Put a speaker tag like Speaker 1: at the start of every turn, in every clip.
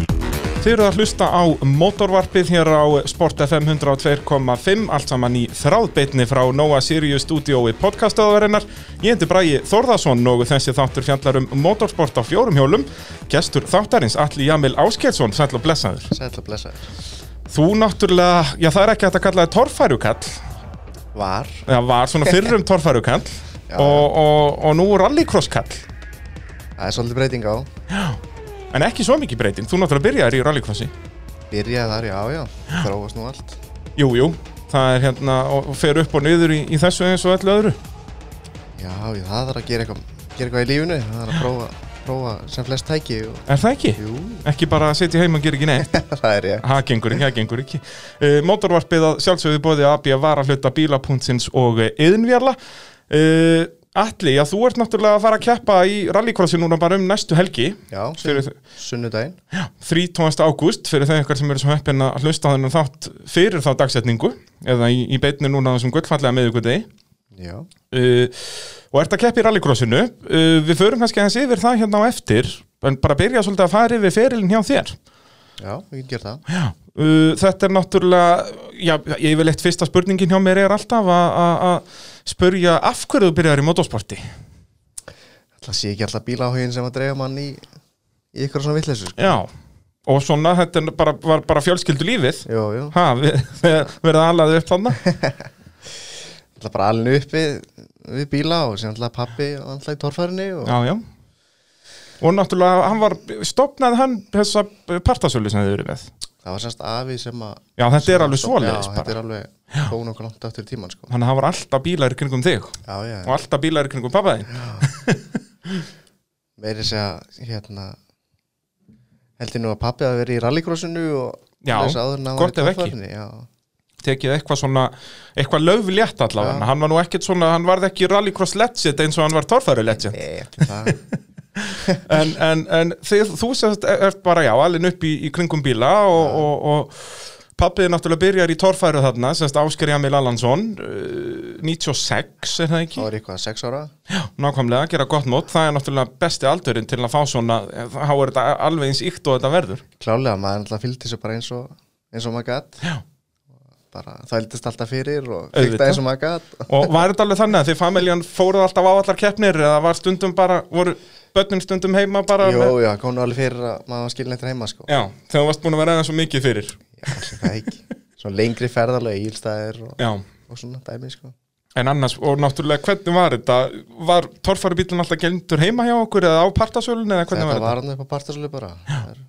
Speaker 1: Þið eru að hlusta á mótorvarpið hér á Sport FM 102.5 allt saman í þráðbeitni frá Nóa Sirius stúdiói podcastöðarinnar Ég hendi Bragi Þórðarsson og þessi þáttur fjallar um mótorsport á fjórum hjólum Gestur þáttarins Alli Jamil Áskelsson, sæll og blessaður
Speaker 2: Sæll og blessaður
Speaker 1: Þú náttúrulega, já það er ekki hægt að kalla það torfærukall
Speaker 2: Var
Speaker 1: Það var svona fyrrum torfærukall
Speaker 2: Já.
Speaker 1: og, og, og nú rallycrosskall
Speaker 2: Það er svolítið breyting á
Speaker 1: En ekki svo mikið breyting, þú náttúrulega byrjar í rallycrossi
Speaker 2: Byrjaði þar, já, já Þróast nú allt
Speaker 1: Jú, jú, það er hérna og og fer upp og niður í, í þessu eins og öllu öðru
Speaker 2: Já, já, það þarf að gera eitthvað Gera eitthvað í lífinu Það þarf að prófa, prófa sem flest tæki og...
Speaker 1: Er það ekki?
Speaker 2: Jú,
Speaker 1: Ekki bara að sitja heim og gera ekki neitt
Speaker 2: það er ég
Speaker 1: Það gengur ekki, það gengur ekki uh, Mótorvarpið að sjálfsögðu bóði AB var að hluta bílapunktsins og eh, iðnvéla uh, Atli, já þú ert náttúrulega að fara að keppa í rallycrossi núna bara um næstu helgi
Speaker 2: Já,
Speaker 1: fyrir,
Speaker 2: sunn, sunnudaginn
Speaker 1: 13. ágúst fyrir þau einhver sem eru svo heppin að hlusta á þennan þátt fyrir þá dagsetningu eða í, í beinni núna á þessum gullfallega meðugudegi
Speaker 2: Já,
Speaker 1: uh, og ert að keppa í rallycrossinu uh, við förum kannski hans yfir það hérna á eftir en bara byrja svolítið að fara yfir ferilin hjá þér
Speaker 2: já, við getum gert það
Speaker 1: já. Uh, þetta er náttúrulega já, ég vil eitt fyrsta spurningin hjá mér er alltaf að- að að spurja af hverju þú byrjar í motorsporti
Speaker 2: Það sé ekki alltaf bíláhugin sem að dreifa mann í Í ykkur svona vitleysu sko.
Speaker 1: já og svona þetta er bara, var bara fjölskyldu lífið
Speaker 2: Jú, jú
Speaker 1: ha, við, verða aðlaði upp þannig
Speaker 2: Það bara alinu uppi við bíla og sem alltaf pappi og alltaf í torfærinni og...
Speaker 1: já, já og náttúrulega hann var, stopnaði hann þessa partasölu sem þið eru með
Speaker 2: Það var semst afi sem að
Speaker 1: já þetta er alveg
Speaker 2: Já,
Speaker 1: svoleiðis
Speaker 2: þetta
Speaker 1: bara
Speaker 2: er alveg þó nokkuð langt aftur í tímann sko
Speaker 1: þannig að það var alltaf bílar í kringum þig
Speaker 2: Já, já,
Speaker 1: og alltaf bílar í kringum pappa þinn
Speaker 2: meiri segja hérna heldur nú að pappi að vera í rallycrossinu og
Speaker 1: Já,
Speaker 2: þess áður en hann var
Speaker 1: gott
Speaker 2: í
Speaker 1: ef ekki.
Speaker 2: torfærunni, já.
Speaker 1: tekið eitthvað svona, eitthvað löflétt allavega, hann var nú ekkert svona, hann varð ekki rallycross legend eins og hann var torfæru legend
Speaker 2: Nei, ekki það
Speaker 1: en, en, en þið, þú sérst ert bara já, alveg upp í, í kringum bíla og, og, og pappiði náttúrulega byrjar í torfæru þarna, sérst Ásker Jamil Allansson eh, 96 er það
Speaker 2: þá
Speaker 1: ekki,
Speaker 2: er ég eitthvað sex ára
Speaker 1: nákvæmlega, gera gott mót það er náttúrulega besti aldurinn til að fá svona þá er þetta alveg eins ykt og þetta verður
Speaker 2: klálega, maður alltaf fylgdi sér bara eins og eins og maður gatt
Speaker 1: Já.
Speaker 2: bara þældist alltaf fyrir og
Speaker 1: Auðvitað.
Speaker 2: fylgdi eins og maður gatt
Speaker 1: Og var þetta alveg þannig að þið familjan fóruð alltaf á allar keppnir eða var stundum bara, voru börnin stundum heima bara
Speaker 2: Jó, já, kom nú alveg fyrir að maður var skilin eftir heima sko
Speaker 1: Já, þegar þú varst búin að vera eða svo mikið fyrir
Speaker 2: Já, allir það ekki Svona lengri ferðarlega ílstæðir og,
Speaker 1: Já,
Speaker 2: og svona dæmi sko
Speaker 1: en annars, og náttúrulega hvernig var þetta? Var torfarubílun alltaf gældur heima hjá okkur eða á partasölun eða hvernig
Speaker 2: Þetta
Speaker 1: var
Speaker 2: var hann upp á partasölu bara Það er-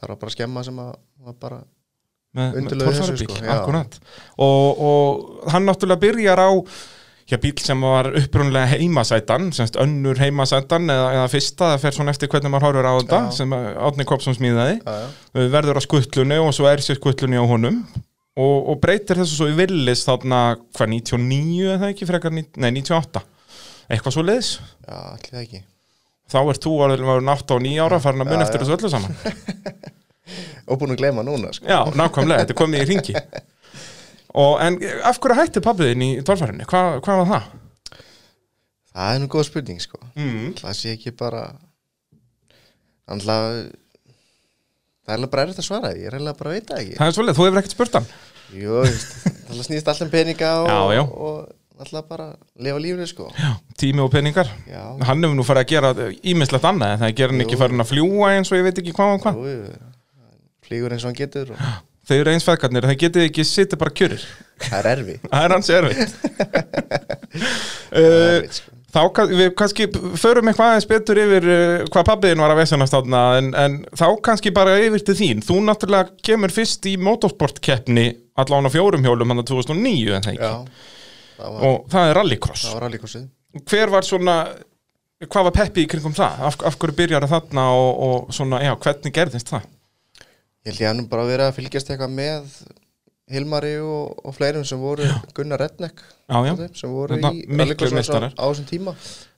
Speaker 2: það var bara skemma sem að var bara
Speaker 1: þetta? Með, með
Speaker 2: undirlögðu þessu,
Speaker 1: torfarubíl,
Speaker 2: sko, já.
Speaker 1: akkurat og, og hann náttúrulega byrjar á Já, bíl sem var upprunlega heimasætan, semst önnur heimasætan eða, eða fyrsta, það fer svona eftir hvernig maður horfur á þetta,
Speaker 2: Já.
Speaker 1: sem að Átni Kopsson smíðaði.
Speaker 2: já, já.
Speaker 1: Uh, verður á skuttlunni og svo er sér skuttlunni á honum og, og breytir þessu svo í villis þarna hvað 99 eða ekki frekar, ní- nei 98 eitthvað svo leiðis
Speaker 2: Já, allir það ekki
Speaker 1: þá ert þú orðin var 8 og 9 ára farin að mun
Speaker 2: Já,
Speaker 1: eftir þessu öllu saman
Speaker 2: Og búin að gleyma núna sko.
Speaker 1: já, nákvæmlega, þetta er komið í ringi og en af hverju hætti pabbiðin í tólfærinni, Hva, hvað var það?
Speaker 2: Það er nú góð spurning sko
Speaker 1: Mm.
Speaker 2: Það sé ekki bara Þannig að Það er alveg bara erfitt að svara því, Ég er alveg bara að veita ekki
Speaker 1: það er svolítið, þú hefur ekkert spurt hann
Speaker 2: Jú, það snýst alltaf um peninga og,
Speaker 1: Já, já.
Speaker 2: og alltaf bara lifa lífinu sko
Speaker 1: já, tími og peningar
Speaker 2: Já,
Speaker 1: hann hefur nú farið að gera ímislegt annað en það gerir hann ekki
Speaker 2: Jú.
Speaker 1: farin að fljúa eins og ég veit ekki hvað og hvað
Speaker 2: jú, jú Flýgur eins og hann getur og
Speaker 1: þeir eru eins feðgarnir, það getið ekki sitið bara kjurir
Speaker 2: það er erfi
Speaker 1: Það er hans erfitt
Speaker 2: Það er
Speaker 1: uh,
Speaker 2: erfitt, sko.
Speaker 1: Þá kann- við kannski förum eitthvað aðeins betur yfir uh, hvað pabbiðin var að vesanast átna en, en þá kannski bara yfir til þín Þú náttúrulega kemur fyrst í motorsportkeppni allan á fjórum hjólum hann að 2009 en það
Speaker 2: Já,
Speaker 1: ekki
Speaker 2: það var,
Speaker 1: og það er rallycross
Speaker 2: það var alveg kursið
Speaker 1: Hver var svona, hvað var peppi í kringum það? Af, af hverju byrjar þarna og, og svona, já, hvernig gerðist það?
Speaker 2: Ég held ég hann bara verið að fylgjast eitthvað með Hilmari og, og fleirum sem voru Gunnar Redneck
Speaker 1: Já, já.
Speaker 2: og þeim sem voru
Speaker 1: Þetta
Speaker 2: í
Speaker 1: miklu
Speaker 2: rallycross á-
Speaker 1: meistarar.
Speaker 2: á þessum tíma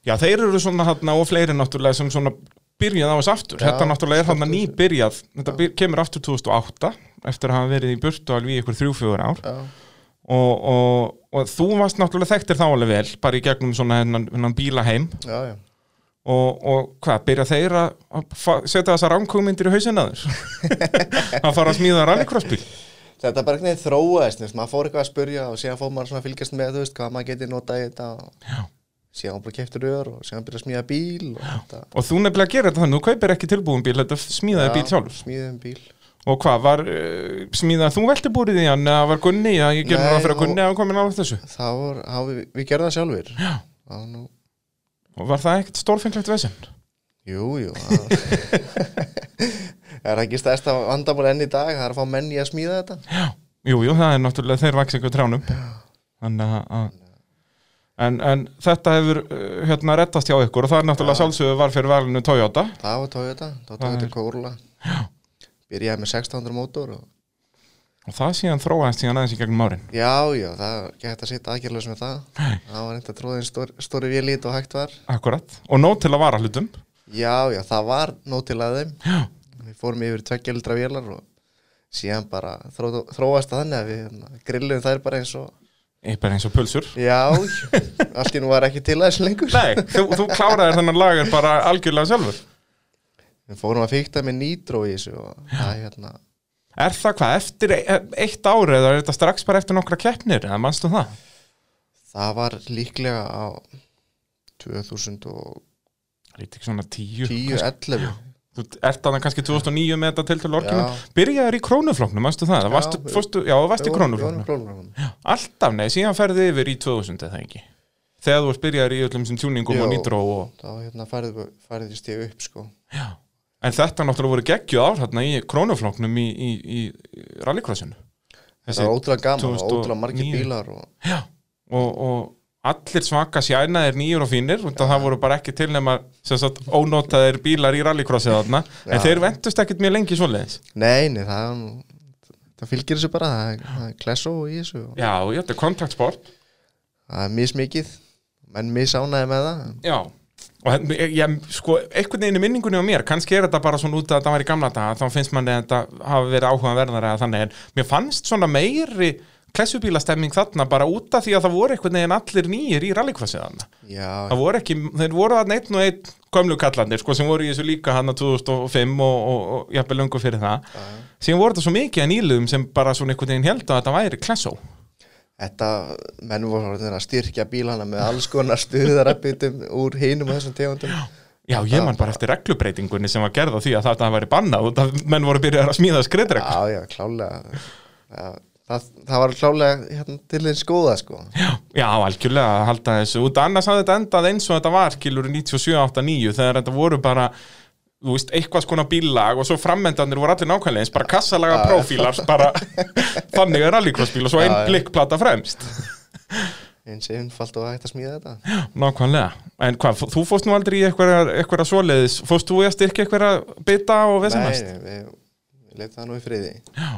Speaker 1: Já, þeir eru svona þarna og fleiri náttúrulega sem svona byrjað á þess aftur.
Speaker 2: Já,
Speaker 1: þetta náttúrulega er þarna
Speaker 2: stórt húsið.
Speaker 1: nýbyrjað. Þetta byr, kemur aftur 2008 eftir að hafa verið í burtu alveg í ykkur þrjú-fjögur ár
Speaker 2: Já,
Speaker 1: og, og, og þú varst náttúrulega þekktir þá alveg vel bara í gegnum svona hennan, hennan bílaheim
Speaker 2: já, já.
Speaker 1: og, og hvað, byrja þeir að- að fa- setja þessar ránkugmyndir í hausinn að þér að fara að smíða rallycrossbíl
Speaker 2: Þetta bara einhvern veginn þróaðist, þú veist, maður fór eitthvað að spurja og síðan fór maður svona að fylgjast með, þú veist, hvað maður geti notað í þetta og
Speaker 1: Já.
Speaker 2: síðan bara keftur öður og síðan byrja að smíða bíl og þetta,
Speaker 1: og þú nefnilega gerir þetta þannig, þú kaupir ekki tilbúin bíl þetta smíðaði
Speaker 2: Já.
Speaker 1: bíl sjálfur
Speaker 2: smíðum bíl.
Speaker 1: og hvað, var uh, smíðað þú veltibúrið í hann eða var Gunni, já, ég gerir
Speaker 2: Nei,
Speaker 1: ráð fyrir að
Speaker 2: þá-
Speaker 1: Gunni hafa komin á þessu
Speaker 2: Þá var, þá við, við gerðum það sjálfur. Já. Á, nú,
Speaker 1: og var það ekkert stórfenglegt vesend
Speaker 2: jú, jú. það- Það er ekki stærsta vandamál enn í dag, það er að fá menn í að smíða þetta.
Speaker 1: Jú, jú, það er náttúrulega þeir vaks ykkur trjánum Þannig að- að en, en þetta hefur uh, hérna rettast hjá ykkur og það er náttúrulega sjálfsögðu var fyrir valinu Toyota
Speaker 2: Það var Toyota, þá Toyota Corolla Byrjaði með 1600 mótor og...
Speaker 1: og það síðan þróaðist síðan aðeins í gegnum árin
Speaker 2: Já, já, það var ekki hægt að sitja aðgjörlega sem það Það var eitthvað tróðin stór, stóri vélít og hægt var
Speaker 1: Akkurat, og nóg til að vara hlutum
Speaker 2: Já, já, það var nóg til að þeim já. Við fórum yfir tveggjaldra vélar og síðan bara þró, þróast það þannig að við hérna, grillum þær bara eins og
Speaker 1: eitthvað eins og pulsur
Speaker 2: Já, allt í nú var ekki til aðeins lengur
Speaker 1: Nei, þú, þú kláraðir þennan lagar bara algjörlega sjálfur
Speaker 2: Við fórum að fykta með nýtró í þessu og það er hérna
Speaker 1: Er það hvað, eftir e- eitt ári eða er þetta strax bara eftir nokkra keppnir eða manstu það?
Speaker 2: Það var líklega á 2010,
Speaker 1: Lítið ekki svona tíu,
Speaker 2: 11
Speaker 1: Þú ert að það kannski 2009 með þetta til til orginum
Speaker 2: Já.
Speaker 1: Byrjaðir í krónuflóknum, manstu það? Já, varstu,
Speaker 2: við-
Speaker 1: fórstu, já, þú varst í
Speaker 2: Jú,
Speaker 1: krónuflóknum
Speaker 2: jú, krónuflóknum.
Speaker 1: Alltaf, nei, síðan ferði yfir í 2000 eða ekki Þegar þú varst byrjaður í öllum sem tjúningum og
Speaker 2: Jó.
Speaker 1: nýtró og...
Speaker 2: þá hérna færðu, færðu stíð upp sko
Speaker 1: En þetta náttúrulega voru geggju ár hérna í krónuflóknum í, í, í rallycrossinu
Speaker 2: það var ótrúlega gaman, það var
Speaker 1: 2009.
Speaker 2: ótrúlega margir bílar og,
Speaker 1: Já, og, og allir svaka sjænaðir nýjur og fínir og það voru bara ekki til nema sem sagt, ónotaðir bílar í rallycrossið þarna En
Speaker 2: Já.
Speaker 1: þeir vendust ekkit mjög lengi svoleiðis
Speaker 2: nei, nei, það, er nú- það fylgir þessu bara það, er- það er klesso í þessu og,
Speaker 1: Já, já, þetta er kontaktsport
Speaker 2: það er mismikið, menn misánaði með það en
Speaker 1: Já Og hérna, ég, ég, sko, einhvern veginn í minningunni á mér, kannski er þetta bara svona út að þetta var í gamla daga, þá finnst manni að þetta hafi verið áhugaverðar eða þannig, en mér fannst svona meiri klessubílastemming þarna bara út af því að það voru einhvern veginn allir nýjir í rallycrossið þarna.
Speaker 2: já,
Speaker 1: Það voru ekki, þeir voru þarna einn og einn gömlu kallandir, sko, sem voru í þessu líka hann 2005 og, og, og jafnvel lungu fyrir það. Síðan voru þetta svo mikið að nýluðum sem bara svona einhvern veginn held að þetta væri klessó.
Speaker 2: þetta menn voru orðnir að styrkja bílana með alls konar stuðarabitum úr hinum og þessum tegundum
Speaker 1: Já, ég man bara eftir reglubreitingunni sem var gerð á því að þetta væri bannað og það menn voru byrjað að smíða skriðdreg.
Speaker 2: já, já, klálega já, það, það var klálega hérna, til þeir skoða sko
Speaker 1: Já, já, algjörlega að halda þessu út annars hafði þetta endað eins og þetta var kilur 97-89 þegar þetta voru bara þú veist, eitthvað skona bílag og svo framendanir voru allir nákvæmlega eins, bara kassalaga prófílar, bara þannig er rallycrossbíl og svo einn
Speaker 2: Já, já.
Speaker 1: blikkplata fremst
Speaker 2: eins einfalt og hægt að smíða þetta
Speaker 1: nákvæmlega, en hvað, þú fórst nú aldrei í eitthvað, eitthvað svoleiðis, fórst þú í að styrkja eitthvað bita og vesemast?
Speaker 2: Nei, við, við leitum það nú í friði
Speaker 1: Já,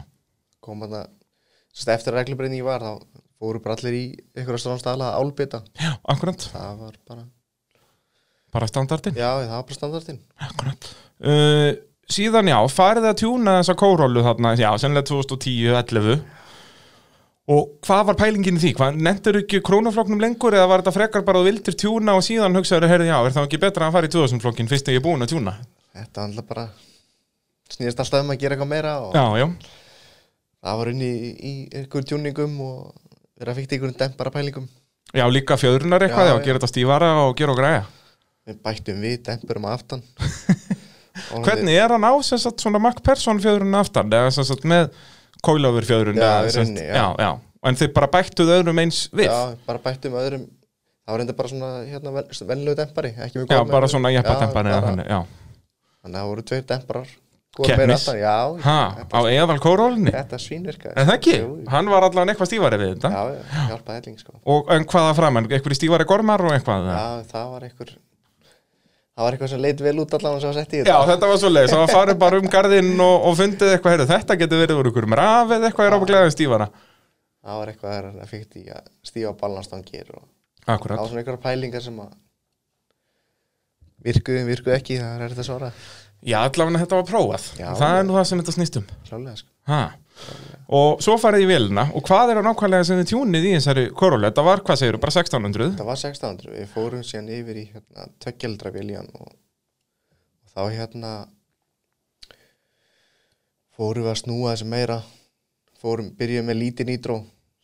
Speaker 2: kom að það eftir að reglubreynning var þá fóru bara allir í einhverja stráðanstala að álbita
Speaker 1: já, akkurat,
Speaker 2: það var bara,
Speaker 1: bara standardin
Speaker 2: já það var bara standardin
Speaker 1: Akkurat uh, Síðan já, farið að tjúna þessa kórólu þarna, já, sennilega 2010-11 Og hvað var pælingin í því? Hvað, nendur ekki krónafloknum lengur eða var þetta frekar bara að þú vildir tjúna og síðan hugsaður, heyrði, já, er það ekki betra að fara í 2000 flokkin fyrst þegar ég er búin að tjúna?
Speaker 2: þetta var alltaf bara snýðist alltaf um að gera eitthvað meira og
Speaker 1: Já, já,
Speaker 2: það var unni í, í einhverjum tjúningum og verið að fíkta einhverjum dempara pælingum
Speaker 1: já, líka fjöðrunar eitthvað, já,
Speaker 2: Já, já.
Speaker 1: gera þetta stífara og gera og græja
Speaker 2: við bættum við dempurum að aftan Og við-
Speaker 1: Hvernig er hann á, sem sagt, svona Mac Persson fjöðrun aftan, eða sem sagt með kólaufur fjöðrun
Speaker 2: Já,
Speaker 1: eða,
Speaker 2: í
Speaker 1: sem sagt-
Speaker 2: rauninni, já.
Speaker 1: já, já, en þið bara bættuð öðrum eins við
Speaker 2: já, bara bættum öðrum það var enda bara svona hérna, ven, venlegu dempari ekki mjög
Speaker 1: Já,
Speaker 2: góð
Speaker 1: bara
Speaker 2: með-
Speaker 1: svona jeppatempari eða
Speaker 2: bara-
Speaker 1: þannig, já
Speaker 2: þannig að það voru tveir demparar
Speaker 1: Keppnis.
Speaker 2: já, já,
Speaker 1: Ha, á eðal kórólinni?
Speaker 2: þetta svínvirkaði
Speaker 1: En það ekki,
Speaker 2: Jú, jú.
Speaker 1: hann var allan eitthvað stífari við þetta
Speaker 2: já, já, hjálpaði helling sko
Speaker 1: Og en hvaða framann, eitthvað stífari gormar og eitthvað
Speaker 2: já,
Speaker 1: Já,
Speaker 2: það var einhver það var eitthvað sem leit vel út allan sem var sett í
Speaker 1: já
Speaker 2: þetta
Speaker 1: þetta var svo leiðis, það var farið bara um garðinn og, og fundið eitthvað, heyrðu, þetta getur verið úr ykkur um rafið eitthvað er ábygglega en stífara
Speaker 2: það var eitthvað þegar það fíkt í að stífa ballanstangir og það
Speaker 1: Akkurat,
Speaker 2: var svona einhverja pælingar sem að virkuðu, virkuðu ekki, það er þetta svara
Speaker 1: Já, allavega þetta var prófað.
Speaker 2: Já.
Speaker 1: það er nú það sem þetta snýst um.
Speaker 2: klálega sko.
Speaker 1: Ha. Og svo farið í vélina og hvað er á nákvæmlega sem þið tjúnið í þessari korólu? Þetta var, hvað segirðu, bara 1600?
Speaker 2: Það var 1600, við fórum síðan yfir í hérna, tökjaldra viljan og, og þá hérna fórum við að snúa þessu meira fórum, byrjuðum með lítið nýtró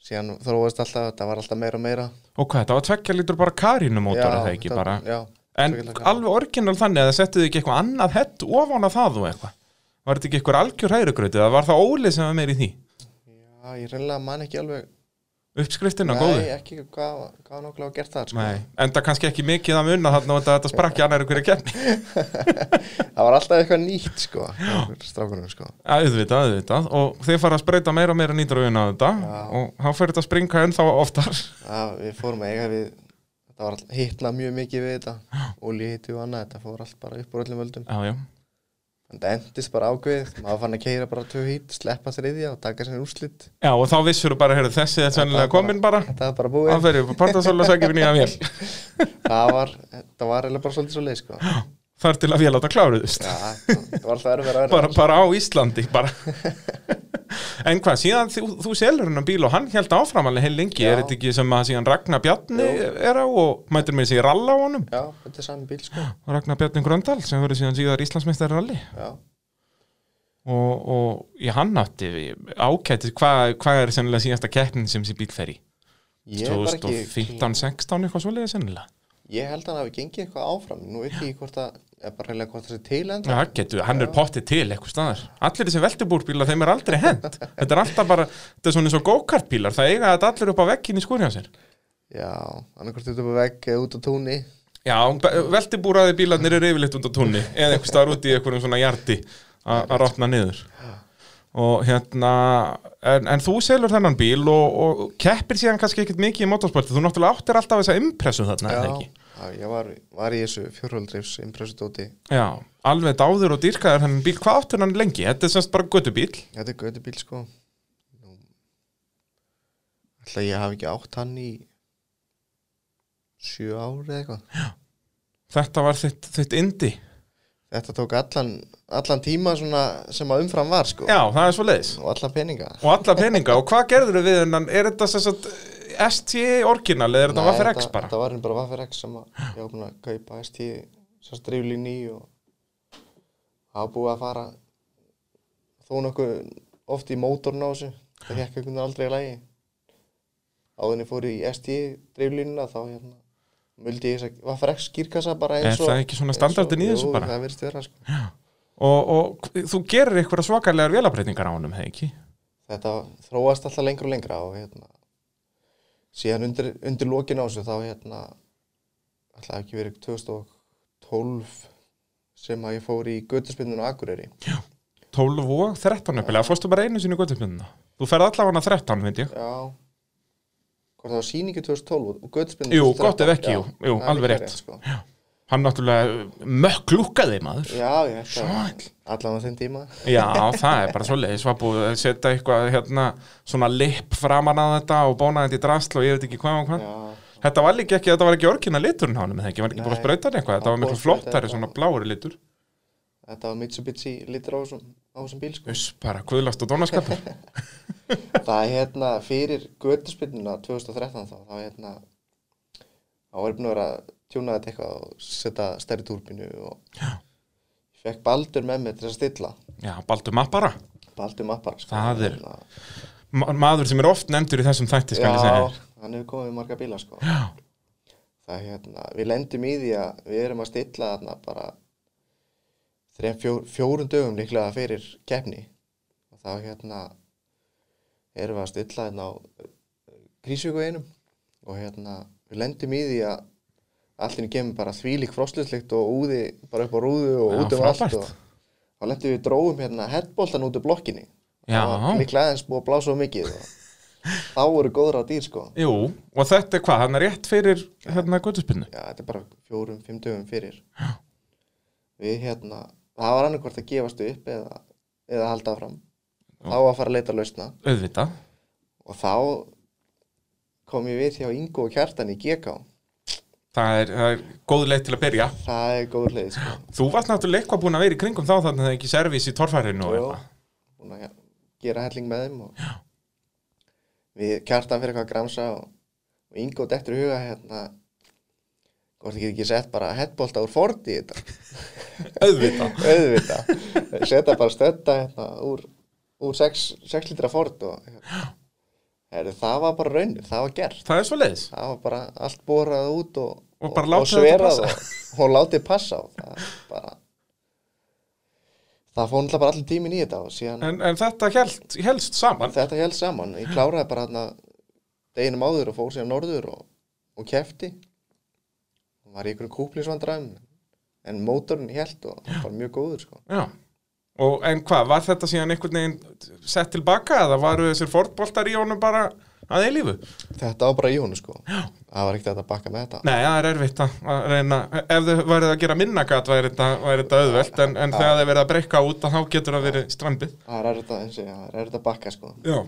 Speaker 2: síðan þróast alltaf, það var alltaf meira og meira
Speaker 1: Og hvað, þetta var tveggja lítur bara karínumótor
Speaker 2: Já,
Speaker 1: eða ekki
Speaker 2: þetta-
Speaker 1: bara?
Speaker 2: Já,
Speaker 1: En
Speaker 2: svo ég ætla að-
Speaker 1: alveg orginal þannig að það settu þið ekki eitthvað annað hett ofan að það og eitthvað? Var þetta ekki eitthvað algjör hærugrötið? Það var það ólið sem var meir í því?
Speaker 2: Já, ég reynilega man ekki alveg
Speaker 1: Uppskriftina
Speaker 2: Nei,
Speaker 1: góðu?
Speaker 2: ekki hvað, hvað nákvæmlega var gert það sko.
Speaker 1: Nei, en það kannski ekki mikið að munna þarna og þetta- þetta sprakki annar ykkur að kemni
Speaker 2: Það var alltaf eitthvað nýtt sko, strákunum sko.
Speaker 1: auðvitað, auðvitað og þið fara að spreita meira og meira nýtrúin á þetta og þá fyrir þetta að springa ennþá oftar
Speaker 2: Já, við fórum að eiga við þetta var all- hitna mjög mikið við þetta olíu hitti og annað, þetta fór allt bara upp úr öllum völdum
Speaker 1: Já, já,
Speaker 2: en það endist bara ákveðið, maður fann að keira bara tvö hít, sleppa þriðja og taka sér úrslit
Speaker 1: já og þá vissur þú bara, heyrðu, þessi er sennilega komin bara
Speaker 2: þetta var bara
Speaker 1: Það
Speaker 2: búið,
Speaker 1: fyrir, partasóla sækir við nýja vél
Speaker 2: það var þetta var eiginlega bara svolítið svo leið sko Já,
Speaker 1: Þar til að vél átt að kláruðust
Speaker 2: það var alltaf erfið að
Speaker 1: bara,
Speaker 2: vera
Speaker 1: bara á Íslandi bara. En hvað, síðan þú, þú selur hennan bíl og hann held áfram alveg heil lengi
Speaker 2: Já.
Speaker 1: Er þetta ekki sem að síðan Ragnar Bjarni er á og mætir með þessi ralla á honum
Speaker 2: Já, þetta er sami bíl sko
Speaker 1: Ragnar Bjarni Gröndal sem verður síðan síðar Íslandsmeistari í rally
Speaker 2: Já,
Speaker 1: og, og ég hann átti ákættið, hvað hva er sennilega síðasta keppnin sem þessi bíl fer í?
Speaker 2: ég er bara ekki
Speaker 1: 2015-16 eitthvað svoleiði sennilega
Speaker 2: ég held að hann hafi gengið eitthvað áfram nú veit ég ekki hvort að, eða bara reyna hvort það sé til enda
Speaker 1: Já, getur, hann er pottið til eitthvað staðar Allir þessi veltubúrbílar, þeim er aldrei hent Þetta er alltaf bara, þetta er svona eins og go-kartbílar Það eiga þetta allir upp á veggin í skúri á sér
Speaker 2: Já, annarkvort út upp á vegg eða út á túnni
Speaker 1: Já, be- veltubúraði bílarnir eru yfirleitt út á túnni Eða eitthvað staðar út í eitthvað svona hjarti Að rotna niður Og hérna, en, en þú selur þennan bíl og, og keppir síðan kannski ekkert mikið í motorsporti Þú náttúrulega áttir alltaf þessa impressu þarna, er það
Speaker 2: Já,
Speaker 1: ekki?
Speaker 2: já, ég var, var í þessu fjórhjóldreifs impressudóti
Speaker 1: Já, alveg dáður og dýrkaður þennan bíl, hvað áttur hann lengi? Þetta er semst bara göttubíl
Speaker 2: Þetta er götu bíl sko Nú, Ætla ég hafi ekki átt hann í sjö ári eða eitthvað
Speaker 1: Þetta var þitt, þitt indi
Speaker 2: Þetta tók allan, allan tíma svona sem að umfram var sko
Speaker 1: Já, það er svo leiðis
Speaker 2: og allan peninga
Speaker 1: Og alla peninga, og hvað gerður við hennan? Er þetta sem sagt ST orginal eða er þetta Vaffer X bara?
Speaker 2: Þetta var hérna bara Vaffer X sem að ég var búin að kaupa ST svo striflín í og hafa búið að fara þó nokkuð oft í mótorn á þessu það hekk einhvern veginn aldrei í lagi áðinni fór ég í ST driflínuna þá hérna muldi ég þess að Vaffer X skýrkassa bara
Speaker 1: Er
Speaker 2: eins og
Speaker 1: það ekki svona
Speaker 2: eins og-
Speaker 1: standardin í þessu
Speaker 2: jú,
Speaker 1: bara?
Speaker 2: það verðist vera sko
Speaker 1: Og, og þú gerir eitthvað svakalegar vélabreitingar á honum, hefði ekki?
Speaker 2: þetta þróast alltaf lengra og lengra og hérna síðan undir, undir lokin á þessu þá hérna alltaf ekki verið 2012 sem að ég fór í göttuspinnun á Akureyri
Speaker 1: 12 og 13 uppilega, fórstu bara einu sinni í göttupinna Þú ferð allavega 13, veit ég
Speaker 2: já hvort það var síningi 2012 og göttuspinnun
Speaker 1: Jú, gott ef ekki, jú, jú alveg rétt
Speaker 2: sko.
Speaker 1: Hann náttúrulega mökklúkaði maður
Speaker 2: já, ég ætla
Speaker 1: Sæll.
Speaker 2: allan á þeim tíma
Speaker 1: Já, það er bara svo leiðis var búið að setja eitthvað hérna, svona lipp framan að þetta og bóna þetta í drasl og ég veit ekki hvað og hvað
Speaker 2: já,
Speaker 1: Þetta var líka ekki, þetta var ekki orkina liturinn á hann með það ekki, var ekki búið að
Speaker 2: Nei.
Speaker 1: sprauta hann eitthvað þetta var
Speaker 2: Hann
Speaker 1: miklu
Speaker 2: búið að sprauta
Speaker 1: flottari,
Speaker 2: þetta.
Speaker 1: svona blári litur
Speaker 2: þetta var Mitsubishi litur á þessum á þessum bíl sko.
Speaker 1: Þess bara guðlast og dónaskapur
Speaker 2: það er hérna fyrir göttuspinnuna 2013 þá, þá hérna þá var ég búin að vera að tjúna þetta eitthvað og setja stærri túrbínu og Já. ég fekk Baldur með mér til að stilla
Speaker 1: Já, Baldur Mappara,
Speaker 2: Baldur mappar sko.
Speaker 1: Það er-
Speaker 2: Hérna,
Speaker 1: Ma maður sem er oft nefndur í þessum þætti, skal ég segja
Speaker 2: Já,
Speaker 1: þér.
Speaker 2: hann hefur komið með marga bíla sko.
Speaker 1: Já,
Speaker 2: það er hérna, við lendum í því að við erum að stilla þarna bara þrejum fjór, fjórum dögum líklega fyrir keppni og þá hérna erum við að stilla hérna á krísjökuveginum og hérna við lendum í því að allir kemur bara þvílík frostlutlikt og úði bara upp á rúðu og
Speaker 1: Já,
Speaker 2: út um
Speaker 1: frábært.
Speaker 2: allt og þá lendum við dróum hérna hertboltan út úr blokkinni
Speaker 1: já,
Speaker 2: það var líklega aðeins búið að blása of mikið og þá voru góðra á dýr sko
Speaker 1: jú, og þetta er hvað, hann er rétt fyrir hérna guttuspinnu
Speaker 2: já, þetta er bara fjórum, fimm dögum fyrir við hérna það var annarkvort að gefast upp eða, eða halda áfram þá að fara að leita lausna
Speaker 1: Auðvitað,
Speaker 2: og þá kom ég við hjá Ingo og Kjartan í GK
Speaker 1: það er, það er góð leið til að byrja
Speaker 2: það er góður leið sko.
Speaker 1: Þú varst náttúrulega eitthvað búin að vera í kringum þá þannig að það er ekki servís í torfærinu og
Speaker 2: Jú.
Speaker 1: eitthvað
Speaker 2: búin að gera helling með þeim og við kjartan fyrir eitthvað að gramsa og, og Ingo dettur í huga hérna hvort ekki ekki sett bara headbolta úr Ford í þetta
Speaker 1: Auðvitað
Speaker 2: auðvita, setja bara stötta hérna úr, úr 6, 6 litra Ford og hérna. Heru, það var bara raunir, það var gert
Speaker 1: Það er svo leiðis
Speaker 2: það var bara allt borað út og,
Speaker 1: Og bara látið þetta
Speaker 2: sverað
Speaker 1: passa.
Speaker 2: og, og látið passa og það bara það fór náttúrulega bara allir tímin í þetta og síðan
Speaker 1: en, en þetta helst, helst saman
Speaker 2: þetta held saman, ég kláraði bara hérna deginum áður og fór síðan norður og, og kefti og var í einhverjum kúplisvandræðum en mótorinn held og hann var mjög góður sko.
Speaker 1: Já Og en hvað, var þetta síðan einhvern veginn sett tilbaka eða varu þessir fordboltar í honum bara að eilífu?
Speaker 2: þetta var bara í honum sko. það var ekkert hægt að bakka með þetta
Speaker 1: Nei, það er erfitt að að reyna Ef þau værið að gera minna gat væri þetta, væri þetta auðvelt en, en þegar þau verið að breyka út að þá getur það verið strandið
Speaker 2: það er erfitt að, eins og ég, það er erfitt að bakka sko.
Speaker 1: Já,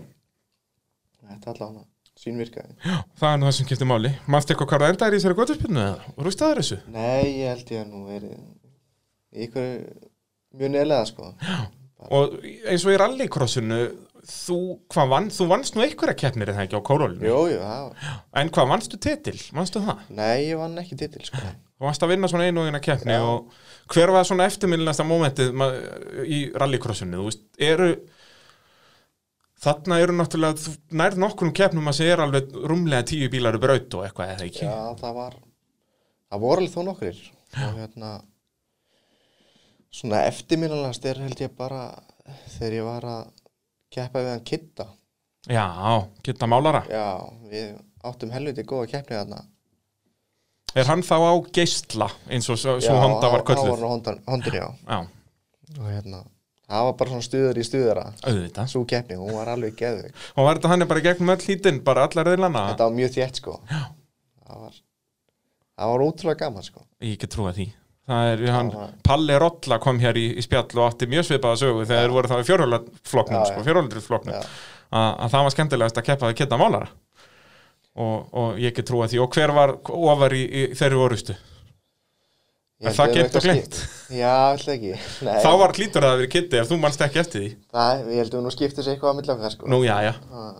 Speaker 2: þetta allan sínvirkaði
Speaker 1: það er nú það sem skiptir máli Manstu eitthvað hvað það endaðir í þessari goturspinnu eða? Rústaður þessu?
Speaker 2: nei, ég held ég að nú verið í einhverju mjög neðlega sko.
Speaker 1: Og eins og í rallycrossinu Þú, hvað vann, þú vannst nú einhverja keppnir en það ekki á kórólinu
Speaker 2: jú, jú, það var
Speaker 1: En hvað, vannstu titil? Vannstu það?
Speaker 2: nei, ég vann ekki titil sko.
Speaker 1: Þú vannst að vinna svona einu og eina keppni og hver var svona eftirminnasta mómentið ma- í rallycrossinu, þú veist, eru þarna eru náttúrulega þú nærð nokkrum keppnum að sé er alveg rúmlega tíu bílar í braut og eitthvað eða ekki.
Speaker 2: Já, það var það voru alveg þó nokkrir og hérna svona eftirminnilegast er held ég bara þegar ég var að keppa við hann Kitta
Speaker 1: Já, geta málara.
Speaker 2: Já, við áttum helviti góða keppni þarna
Speaker 1: Er hann þá á geistla eins og svo, svo
Speaker 2: Já,
Speaker 1: Honda var
Speaker 2: á- á
Speaker 1: kölluð?
Speaker 2: var hondan, hondan, já
Speaker 1: Já,
Speaker 2: og hérna, það var bara svona stuður í stuðara
Speaker 1: auðvitað.
Speaker 2: svo keppni, hún var alveg geðvig
Speaker 1: Og var þetta hann bara í gegnum öll hítinn, bara alla reyðlana?
Speaker 2: þetta var mjög þétt sko já. það var það var ótrúlega gaman sko
Speaker 1: Ég get trúa því. Það er, hann,
Speaker 2: það-
Speaker 1: Palli Rolla kom hér í, í spjall og átti mjög svipaða sögu þegar þeir voru þá í fjórhjólarflokknum,
Speaker 2: Já,
Speaker 1: sko,
Speaker 2: já.
Speaker 1: fjórhjólarflokknum,
Speaker 2: Já.
Speaker 1: að að það var skemmtilegast að keppa við Kitta Málara. Og, og ég get trúa því. Og hver var ofar í, í þeirri orustu? En
Speaker 2: Ég held
Speaker 1: það
Speaker 2: ég
Speaker 1: geymt og
Speaker 2: eitthvað
Speaker 1: gleymt.
Speaker 2: skipt. Já, alltaf ekki Nei,
Speaker 1: Þá var klítur að það verið Kitti ef þú mannst ekki eftir því.
Speaker 2: Nei, ég held að nú skipti sér eitthvað á milli okkar sko
Speaker 1: Nú, já, já.
Speaker 2: Ah.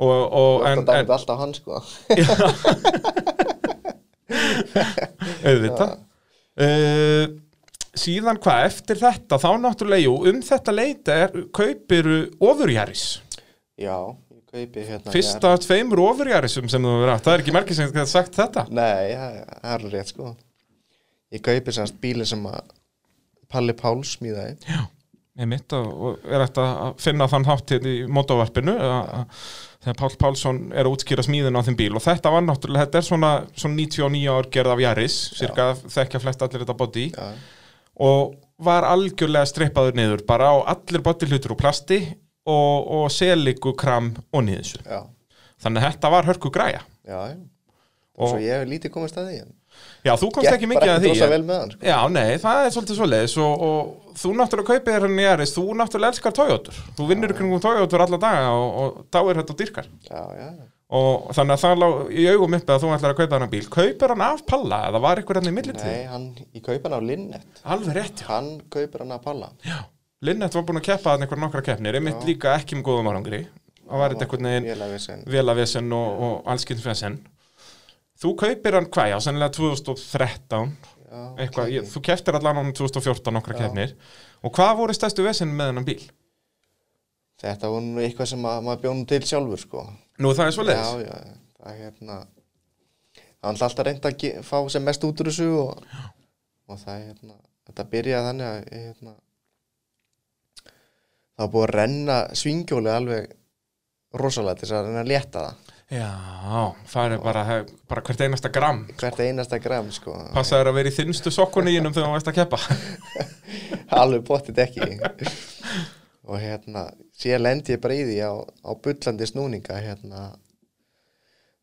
Speaker 1: Og, og,
Speaker 2: en,
Speaker 1: en,
Speaker 2: en,
Speaker 1: en
Speaker 2: alltaf hann sko
Speaker 1: auðvitað. Uh, síðan hvað, eftir þetta, þá náttúrulega, jú, um þetta leita er, kaupiru ofurjæris.
Speaker 2: já, ég kaupi hérna
Speaker 1: Fyrsta af tveimur ofurjarisum sem þú hefur átt Það er ekki merkið sem geta sagt þetta
Speaker 2: ég, nei, já, já, það er alveg rétt sko ég kaupi semst bíli sem að Palli Pál smíðaði
Speaker 1: Nei mitt og og er þetta að finna þann hátt hér í mótóvarpinu að- að- þegar Pál Pálsson er að útskýra smíðin á þeim bíl og þetta var náttúrulega, þetta er svona, svona 99 ár gerð af Jaris cirka þekkja flest allir þetta body
Speaker 2: Já.
Speaker 1: og var algjörlega strippaður niður bara á allir body hlutur úr plasti og, og seliku kram og niðursu
Speaker 2: já,
Speaker 1: þannig að þetta var hörku græja
Speaker 2: já, já
Speaker 1: Og-
Speaker 2: og svo ég hef lítið komast að því en
Speaker 1: Já, þú komst ekki mikið
Speaker 2: bara
Speaker 1: að því
Speaker 2: rosa
Speaker 1: en-
Speaker 2: vel með hann sko.
Speaker 1: Já, nei, það er svolítið svoleiðis og, og þú náttúrulega kaupir þér henni Jaris, þú náttúrulega elskar Toyotur þú vinnur í kringum Toyotur alla daga og, og dáir þetta og dyrkar
Speaker 2: já, já, já.
Speaker 1: og þannig að það lá í augum uppi að þú ætlar að kaupa hennar bíl kaupir hann af palla eða var ykkur henni í millitíð?
Speaker 2: nei, hann, ég kaupi hann á Linnet
Speaker 1: Alveg rétt, já.
Speaker 2: hann kaupir hann að Palla
Speaker 1: já Linnett var búin að keppa hann einhver nokkra keppnir einmitt líka ekki með góðum árangri það var þetta einhvern veginn
Speaker 2: veginn
Speaker 1: velavesen og, og allskynnsvesen þú kaupir hann hvað, já, sennilega 2013 eitthvað, ég, þú keftir allan ánum 2014 nokkra keppnir og hvað voru stærstu vesinn með hennan bíl?
Speaker 2: þetta var nú eitthvað sem að, maður bjónum til sjálfur sko
Speaker 1: Nú það er svo leiðis
Speaker 2: Já, já, það er hérna hann er alltaf reynd að ge- fá sem mest út úr þessu og, og það er hérna þetta byrjaði þannig að ég, hérna, það var búið að renna svingjóli alveg rosalega til þess að reyna að létta það
Speaker 1: Já, það er bara, bara hvert einasta gram
Speaker 2: hvert einasta gram sko
Speaker 1: passaður að vera í þinnstu sokkunni innum þegar þú veist að keppa
Speaker 2: alveg bóttið ekki og hérna síðan lendi ég bara í því á, á bullandi snúninga hérna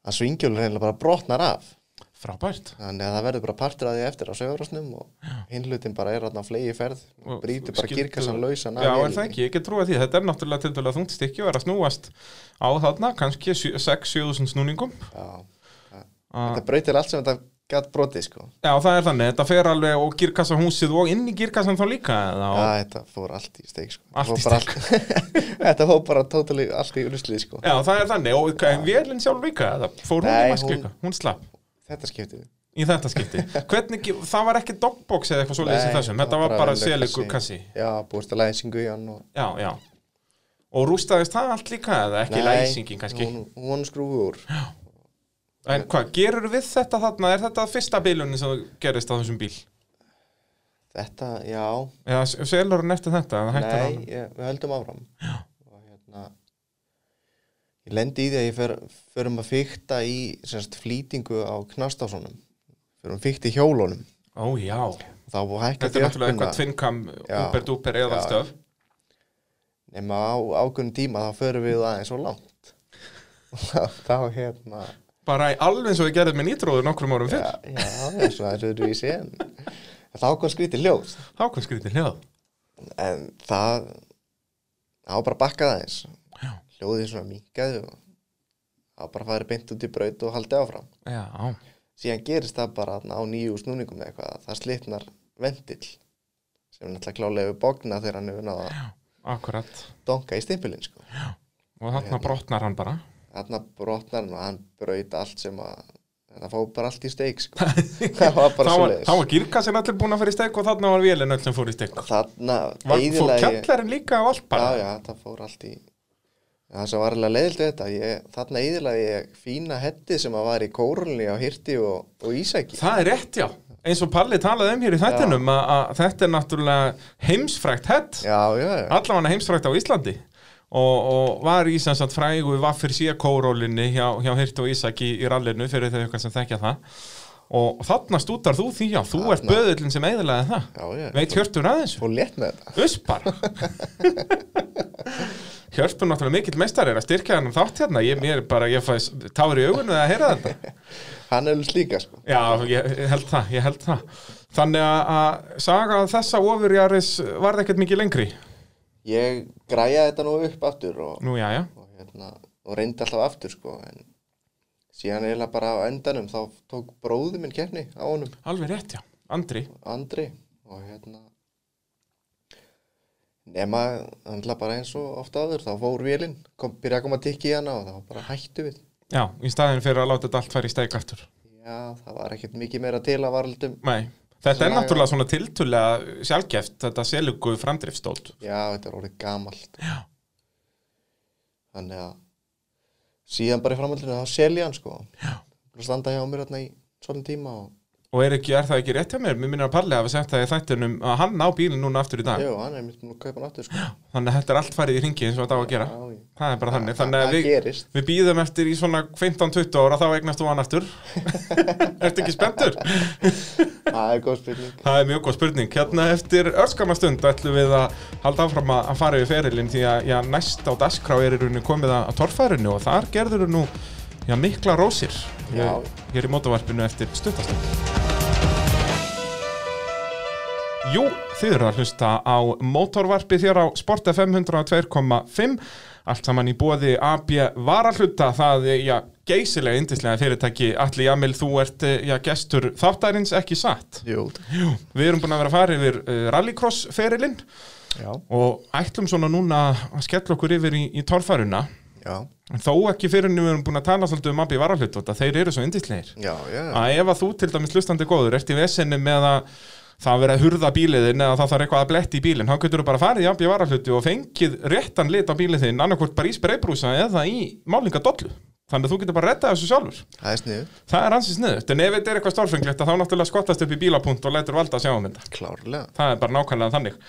Speaker 2: að svingjóli reynilega bara brotnar af
Speaker 1: Frábært
Speaker 2: Þannig að það verður bara partur að því eftir á sögurásnum og hinlutin bara er að flegi í ferð og brýtur bara
Speaker 1: Skildu-
Speaker 2: kirkasan lausan af
Speaker 1: Já, er
Speaker 2: vélinni.
Speaker 1: það ekki, ég get trúið því Þetta er náttúrulega tildulega þungt stykki og er að snúast á þarna kannski 6-7 snúningum
Speaker 2: Já.
Speaker 1: Ah.
Speaker 2: Þetta brautir allt sem þetta gatt brotið sko
Speaker 1: Já, það er þannig, þetta fer alveg og girkassa húsið og inn í girkassan þá líka eða,
Speaker 2: Já,
Speaker 1: og,
Speaker 2: þetta fór allt í steik sko
Speaker 1: Allt í
Speaker 2: Fór bara allt- Þetta fór bara totally allt í ruslið sko
Speaker 1: já, það er þannig og ja. vélinn sjálf líka, það fór hún
Speaker 2: Nei,
Speaker 1: í mask
Speaker 2: hún-
Speaker 1: líka, hún slapp
Speaker 2: Þetta skiptið
Speaker 1: í þetta skipti Hvernig, það var ekki dogbox eða eitthvað svoleiðis í
Speaker 2: Nei,
Speaker 1: þessum,
Speaker 2: það
Speaker 1: þetta
Speaker 2: var
Speaker 1: var
Speaker 2: bara
Speaker 1: bara
Speaker 2: venjulegur
Speaker 1: selikur kassi
Speaker 2: Já, búist að læsingu í hann og
Speaker 1: Já, já Og rústaðist það allt líka eða ekki læsingin kannski
Speaker 2: Hún, hún skrúið úr
Speaker 1: En hvað, gerur við þetta þarna, er þetta fyrsta bilunin sem gerist á þessum bíl?
Speaker 2: Þetta, já,
Speaker 1: Eða s- selur hann eftir þetta, eða hættir
Speaker 2: Nei,
Speaker 1: hann?
Speaker 2: ég, við höldum áfram Já. og hérna ég lendi í því að ég fer, förum að fykta í semst, flýtingu á knastásunum förum að fykta í hjólunum
Speaker 1: Ó já,
Speaker 2: þá búið hækka
Speaker 1: þetta er náttúrulega eitthvað tvinnkam
Speaker 2: Já.
Speaker 1: Uber-Duper eða
Speaker 2: Já.
Speaker 1: stöf
Speaker 2: nema á ákunnum tíma þá förum við aðeins og langt þá, þá hérna
Speaker 1: Bara í alveg eins og ég gerði með nýtróður nokkrum árum
Speaker 2: já,
Speaker 1: fyrr
Speaker 2: já, það er svo aðeins öðruvísi en þá kom skrítið hljóð
Speaker 1: Þá kom skrítið hljóð
Speaker 2: en það það var bara að bakka aðeins
Speaker 1: Já.
Speaker 2: hljóðið svona minkaði og það var bara að fara beint út í braut og haldið áfram
Speaker 1: Já,
Speaker 2: síðan gerist það bara þarna á nýju snúningum eða eitthvað, að það slitnar vendill sem er náttúrulega klálega hefur bókna þegar hann hefur náða að
Speaker 1: akkurat
Speaker 2: donka í stimpilinn sko.
Speaker 1: Og
Speaker 2: Hérna.
Speaker 1: þarna brotnar hann bara
Speaker 2: þarna brotnar hann og hann braut allt sem að það fóð bara allt í steik sko. það var bara
Speaker 1: Þá
Speaker 2: svo
Speaker 1: var, þá var girkassin allir búin að fara í stekk og þarna var vélinn öll sem fór í stekk
Speaker 2: þarna
Speaker 1: Var, fór
Speaker 2: eyðilagði-
Speaker 1: kjallarinn líka á allt bara
Speaker 2: já, já, það fór allt í það sem var alveg leiðilt við þetta ég, þarna íðilega ég fína hetti sem að var í kórulni á Hirti og, og Ísæki
Speaker 1: Það er rétt, já Eins og Palli talaði um hér í þettinum að, að þetta er náttúrulega heimsfrækt hett
Speaker 2: já, já, já,
Speaker 1: Allavega heimsfrækt á Íslandi og, og var í sem sagt frægu vaffir síða kórólinni hjá, hjá Hirt og Ísak í, í rallinu fyrir þau eitthvað sem þekkja það og þarna stútar þú því já, þú ert
Speaker 2: Þarna.
Speaker 1: böðullin sem eiðilega það
Speaker 2: já, hérna. já.
Speaker 1: veit Hjörtur aðeins
Speaker 2: fór létt með þetta
Speaker 1: Uss bara Hjörpun náttúrulega mikill meistar er að styrkja hann þátt hérna ég, mér er bara, ég fæs tári í augunni að heyra þetta
Speaker 2: hann er slíka sko
Speaker 1: Já, ég ég held það, ég held það Þannig að, að saga þessa ofurjaris varð ekkert mikið lengri
Speaker 2: ég græja þetta nú upp aftur og,
Speaker 1: Nú, já, já,
Speaker 2: og, hérna, og reyndi alltaf aftur sko en síðan eiginlega bara á endanum þá tók bróði minn keppni á honum
Speaker 1: alveg rétt, já Andri,
Speaker 2: Andri og hérna nema andla bara eins og ofta aður þá fór vélinn, kom, byrja að koma tikki í hana og þá bara hættu við
Speaker 1: já, í staðin fyrir að láta þetta allt færi í steik aftur
Speaker 2: já, það var ekkert mikið meira til að varaldum
Speaker 1: Nei, þetta er
Speaker 2: Svona-
Speaker 1: náttúrulega svona tiltulega sjálfgeft þetta selugu framdrifstótt
Speaker 2: já, þetta er orðið gamalt já. þannig að síðan bara í framhaldinu þá selja hann sko já. standa hjá mér hérna í svolítið tíma og
Speaker 1: og er, ekki, er það ekki rétt hjá mér? Mér minnir að Palli hafa sett það í þættinum að hann á bílinn núna aftur í dag
Speaker 2: Jú, hann er mitt búin að kaupa hann aftur sko.
Speaker 1: Þannig að þetta er allt farið í ringi eins og þetta á að gera
Speaker 2: Já, já.
Speaker 1: Það er bara þannig
Speaker 2: það-
Speaker 1: Þannig að
Speaker 2: það
Speaker 1: við,
Speaker 2: gerist.
Speaker 1: við býðum eftir í svona 15-20 ára þá eignast þú hann aftur Ertu ekki spenntur?
Speaker 2: Það er góð spilning.
Speaker 1: Það er mjög góð spurning Hérna eftir örskama stund ætlum við að halda áfram að, að fara yfir ferilinn því að já, næst á daskrá er í rauninni komið að, að torfærinu og þar gerður nú já, mikla rósir
Speaker 2: Já.
Speaker 1: Ég, ég er í mótavarpinu eftir stuttastund Jú, þið eru að hlusta á mótorvarpi þér á Sport FM 102.5 allt saman í bóði AB Varahluta það er já, geysilega yndislega fyrirtæki Alli Jamil, þú ert eh, já, gestur þáttarins ekki satt
Speaker 2: Jú,
Speaker 1: Jú, við erum búin að vera að fara yfir uh, rallycross-ferilinn
Speaker 2: já.
Speaker 1: og ætlum svona núna að skella okkur yfir í, í torfæruna
Speaker 2: Já,
Speaker 1: en þó ekki fyrir en við erum búin að tala svolítið um Abbi Varahlut og þeir eru svo yndislegir
Speaker 2: já, já.
Speaker 1: að ef að þú til dæmis hlustandi góður ert í vesenni með að það verið að hurða bíliðin eða það þarf eitthvað að bletti í bílinn þá getur þú bara farið í Abbi Varahlutu og fengið réttan lit á bíliðin annarkvort bara í spreybrúsa eða í málingadollu þannig að þú getur bara að þessu sjálfur
Speaker 2: Það er sniður.
Speaker 1: það er ansið sniðut en ef þetta er eitthvað stórfenglegt að þá náttúrulega skottast upp í bílapunkt og lætur valda að sjá um þetta
Speaker 2: Klárlega.
Speaker 1: það er bara nákvæmlega þannig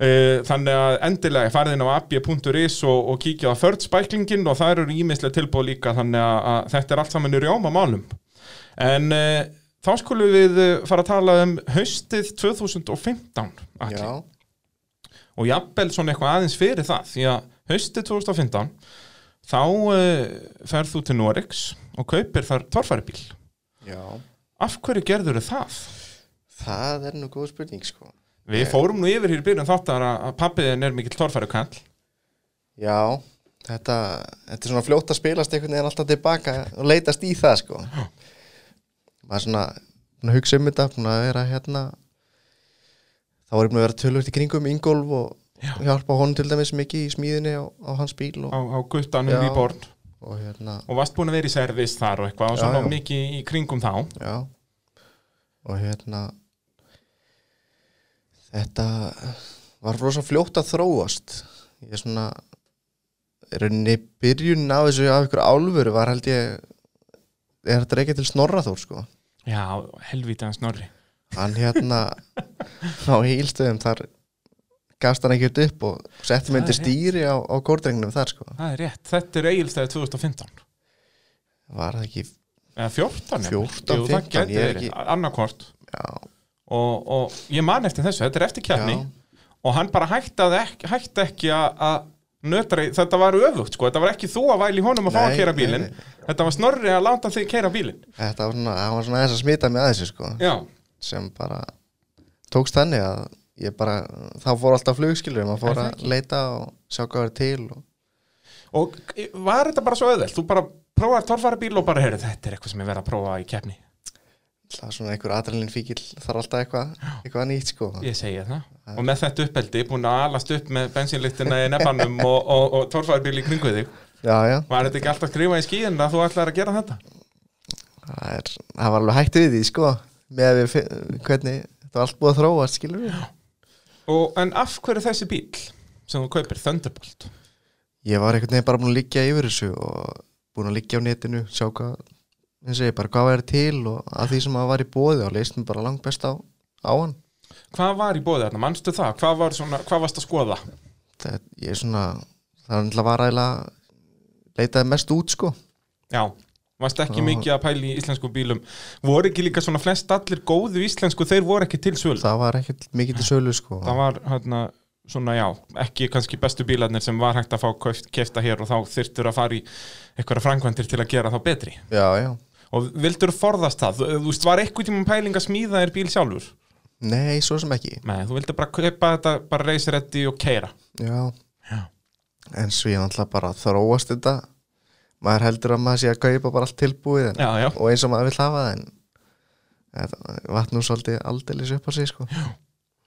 Speaker 1: uh, þannig að endilega farið inn á abje.is og, og kíkja á förd spæklingin og það eru ímislega tilbúð líka þannig að, að þetta er allt saman í rjóma málum en uh, þá skulum við eh, fara að tala um haustið 2015 Atli.
Speaker 2: Já,
Speaker 1: og jafnvel svona eitthvað aðeins fyrir það því að haustið 2015 þá uh, ferð þú til Norex og kaupir þar torfæribíl
Speaker 2: já.
Speaker 1: af hverju gerður það?
Speaker 2: Það er nú góð spilning, sko.
Speaker 1: Við fórum nú yfir hér í byrjun þáttar að að pappiðin er mikill torfærukall
Speaker 2: Já, þetta, þetta er svona fljótt að spilast einhvern veginn alltaf tilbaka og leitast í það, sko. Maður svona búin að hugsa um þetta, búin að vera hérna þá var ég búin að vera tölvögt í kringum Ingolf og
Speaker 1: Já.
Speaker 2: hjálpa honum til dæmis mikið í smíðinni á, á hans bíl og,
Speaker 1: á, á guttanum
Speaker 2: Já.
Speaker 1: í borð
Speaker 2: og hérna,
Speaker 1: og varst búin að vera í servis þar og eitthvað og
Speaker 2: Já,
Speaker 1: svona
Speaker 2: já.
Speaker 1: mikið í kringum þá
Speaker 2: já og hérna þetta var rosa fljótt að þróast ég er svona í rauninni byrjun á þessu af ykkur álfur var held ég er þetta ekki til snorra þór sko
Speaker 1: Já, helvítið hans Norri
Speaker 2: hann hérna á hýlstöðum þar gafst hann ekkert upp og setti
Speaker 1: Það er
Speaker 2: mig undir stýri á, á kórdrengnum þar sko
Speaker 1: Það er rétt, þetta er eigilstæði 2015
Speaker 2: var það ekki,
Speaker 1: eða 14 jafnvel.
Speaker 2: 14,
Speaker 1: Jú, það
Speaker 2: 15,
Speaker 1: gæti
Speaker 2: ég er
Speaker 1: verið,
Speaker 2: ekki-
Speaker 1: annarkvort
Speaker 2: já,
Speaker 1: og, og ég man eftir þessu, þetta er eftir kjarni
Speaker 2: Já.
Speaker 1: og hann bara hættaði ekki, hætti ekki að- að nötra, í- þetta var öfugt sko, þetta var ekki þú að væli honum að fá
Speaker 2: Nei,
Speaker 1: að kera
Speaker 2: nei,
Speaker 1: bílinn
Speaker 2: nei.
Speaker 1: þetta var snorri að láta þig kera bílinn
Speaker 2: þetta var svona hann var svona aðeins að smita mig að þessu sko
Speaker 1: Já,
Speaker 2: sem bara tókst þannig að ég bara, þá fór alltaf flugskilur maður
Speaker 1: Er
Speaker 2: fór
Speaker 1: það
Speaker 2: að leita og sjá hvað er til og,
Speaker 1: og var þetta bara svo öðvöld þú bara prófaði torfara bíl og bara heyrðu, þetta er eitthvað sem ég verð að prófa í kefni
Speaker 2: það var svona einhver adrenalin fíkil þarf alltaf eitthvað, eitthvað nýtt sko
Speaker 1: ég segi það og með þetta uppeldi, búin að alast upp með bensínlíktina í nefnum og, og, og torfara bíl í kringu þig
Speaker 2: já, já,
Speaker 1: var þetta ekki alltaf að skrifa í skíðin að þú ætlar að gera þetta
Speaker 2: það, er, það var alveg hægt við því sko með að við, fi- hvernig þetta var allt búið að þróa skilur við
Speaker 1: og, en af hverju þessi bíl sem þú kaupir Thunderbolt
Speaker 2: ég var einhvern veginn bara búin að liggja yfir þessu og búin að liggja á netinu sjá hvað, eins og ég bara hvað er til og að því sem að var í bóði og leist mér bara langt best á, á hann
Speaker 1: hvað var í bóði þarna, manstu það hvað, var svona, hvað varst að skoða
Speaker 2: það, ég er svona, það var náttúrulega var ægilega leitaði mest út sko
Speaker 1: já, varst ekki mikið að pæla í íslensku bílum voru ekki líka svona flest allir góðu íslensku þeir voru ekki til svöld
Speaker 2: það var ekkert mikið til sölu sko
Speaker 1: það var hérna svona já, ekki kannski bestu bílarnir sem var hægt að fá kefta hér og þá þyrftur að fara í eitthvað frangvendir til að gera þá betri
Speaker 2: já, já,
Speaker 1: og vildur forðast það, þú, þú veist, var eitthvað tíma pæling að smíða þér bíl sjálfur
Speaker 2: nei, svo sem ekki
Speaker 1: Nei, þú vildur bara kaupa þetta, bara reysir þetta og keira
Speaker 2: já,
Speaker 1: Já.
Speaker 2: en svo ég náttúrulega bara þróast þetta maður heldur að maður sé að kaupa bara allt tilbúið en,
Speaker 1: Já, já,
Speaker 2: og eins og maður vil hafa það en þetta vatn nú svolítið aldeilis upp á sig sko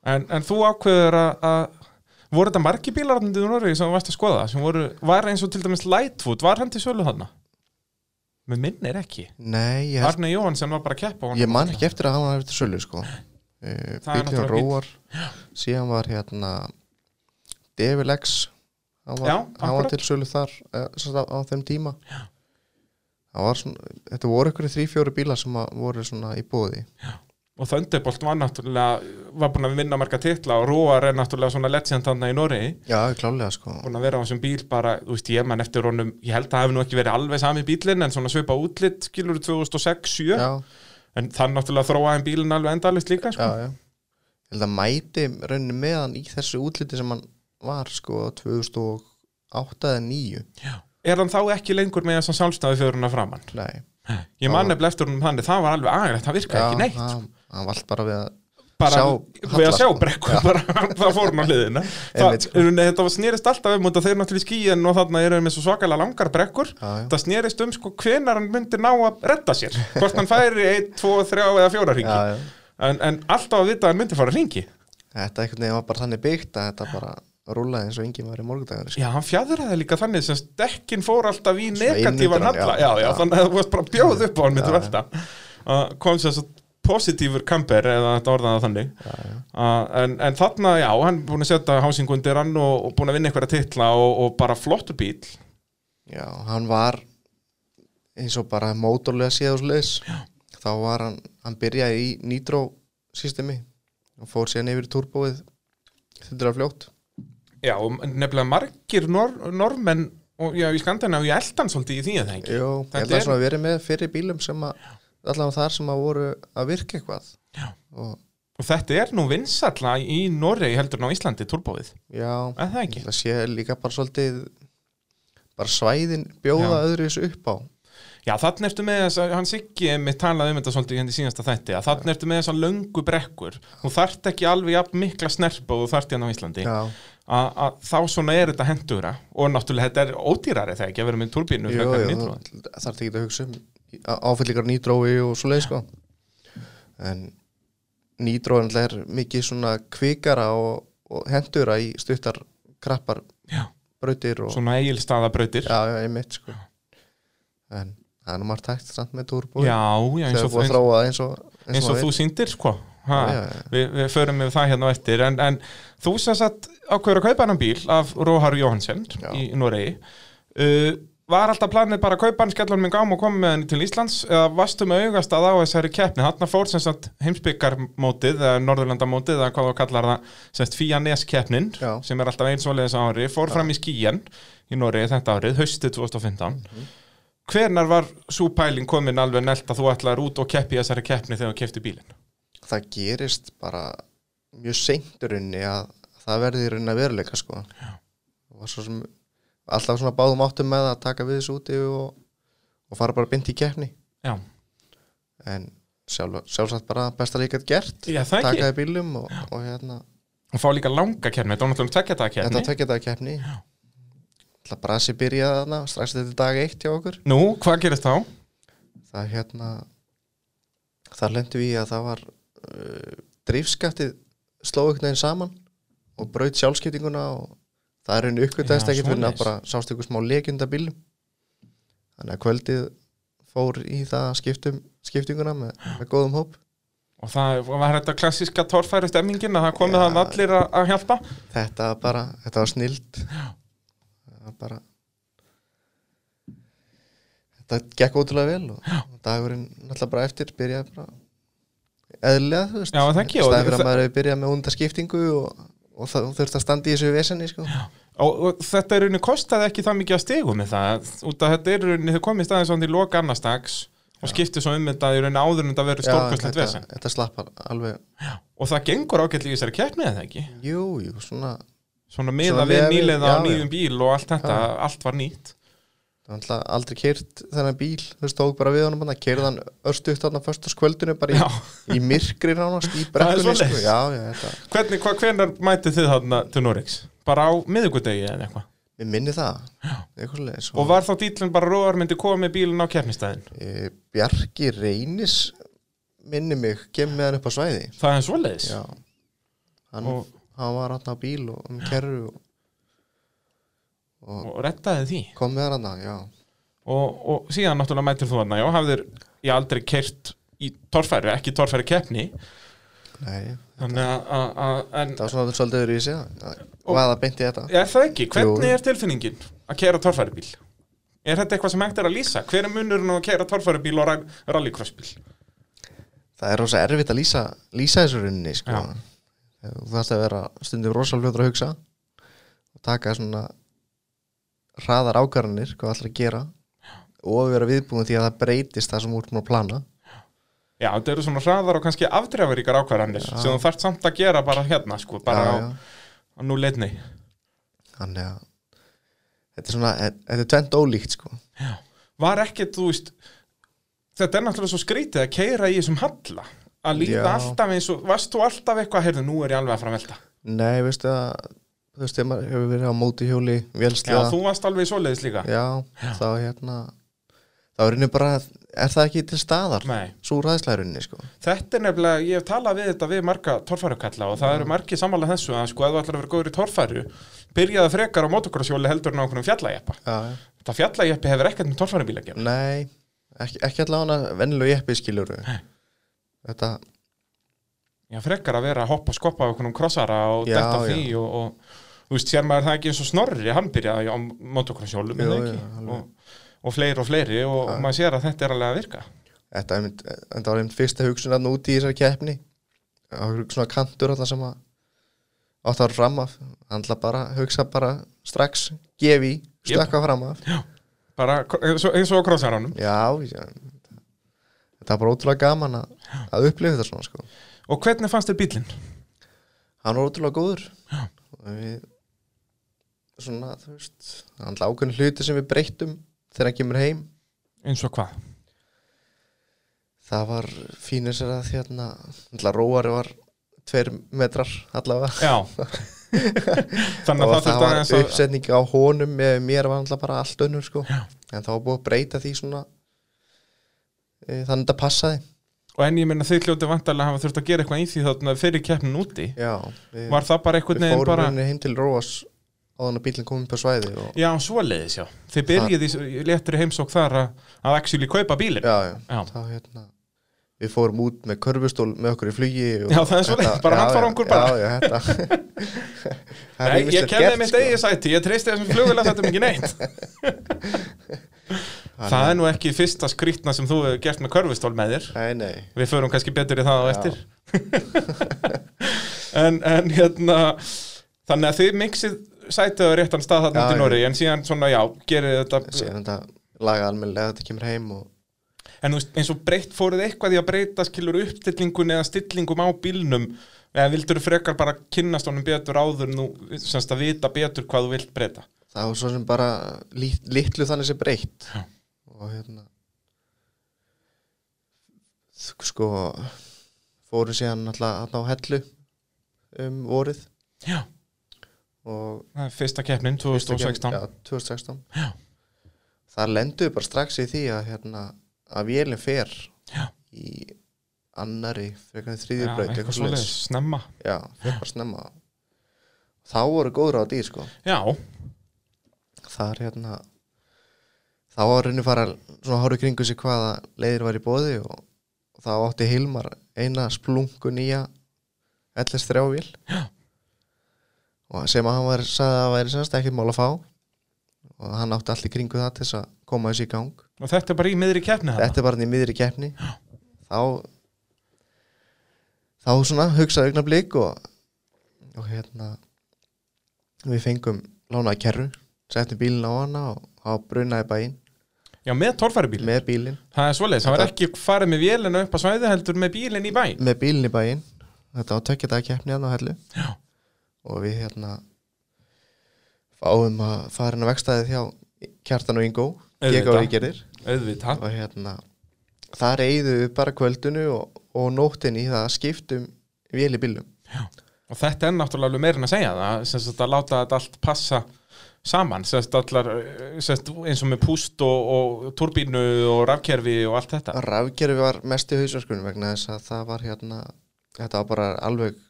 Speaker 1: en, en þú ákveður að, að voru þetta margi bílar þarna í Noregi sem þú varst að skoða sem voru, var eins og til dæmis Lightfoot, var hann til sölu þarna? Mér minnir ekki
Speaker 2: nei, ég held
Speaker 1: Arne Jóhansson var bara að keppa á honum.
Speaker 2: ég man ekki eftir að hann var eftir sölu sko uh,
Speaker 1: Það er
Speaker 2: bílinn
Speaker 1: náttúrulega bíll.
Speaker 2: róar síðan var hérna Devil X hann var,
Speaker 1: Já,
Speaker 2: hann
Speaker 1: akkurat.
Speaker 2: var til sölu þar uh, á, á þeim tíma já. var svona, þetta voru ykkur þrý fjóri bílar sem að voru svona í bóði
Speaker 1: og Thunderbolt var náttúrulega var búin að vinna marga titla og Róar er náttúrulega svona legend hann í Noregi
Speaker 2: já, klálega sko
Speaker 1: búin að vera á þessum bíl bara, þú veist ég mann eftir honum, ég held að það hefði nú ekki verið alveg sami bílinn en svona svipa útlitt skilur 2006-7
Speaker 2: já,
Speaker 1: en þann náttúrulega þróaði hann bílinn alveg endalist líka
Speaker 2: já,
Speaker 1: sko.
Speaker 2: já ég held að mæti rauninni með hann í þessu útliti sem hann var sko 2008 eða 9
Speaker 1: er hann þá ekki lengur með þessan sjálfstæði fyrir hann að framann
Speaker 2: nei,
Speaker 1: ég mann nefnilega eftir honum þannig, það var alveg aðrætt, það virkaði ekki neitt
Speaker 2: hann, hann vald bara við að
Speaker 1: bara
Speaker 2: sjá
Speaker 1: við að
Speaker 2: halla,
Speaker 1: sjá
Speaker 2: sko.
Speaker 1: brekku bara, það fór hann á hliðina það,
Speaker 2: Einmitt, sko.
Speaker 1: þetta var snerist alltaf um og þeir náttúrulega í skíin og þarna eru með svo svakalega langar brekkur
Speaker 2: Já, já.
Speaker 1: það snerist um sko hvenar hann myndi ná að redda sér hvort hann færi 1, 2, 3 eða 4 ringi
Speaker 2: Já, já.
Speaker 1: En, en alltaf að vita að hann myndi fara ringi
Speaker 2: Þetta einhvern veginn var bara þannig byggt að þetta bara rúlaði eins og enginn var í morgundagur sko.
Speaker 1: já, hann fjadraði líka þannig sem dekkin fór alltaf í
Speaker 2: Svona
Speaker 1: negatívan
Speaker 2: innundan,
Speaker 1: halla já,
Speaker 2: já.
Speaker 1: já,
Speaker 2: Já.
Speaker 1: þannig að þú varst bara að bjóð upp á hann myndi
Speaker 2: Já, já.
Speaker 1: velta uh, kom sér svo positífur kamper eða þetta orðaði það þannig Uh, en, en þarna, já, hann er búin að setja hásingundir hann og, og búin að vinna einhverja titla og, og bara flottur bíl
Speaker 2: Já, hann var eins og bara mótorlega séð og sliðis þá var hann, hann byrjaði í nýtró systemi og fór síðan yfir í turbóið þetta er fljótt
Speaker 1: já, og nefnilega margir nor normenn og já, í skandina og ég elda hann svolítið í því að það ekki
Speaker 2: Jó, ég held
Speaker 1: Þetta
Speaker 2: að
Speaker 1: er-
Speaker 2: svona verið með fyrir bílum sem að allavega þar sem að voru að virka eitthvað
Speaker 1: Já.
Speaker 2: og,
Speaker 1: og þetta er nú vinsalla í Noregi heldur en á Íslandi, turbóið,
Speaker 2: já
Speaker 1: eða það ekki
Speaker 2: það sé líka bara svolítið bara svæðin bjóða öðru þessu upp á
Speaker 1: já, þarna ertu með þess að, hann Siggi með talaði um þetta svolítið hérna í síðasta þætti að þarna ertu með þess að löngu brekkur þú þarft ekki alveg jafn mikla snerpa og þú þarft hérna á Íslandi
Speaker 2: Já,
Speaker 1: að að þá svona er þetta hendugra og náttúrulega þetta er ódýrari þegar ekki að vera með turbínu
Speaker 2: Jú,
Speaker 1: frekar en
Speaker 2: jú,
Speaker 1: nitro.
Speaker 2: það þarf ekki að hugsa um áfyllingar nýtrói og svo leið sko en nýdróðan er mikið svona kvikara og, og hendura í stuttar krappar
Speaker 1: Já.
Speaker 2: brautir og
Speaker 1: svona eigilstaðabrautir
Speaker 2: sko. já, já, einmitt sko. en það er nú margt hægt samt með túrbúi
Speaker 1: já, já, eins
Speaker 2: þegar
Speaker 1: og,
Speaker 2: búið að
Speaker 1: eins,
Speaker 2: þróa það eins og
Speaker 1: eins og
Speaker 2: maður
Speaker 1: þú
Speaker 2: vill.
Speaker 1: sýndir sko ha,
Speaker 2: Já, já, já.
Speaker 1: Við, við förum með það hérna á eftir en, en þú sem sagt ákveður að kaupa hann bíl af Róhar Jóhansen
Speaker 2: Já.
Speaker 1: í Noregi uh, var alltaf planið bara að kaupa hann skellan minn gám og koma með hann til Íslands eða varstu með augast að á þessari keppni þarna fór sem sagt heimsbyggarmótið eða Norðurlandamótið eða hvað þú kallar það sem sagt Fíanes keppnin
Speaker 2: Já.
Speaker 1: sem er alltaf einsvaliðis ári fór fram í skíjan í Noregi þetta árið, haustið 2015
Speaker 2: Mhm.
Speaker 1: Hvernar var svo pæling komin alveg nelt að þú ætlaðir út og keppi í þessari keppni þegar þú kefti bílinn?
Speaker 2: það gerist bara mjög seint í rauninni að það verði í rauninni að veruleika sko og svo sem alltaf svona báðum áttum með að taka við þessu úti og, og fara bara bynd í keppni
Speaker 1: Já,
Speaker 2: en sjálf, sjálfsagt bara besta líka gert
Speaker 1: Já, það ekki.
Speaker 2: taka í bílum og, og hérna
Speaker 1: og fá líka langa keppni, þetta var náttúrulega um tvekja daga
Speaker 2: þetta
Speaker 1: keppni.
Speaker 2: tekja þetta keppni Það brasi byrjaði þarna, strax þetta er dag eitt hjá okkur
Speaker 1: Nú, hvað gerist þá?
Speaker 2: það hérna þar lendi við í að það var uh, drifskaftið sló einhvern veginn saman og braut sjálfskiptinguna og það er henni uppgötaðist
Speaker 1: Já,
Speaker 2: ekki fyrir að
Speaker 1: svoleiðis.
Speaker 2: bara sást ykkur smá lekjunda bílum þannig að kvöldið fór í það að skiptum, skiptinguna með, með góðum hóp
Speaker 1: Og það var þetta klassíska torfæru stemmingin að það komið
Speaker 2: Já.
Speaker 1: það allir að, að hjálpa.
Speaker 2: þetta var bara, þetta var snild það var bara þetta gekk ótrúlega vel og og dagurinn náttúrulega bara eftir byrjaði bara eðlilega þú veist
Speaker 1: Já, það ekki, og
Speaker 2: staðið fyrir
Speaker 1: það-
Speaker 2: að maður hefur byrjað með undaskiptingu og, og það þú þurft að standa í þessu vesenni sko.
Speaker 1: Og, og þetta er rauninni kostaði ekki það mikið að stigum með það, út af þetta er rauninni þau komið staðið svona í loka annarstags og skiptið svo um þetta í rauninni áður en þetta verið
Speaker 2: Já,
Speaker 1: stórkostlegt
Speaker 2: þetta,
Speaker 1: vesen.
Speaker 2: þetta slapp alveg
Speaker 1: Og það gengur ágætlega í þessari keppni eða ekki?
Speaker 2: jú, jú, svona
Speaker 1: Svona
Speaker 2: Svona
Speaker 1: miða við
Speaker 2: miðað við-
Speaker 1: nýlega á
Speaker 2: já, já.
Speaker 1: nýjum bíl og allt þetta, allt var nýtt.
Speaker 2: það var náttúrulega aldrei keirt þennan bíl þú veist, tók bara við honum hann keirði hann örstu upp þarna förstaskvöldinu bara í, í myrkri ránast í
Speaker 1: Það er
Speaker 2: brekkunni sko.
Speaker 1: svoleiðis.
Speaker 2: já, já, þetta
Speaker 1: Hvernig, hva, hvernig mætið þið þarna til Noregs? Bara á miðugudegi eða eitthvað?
Speaker 2: Við minni það Eitthvað svoleiðis. sko.
Speaker 1: Og var þá dýtlinn bara Róar myndi koma með bílinn á keppnistæðin?
Speaker 2: Eh, Bjarki Reynis minni mig, kemur með hann upp á svæði
Speaker 1: Það er svoleiðis?
Speaker 2: Já Hann,
Speaker 1: Og-
Speaker 2: hann var hann á bíl og um kerru og
Speaker 1: Og rettaði því?
Speaker 2: kom með hann já
Speaker 1: Og, og síðan náttúrulega mætir þú þarna, já, hafðir ég aldrei kert í torfæri, ekki torfæri keppni
Speaker 2: Nei,
Speaker 1: Þannig að- að, að- en
Speaker 2: það var svona svolítið öðru í sig og að það beinti þetta
Speaker 1: er það ekki? Hvernig
Speaker 2: Jú.
Speaker 1: er tilfinningin að kera torfæri bíl? Er þetta eitthvað sem hægt er að lýsa? Hver er munurinn á að kera torfæri bíl og ra- rallycross bíl?
Speaker 2: Það er rosa erfitt að lýsa, lýsa þessu rauninni sko.
Speaker 1: Já.
Speaker 2: Þú þarft að vera stundum rosa fljótur að hugsa og taka svona hraðar ákvarðanir hvað allir að gera og vera viðbúin því að það breytist það sem úr mér að plana
Speaker 1: Já, þetta eru svona hraðar og kannski afdrefaríkar ákvarðanir sem þú þarft samt að gera bara hérna, sko, bara
Speaker 2: Já,
Speaker 1: á,
Speaker 2: já.
Speaker 1: á nú leitni.
Speaker 2: þannig að þetta er svona, þetta er tvent ólíkt sko
Speaker 1: Var ekkert, þú veist, þetta er náttúrulega svo skrítið að keira í þessum halla, að líða
Speaker 2: Já.
Speaker 1: alltaf eins og, varst þú alltaf eitthvað, heyrðu, nú er ég alveg að fara að velta.
Speaker 2: nei, veistu að þú veist, þegar maður hefur verið á mótihjóli
Speaker 1: Já,
Speaker 2: vélslega,
Speaker 1: þú varst alveg í svoleiðis líka.
Speaker 2: já, þá hérna þá er henni bara, er það ekki til staðar
Speaker 1: Nei.
Speaker 2: svo ræðslærunni sko
Speaker 1: Þetta er nefnilega, ég hef talað við þetta við marga torfærukalla og
Speaker 2: Mm.
Speaker 1: það eru margi sammála þessu að sko, ef þú ætlar að vera góður í torfæru, byrjaðu frekar á motocrossjóli heldur en á okkur fjallajeppa.
Speaker 2: já, já.
Speaker 1: Þetta fjallajeppi hefur ekkert með torfærubíl að gera.
Speaker 2: nei, ekki, ekki allavega vennilega jeppi skiljur þetta,
Speaker 1: Já, frekar að vera að hoppa og skoppa á einhvernum krossara og
Speaker 2: Já,
Speaker 1: detta á
Speaker 2: já.
Speaker 1: því og, og þú veist, sér maður það ekki eins og snorri, hann byrjaði á motocrosshjólum
Speaker 2: Jú,
Speaker 1: eða
Speaker 2: jú,
Speaker 1: ekki
Speaker 2: alveg.
Speaker 1: og, og fleiri og fleiri og og maður sér að þetta er alveg að virka
Speaker 2: þetta, einmitt- þetta var einmitt fyrsta hugsun að úti í þessari keppni og svona kantur alltaf sem að átt að vera fram af hann ætla bara að hugsa bara strax gefi,
Speaker 1: Jep.
Speaker 2: slökka fram af
Speaker 1: bara k- eins og, eins og á krossaranum
Speaker 2: já, já þetta var bara ótrúlega gaman að, að upplifa þetta svona sko.
Speaker 1: og hvernig fannst þér bílinn?
Speaker 2: hann var ótrúlega góður og við svona, þú veist hann ákveðin hluti sem við breyttum þegar hann kemur heim
Speaker 1: eins og hvað?
Speaker 2: það var fínir sér að hérna, náttúrulega róari var tveir metrar allavega
Speaker 1: Já þannig að það
Speaker 2: og það
Speaker 1: þurfti
Speaker 2: var
Speaker 1: aðeins að
Speaker 2: uppsetning á honum með mér var alltaf bara allt önnur sko. en það var búið að breyta því svona e, þannig að þetta passaði
Speaker 1: og en ég minna þið hljóti vantarlega hafa þurft að gera eitthvað í því þarna fyrir keppnin úti
Speaker 2: já, við,
Speaker 1: var það bara einhvern
Speaker 2: við
Speaker 1: veginn
Speaker 2: fórum
Speaker 1: bara
Speaker 2: bara... heim til Róas áðan að bílinn komið upp á svæði og,
Speaker 1: já, svoleiðis, já, þið byrjið í léttri heimsók þar að, að actually kaupa bílin
Speaker 2: já, já,
Speaker 1: Já.
Speaker 2: þá hérna við fórum út með körfustól með okkur í flugi og,
Speaker 1: Já, það er svoleiðis, bara handfarangur bara.
Speaker 2: já, já, þetta Það
Speaker 1: Nei,
Speaker 2: er
Speaker 1: ég
Speaker 2: ýmislegt
Speaker 1: kemði
Speaker 2: gert,
Speaker 1: mitt
Speaker 2: sko.
Speaker 1: eigið sæti, ég treysti þessum flugulega þetta um ekki neitt Það er nú ekki fyrsta skrýtna sem þú hefur gert með körfustól með þér
Speaker 2: nei, nei,
Speaker 1: Við förum kannski betur í það á
Speaker 2: Já.
Speaker 1: eftir en, en hérna Þannig að þið mixið sætið á réttan stað þarna út
Speaker 2: Já,
Speaker 1: í
Speaker 2: já.
Speaker 1: Nóri En síðan svona, já, gerir þetta
Speaker 2: síðan þetta laga almennilega þetta kemur heim og
Speaker 1: En þú veist, eins og breytt fóruð eitthvað í að breyta skilur uppstillingun eða stillingum á bílnum Eða vildur frekar bara kynnast honum betur áður en þú semst að vita betur hvað þú vilt breyta
Speaker 2: það var svo sem bara lit, litlu þannig sem breytt
Speaker 1: Já.
Speaker 2: og hérna þ- sko fórum síðan alltaf á hellu um vorið
Speaker 1: Já,
Speaker 2: og
Speaker 1: það er fyrsta keppnin 2016
Speaker 2: já, 2016
Speaker 1: Já.
Speaker 2: þar lendu við bara strax í því að hérna að vélum fer
Speaker 1: Já.
Speaker 2: í annari frekar en
Speaker 1: Já,
Speaker 2: þriðju braut
Speaker 1: eitthvað
Speaker 2: eitthvað
Speaker 1: svoleiðis,
Speaker 2: svoleiðis.
Speaker 1: snemma
Speaker 2: já, fer bara snemma þá voru góður á dýr sko
Speaker 1: Já,
Speaker 2: það er hérna þá var raunin fara svona horfðu kringu sig hvaða leiðir var í bóði og, og þá átti Hilmar eina splungu nýja LS3 vél
Speaker 1: Já.
Speaker 2: og sem að hann var sagði að það væri semst ekkert mál að fá og hann átti allir kringu það til þess að koma þessu í gang
Speaker 1: og þetta er bara í miðri keppni þarna.
Speaker 2: þetta er bara hann í miðri keppni þá þá svona hugsaði augnablík og, og hérna við fengum lánaði kerru settum bílinn á hana og þá brunaði bæinn
Speaker 1: Já, með torfæribíl
Speaker 2: með bílinn,
Speaker 1: Það er svoleiðis, það var
Speaker 2: Þetta-
Speaker 1: ekki farið með vélina upp á svæði heldur með bílinn í bæn
Speaker 2: með bílinn í bæinn þetta var tökja dag keppni hann á hellu
Speaker 1: Já,
Speaker 2: og við hérna fáum að fara inn á vegstæðið hjá Kjartan og Ingo
Speaker 1: Auðvitað.
Speaker 2: Gekkári gerir
Speaker 1: auðvitað
Speaker 2: og hérna þar eigðu við bara kvöldinu og, og nóttinni í það að skiptum vél í bílum
Speaker 1: Og þetta er náttúrulega alveg meira en að segja það sem sagt að láta þetta allt passa saman sem sagt allar, sem sagt eins og með púst og, og turbínu og rafkerfi og allt þetta
Speaker 2: Rafgerfi var mest í hausverkunum vegna þess að það var hérna þetta var bara alveg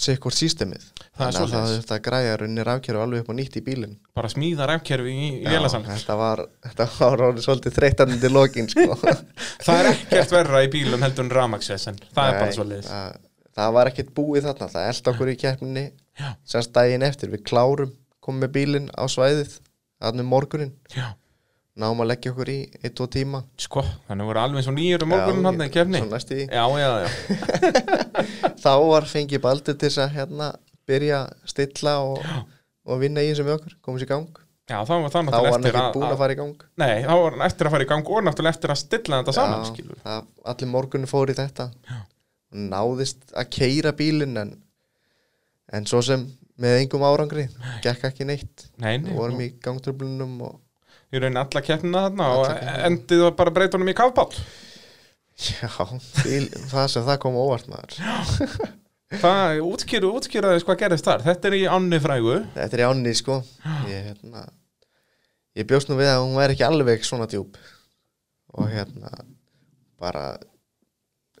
Speaker 2: sikkur sístemið
Speaker 1: Það er
Speaker 2: að það
Speaker 1: svoleiðis.
Speaker 2: þurfti að græja runni rafgerfi alveg upp á nýtt í bílinn
Speaker 1: Bara smíða rafkerfi í, í
Speaker 2: Já,
Speaker 1: vélasalinn
Speaker 2: þetta var, þetta var orðið svolítið þreytandi til lokin sko.
Speaker 1: Það er ekkert verra í bílum heldur en rafmaksvesen Það er bara
Speaker 2: Nei,
Speaker 1: svoleiðis
Speaker 2: það, það var ekkert búið þarna það elda okkur í keppninni
Speaker 1: Já.
Speaker 2: semst daginn eftir, við klárum komum með bílinn á svæðið þarna um morgunin,
Speaker 1: Já,
Speaker 2: náum að leggja okkur í eitt, tvo tíma
Speaker 1: sko, þannig voru alveg svo nýjur um morgunum hann í kefni
Speaker 2: Svo næstu í
Speaker 1: Já, já, já
Speaker 2: þá var fengið Baldur til þess að hérna byrja að stilla og, og vinna í þessu með okkur, komum sér í gang
Speaker 1: Já, þá var það
Speaker 2: þá var
Speaker 1: náttúrulega eftir
Speaker 2: hann ekki búin að fara í gang
Speaker 1: Nei, þá var hann eftir að fara í gang og náttúrulega eftir að stilla þetta saman,
Speaker 2: Já,
Speaker 1: skilur
Speaker 2: það, allir morgunni fór í þetta
Speaker 1: Já.
Speaker 2: náðist að keira bílinn en, en svo sem með engum árangri, gekk ekki neitt
Speaker 1: Nei, nei,
Speaker 2: Við vorum í gangtröflunum og
Speaker 1: og ég raunin alla keppnina þarna
Speaker 2: Alla
Speaker 1: og
Speaker 2: keppnina.
Speaker 1: endið það bara að breyta honum í kafbál
Speaker 2: já, bíl, það sem það kom á óvart maður
Speaker 1: Það útskýru, útskýru aðeins hvað gerist þar Þetta er í ánni frægu
Speaker 2: þetta er í ánni sko ég, hérna, ég bjóst nú við að hún væri ekki alveg svona djúb og hérna bara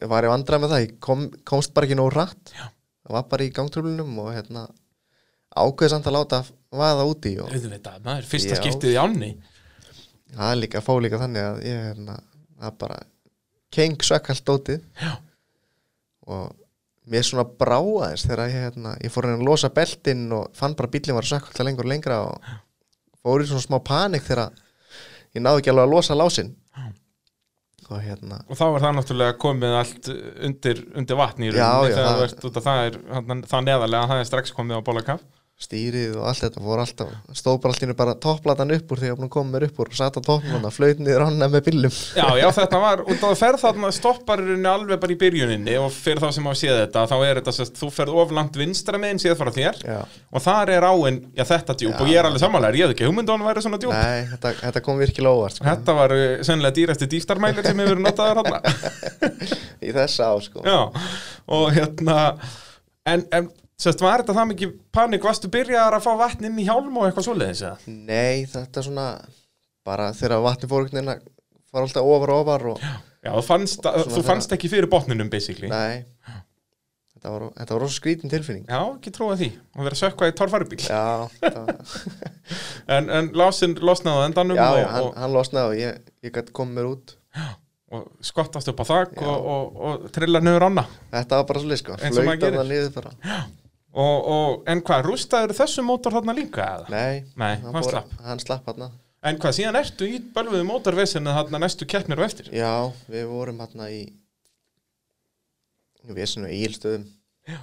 Speaker 2: ég var ég vandrað með það, ég kom, komst bara ekki nóg rætt
Speaker 1: Já.
Speaker 2: það var bara í gangtröflunum og hérna ákveð samt að láta vaða úti og
Speaker 1: Auðvitað, maður, fyrsta
Speaker 2: Já.
Speaker 1: skiptið í ánni
Speaker 2: það er líka fá líka þannig að ég hérna, það bara keng sökkalt dótið
Speaker 1: Já.
Speaker 2: og mér svona brá aðeins þegar ég, hérna, ég fór hérna að losa beltin og fann bara að bíllinn var sökkalt lengur og lengra og fór í svona smá panik þegar ég náði ekki alveg að losa lásinn og hérna
Speaker 1: Og þá er það náttúrulega komið allt undir, undir vatn í
Speaker 2: Já,
Speaker 1: rauninni
Speaker 2: já,
Speaker 1: Þegar
Speaker 2: það-
Speaker 1: þú ert út að það er hann- það neðarlega, það er strax komið á bólakaf
Speaker 2: stýrið og allt þetta fór alltaf stóð bara alltaf bara topplatan upp úr þegar ég var búin að koma mér upp úr og satt á toppnuna, flöyt niður annað með bílum
Speaker 1: Já, já, þetta var, og það ferð þarna stopparurinn alveg bara í byrjuninni og fyrir þá sem á séð þetta, þá er þetta, sérst, þú ferð of langt vinstra meginn séð frá þér
Speaker 2: Já.
Speaker 1: og þar er áin, já þetta djúb og ég er alveg sammálaður, ég hefði ekki hugmynd á hann væri svona djúb
Speaker 2: Nei, þetta, þetta kom virkilega óvart sko.
Speaker 1: Þetta var uh, sennilega dýrasti dýftarmælir sem hefur verið notaður hann
Speaker 2: í þessa á sko.
Speaker 1: Já, og hérna en, en sérst, var þetta það mikið panik, varstu byrjaðar að fá vatn inn í hjálm og eitthvað svoleiðis eða?
Speaker 2: Nei, þetta svona bara þegar vatni fór einhvern veginn að fara alltaf ofar og ofar og,
Speaker 1: Já, þú fannst,
Speaker 2: Svona
Speaker 1: þú
Speaker 2: það-
Speaker 1: fannst ekki fyrir botninum, basically.
Speaker 2: Nei, þetta var, þetta var rosa skrítin tilfinning.
Speaker 1: Já, ekki trúa því. Og vera sökvað í torfarubíl.
Speaker 2: Já, það,
Speaker 1: En, en Lásin losnaði á endanum
Speaker 2: já
Speaker 1: og,
Speaker 2: hann, hann losnaði og ég, ég gæti komið mér út.
Speaker 1: og, og skottast upp á þak
Speaker 2: Já.
Speaker 1: og, og, og trilla niður ána.
Speaker 2: Þetta var bara svolítið sko,
Speaker 1: Eins og maður
Speaker 2: flautan
Speaker 1: gerir.
Speaker 2: það niður bara.
Speaker 1: Og, og, en hvað, rústaður þessu mótor þarna líka eða?
Speaker 2: Nei,
Speaker 1: Nei, hann
Speaker 2: fór-
Speaker 1: slapp.
Speaker 2: Hann slapp hann.
Speaker 1: En hvað, síðan ertu í bölvuðu mótorvesinu þarna næstu keppnir og eftir?
Speaker 2: Já, við vorum hann í, við erum svona ílstöðum.
Speaker 1: Já.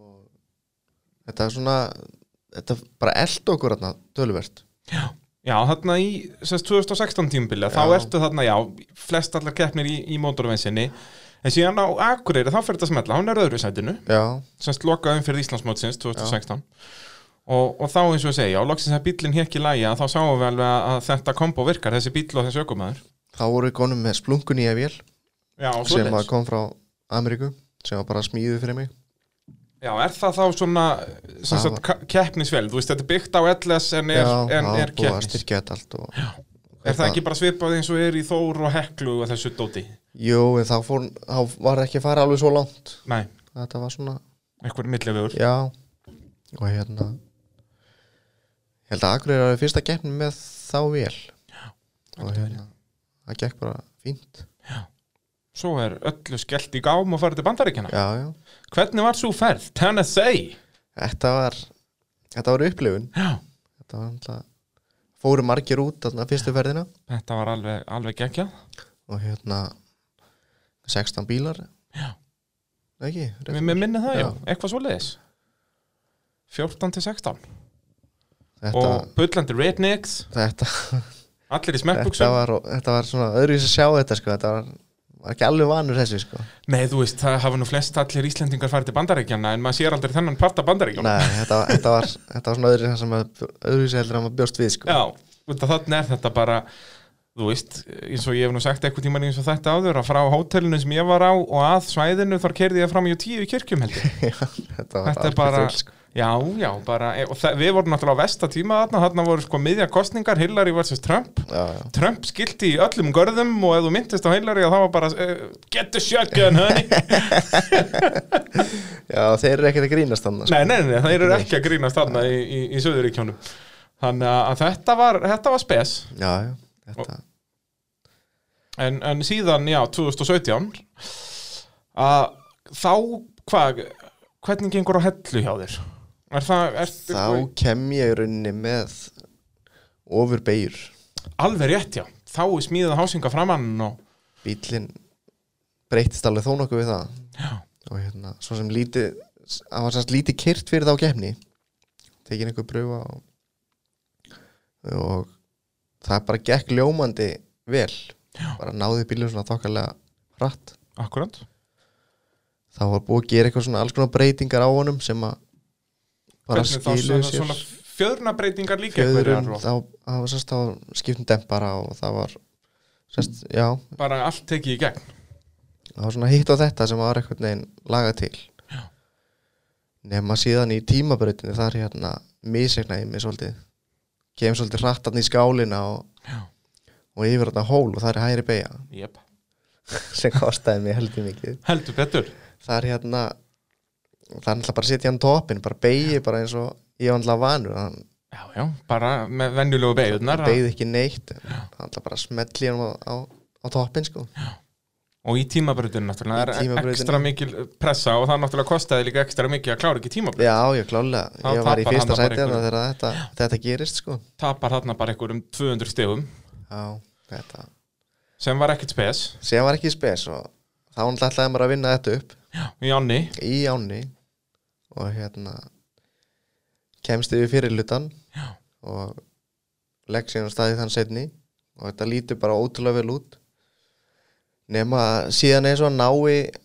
Speaker 2: Og þetta er svona, þetta bara eld okkur hann tölvert.
Speaker 1: Já, já þarna í sérst 2016 tímubili, þá
Speaker 2: Já.
Speaker 1: ertu þarna, já, flest allar keppnir í, í mótorvesinu. En síðan á Akureyri, þá fyrir þetta að smetla, hún er öðru sætinu.
Speaker 2: Já,
Speaker 1: semst lokaðum fyrir Íslandsmótsins 2016 og, og þá eins og ég segi, já, loksins að bíllinn hér ekki lægja þá sáum við alveg að að þetta kombo virkar þessi bíll og þessi ökumæður
Speaker 2: þá vorum við konum með splungun í að vél
Speaker 1: Já, og
Speaker 2: sem að
Speaker 1: svoleiðis.
Speaker 2: kom frá Ameríku sem var bara smíðu fyrir mig.
Speaker 1: já, er það þá svona sem
Speaker 2: Það
Speaker 1: sagt, ka- keppnisvél, þú veist, þetta er byggt á LS en er,
Speaker 2: já,
Speaker 1: en er
Speaker 2: það var búið að
Speaker 1: keppnis
Speaker 2: styrkja þetta allt og
Speaker 1: Er það ekki bara svipað eins og er í Þór og Heklu og þessu dóti?
Speaker 2: Jú, en þá, fór, þá var ekki að fara alveg svo langt
Speaker 1: Nei,
Speaker 2: Þetta var svona,
Speaker 1: einhver millivegur
Speaker 2: já Og hérna Ég held að Akureyri var fyrsta keppni með þá vel Og hérna Það gekk bara fínt
Speaker 1: Svo er öllu skellt í gám og farið til bandaríkjana
Speaker 2: Já, já
Speaker 1: Hvernig var svo ferð? Tennessee
Speaker 2: Þetta var Þetta var upplifun
Speaker 1: Já,
Speaker 2: Þetta var alltaf Fóru margir út þarna fyrstu ferðina
Speaker 1: þetta var alveg, alveg geggjað
Speaker 2: Og hérna 16 bílar
Speaker 1: Já.
Speaker 2: Ekki, rétt
Speaker 1: Mér, mér minni það, já,
Speaker 2: Já.
Speaker 1: eitthvað svoleiðis 14 til 16
Speaker 2: Þetta,
Speaker 1: og Bullandi Rednecks
Speaker 2: þetta,
Speaker 1: allir í
Speaker 2: þetta,
Speaker 1: smekkbuksum,
Speaker 2: var, þetta var svona öðruvísi að sjá þetta sko Þetta var, var ekki alveg vanur þessu sko
Speaker 1: nei þú veist það hafa nú flest allir Íslendingar farið til bandaríkjana en maður sér aldrei þennan parta bandaríkjana
Speaker 2: Nei, þetta, var- þetta, var, þetta var svona öðru sem að öðru heldur að maður bjóst við sko.
Speaker 1: já, út af þannig er þetta bara þú veist, eins og ég hef nú sagt eitthvað tíma eins og þetta áður, að frá hótelinu sem ég var á og að svæðinu þar keirði ég fram í tíu kirkjum heldur,
Speaker 2: þetta var
Speaker 1: þetta er
Speaker 2: algjört
Speaker 1: bara
Speaker 2: rugl, sko.
Speaker 1: já, já, bara, e, og það, við vorum náttúrulega á vesta tíma þarna, þarna voru sko miðja kostningar, Hillary vs. Trump
Speaker 2: já, já.
Speaker 1: Trump skilti í öllum görðum og ef þú myndist á Hillary að það var bara uh, get the shotgun honey
Speaker 2: já, þeir eru ekkert að grínast þannig sko.
Speaker 1: nei, nei, nei, það eru ekki að grínast þarna í, í, í söðuríkjónum þannig að þetta var, þetta var spes
Speaker 2: Já, já, þetta
Speaker 1: en, en síðan, já, 2017 að þá hvað, hvernig gengur á hellu hjá þér? Er það, er,
Speaker 2: Þá kem ég í rauninni með ofur beigur
Speaker 1: alveg rétt, já þá er smíðað hásinga framann og
Speaker 2: Bíllinn breytist alveg þó nokkuð við það
Speaker 1: Já.
Speaker 2: og hérna, svo sem lítið það var sannst lítið kyrt fyrir þá kemni tekin einhver pröfa og, og það bara gekk ljómandi vel já. bara náði bílum svona þokkalega hratt
Speaker 1: akkurat
Speaker 2: það var búið að gera eitthvað svona alls konar breytingar á honum sem að bara
Speaker 1: Hvernig þá
Speaker 2: skiluðu
Speaker 1: svona-
Speaker 2: sér
Speaker 1: svona fjöðrunarbreytingar líka
Speaker 2: fjöðurum,
Speaker 1: einhverjar og
Speaker 2: þá, það var sérst á skiptum dempara og það var sérst, já,
Speaker 1: bara allt tekið í gegn
Speaker 2: það var svona hitt á þetta sem var eitthvað neginn lagað til já. nema síðan í tímabrautinu þar hérna misegnaði ég mig svolítið kem svolítið hrattan í skálina og,
Speaker 1: Já.
Speaker 2: og yfir þetta hól og það er hægri beigja
Speaker 1: yep.
Speaker 2: sem kostaði mig heldur mikið
Speaker 1: heldur betur
Speaker 2: það er hérna það er alltaf bara að setja hann toppin bara beigi bara eins og ég var alltaf vanur hann
Speaker 1: Já, já, bara með venjulegu beigurnar að-
Speaker 2: beigði ekki neitt en það er alltaf bara að smelli hann á, á, á toppin sko
Speaker 1: og í tímabröðinu náttúrulega
Speaker 2: Í
Speaker 1: það er
Speaker 2: tímabrautinu.
Speaker 1: ekstra mikil pressa og það náttúrulega kostaði líka ekstra mikil að klára ekki tímabröð
Speaker 2: já já klálega
Speaker 1: Þá
Speaker 2: ég
Speaker 1: tapar
Speaker 2: var í
Speaker 1: hann
Speaker 2: fyrsta
Speaker 1: það bara
Speaker 2: sæti þarna
Speaker 1: einhverju.
Speaker 2: þegar þetta, þetta gerist sko
Speaker 1: tapar þarna bara einhverjum 200 stegum
Speaker 2: já þetta
Speaker 1: sem var ekkert spes
Speaker 2: sem var ekki spes og þá hann ætlaði maður að vinna þetta upp
Speaker 1: í ánni
Speaker 2: í ánni og hérna kemst yfir fyrir lutan
Speaker 1: Já.
Speaker 2: og legg síðan af stað í þann setni og þetta lítur bara ótrúlega vel út nema að síðan eins og hann nái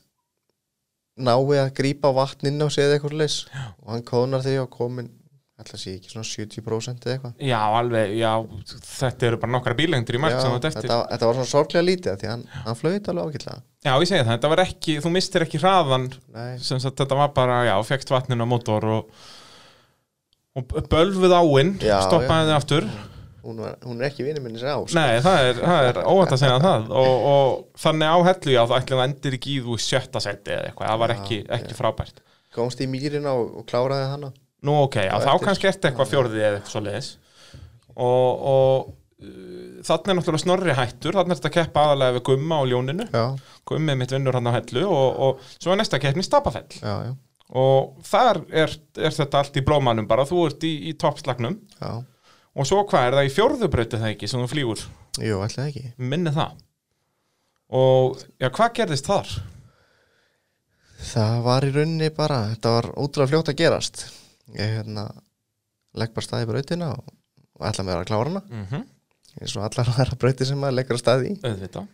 Speaker 2: nái að grípa vatninn á sig eða eitthvað leys og hann kóðnar því og komin ætla sé ekki svona 70% eða eitthvað
Speaker 1: já, alveg, já, þetta eru bara nokkra bílengdir í mark sem þetta eftir
Speaker 2: þetta, þetta var svona sorglega lítið af því að hann, hann flöyti alveg ágætlega
Speaker 1: já, ég segi það, þetta var ekki, þú mistir ekki hraðan
Speaker 2: Nei,
Speaker 1: sem sagt þetta var bara, já, fegst vatnin á mótor og, og bölvuð áinn
Speaker 2: Já,
Speaker 1: stoppaði þið aftur
Speaker 2: hún, var, hún er ekki vinur minni sér á sko.
Speaker 1: Nei, það er, það er óvænt að segja það og, og þannig á hellu já, það ætlaði endir ekki í þú sjötta seti eða eitthvað, það var ekki, ekki frábært
Speaker 2: komst í mýrina og, og kláraði hana
Speaker 1: Nú ok, já, þá
Speaker 2: eftir-
Speaker 1: kannski ertu eitthvað fjórði eða eitthvað svo leiðis og, og uh, þannig er náttúrulega snorri hættur þannig er þetta að keppa aðalega við gumma og ljóninu
Speaker 2: já,
Speaker 1: gummið mitt vinnur hann á hellu og, og svo er næsta keppni stapafell
Speaker 2: já, já,
Speaker 1: og þar er, er þetta allt í blómanum bara, þú ert í, í toppslagnum
Speaker 2: já.
Speaker 1: og svo hvað er það í fjórðubrauti það ekki sem þú flýgur,
Speaker 2: jú, ætlaði ekki
Speaker 1: minni það og já, hvað gerðist þar?
Speaker 2: það var í rauninni bara þetta var ótrúlega fljótt að gerast ég hérna legg bara staði í brautina og, og ætla mér að klára hana
Speaker 1: Mm
Speaker 2: eins og allar aðra brauti sem maður leggur að staði í
Speaker 1: Auðvitað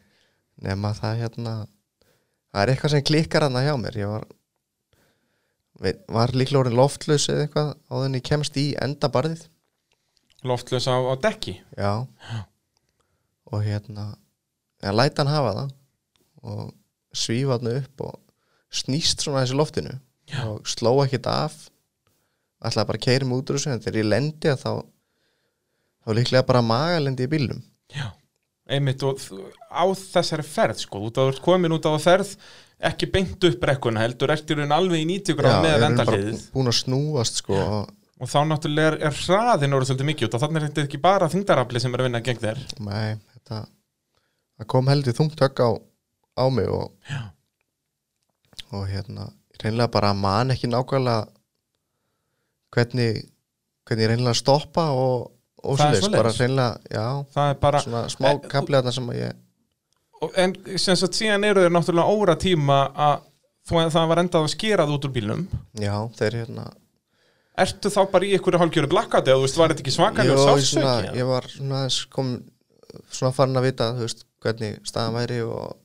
Speaker 2: nema það hérna það er eitthvað sem klikkar hana hjá mér ég var veit, var líklega orðin loftlaus eða eitthvað áður en ég kemst í endabarðið
Speaker 1: Loftlaus á, á dekki
Speaker 2: já og hérna ég læt hann hafa það og svífa hann upp og snýst svona þessi loftinu
Speaker 1: Já.
Speaker 2: og sló ekkit af ætlaði bara að keiri mig út úr þessu en þegar ég lendi að þá þá líklega bara magalendi í bílum
Speaker 1: Já Einmitt og þú- á þessari ferð sko, út að þú ert komin út á ferð ekki beint upp brekkuna heldur ert í raun alveg í 90 gráð
Speaker 2: ég
Speaker 1: með
Speaker 2: er bara
Speaker 1: vendaliðið
Speaker 2: bú- búinn að snúast sko og
Speaker 1: og þá náttúrulega er, er hraðin orðið svolítið mikið út og þannig er þetta ekki bara þingdarafli sem er að vinna gegn þér
Speaker 2: Nei, þetta það kom heldur þungt högg á, á mig og,
Speaker 1: Já.
Speaker 2: og hérna reynlega bara man ekki nákvæmlega hvernig hvernig ég reynlega stoppa og, og
Speaker 1: Það er
Speaker 2: svoleiðis, bara
Speaker 1: svoleiðis.
Speaker 2: reynlega já,
Speaker 1: það er bara
Speaker 2: svona smá
Speaker 1: Eh,
Speaker 2: kapli þarna sem að ég
Speaker 1: og, en sem sagt síðan eru þeir náttúrulega óra tíma að þó að það var endað að skera þú út úr bílnum
Speaker 2: já, þeir hérna
Speaker 1: ertu þá bara í einhverju hálfgjöru blakkat eða þú veist, var þetta ekki
Speaker 2: ég,
Speaker 1: svakalegu
Speaker 2: var
Speaker 1: sásöki
Speaker 2: svona,
Speaker 1: eða?
Speaker 2: ég var svona aðeins kom svona farin að vita þú veist, hvernig staðan væri og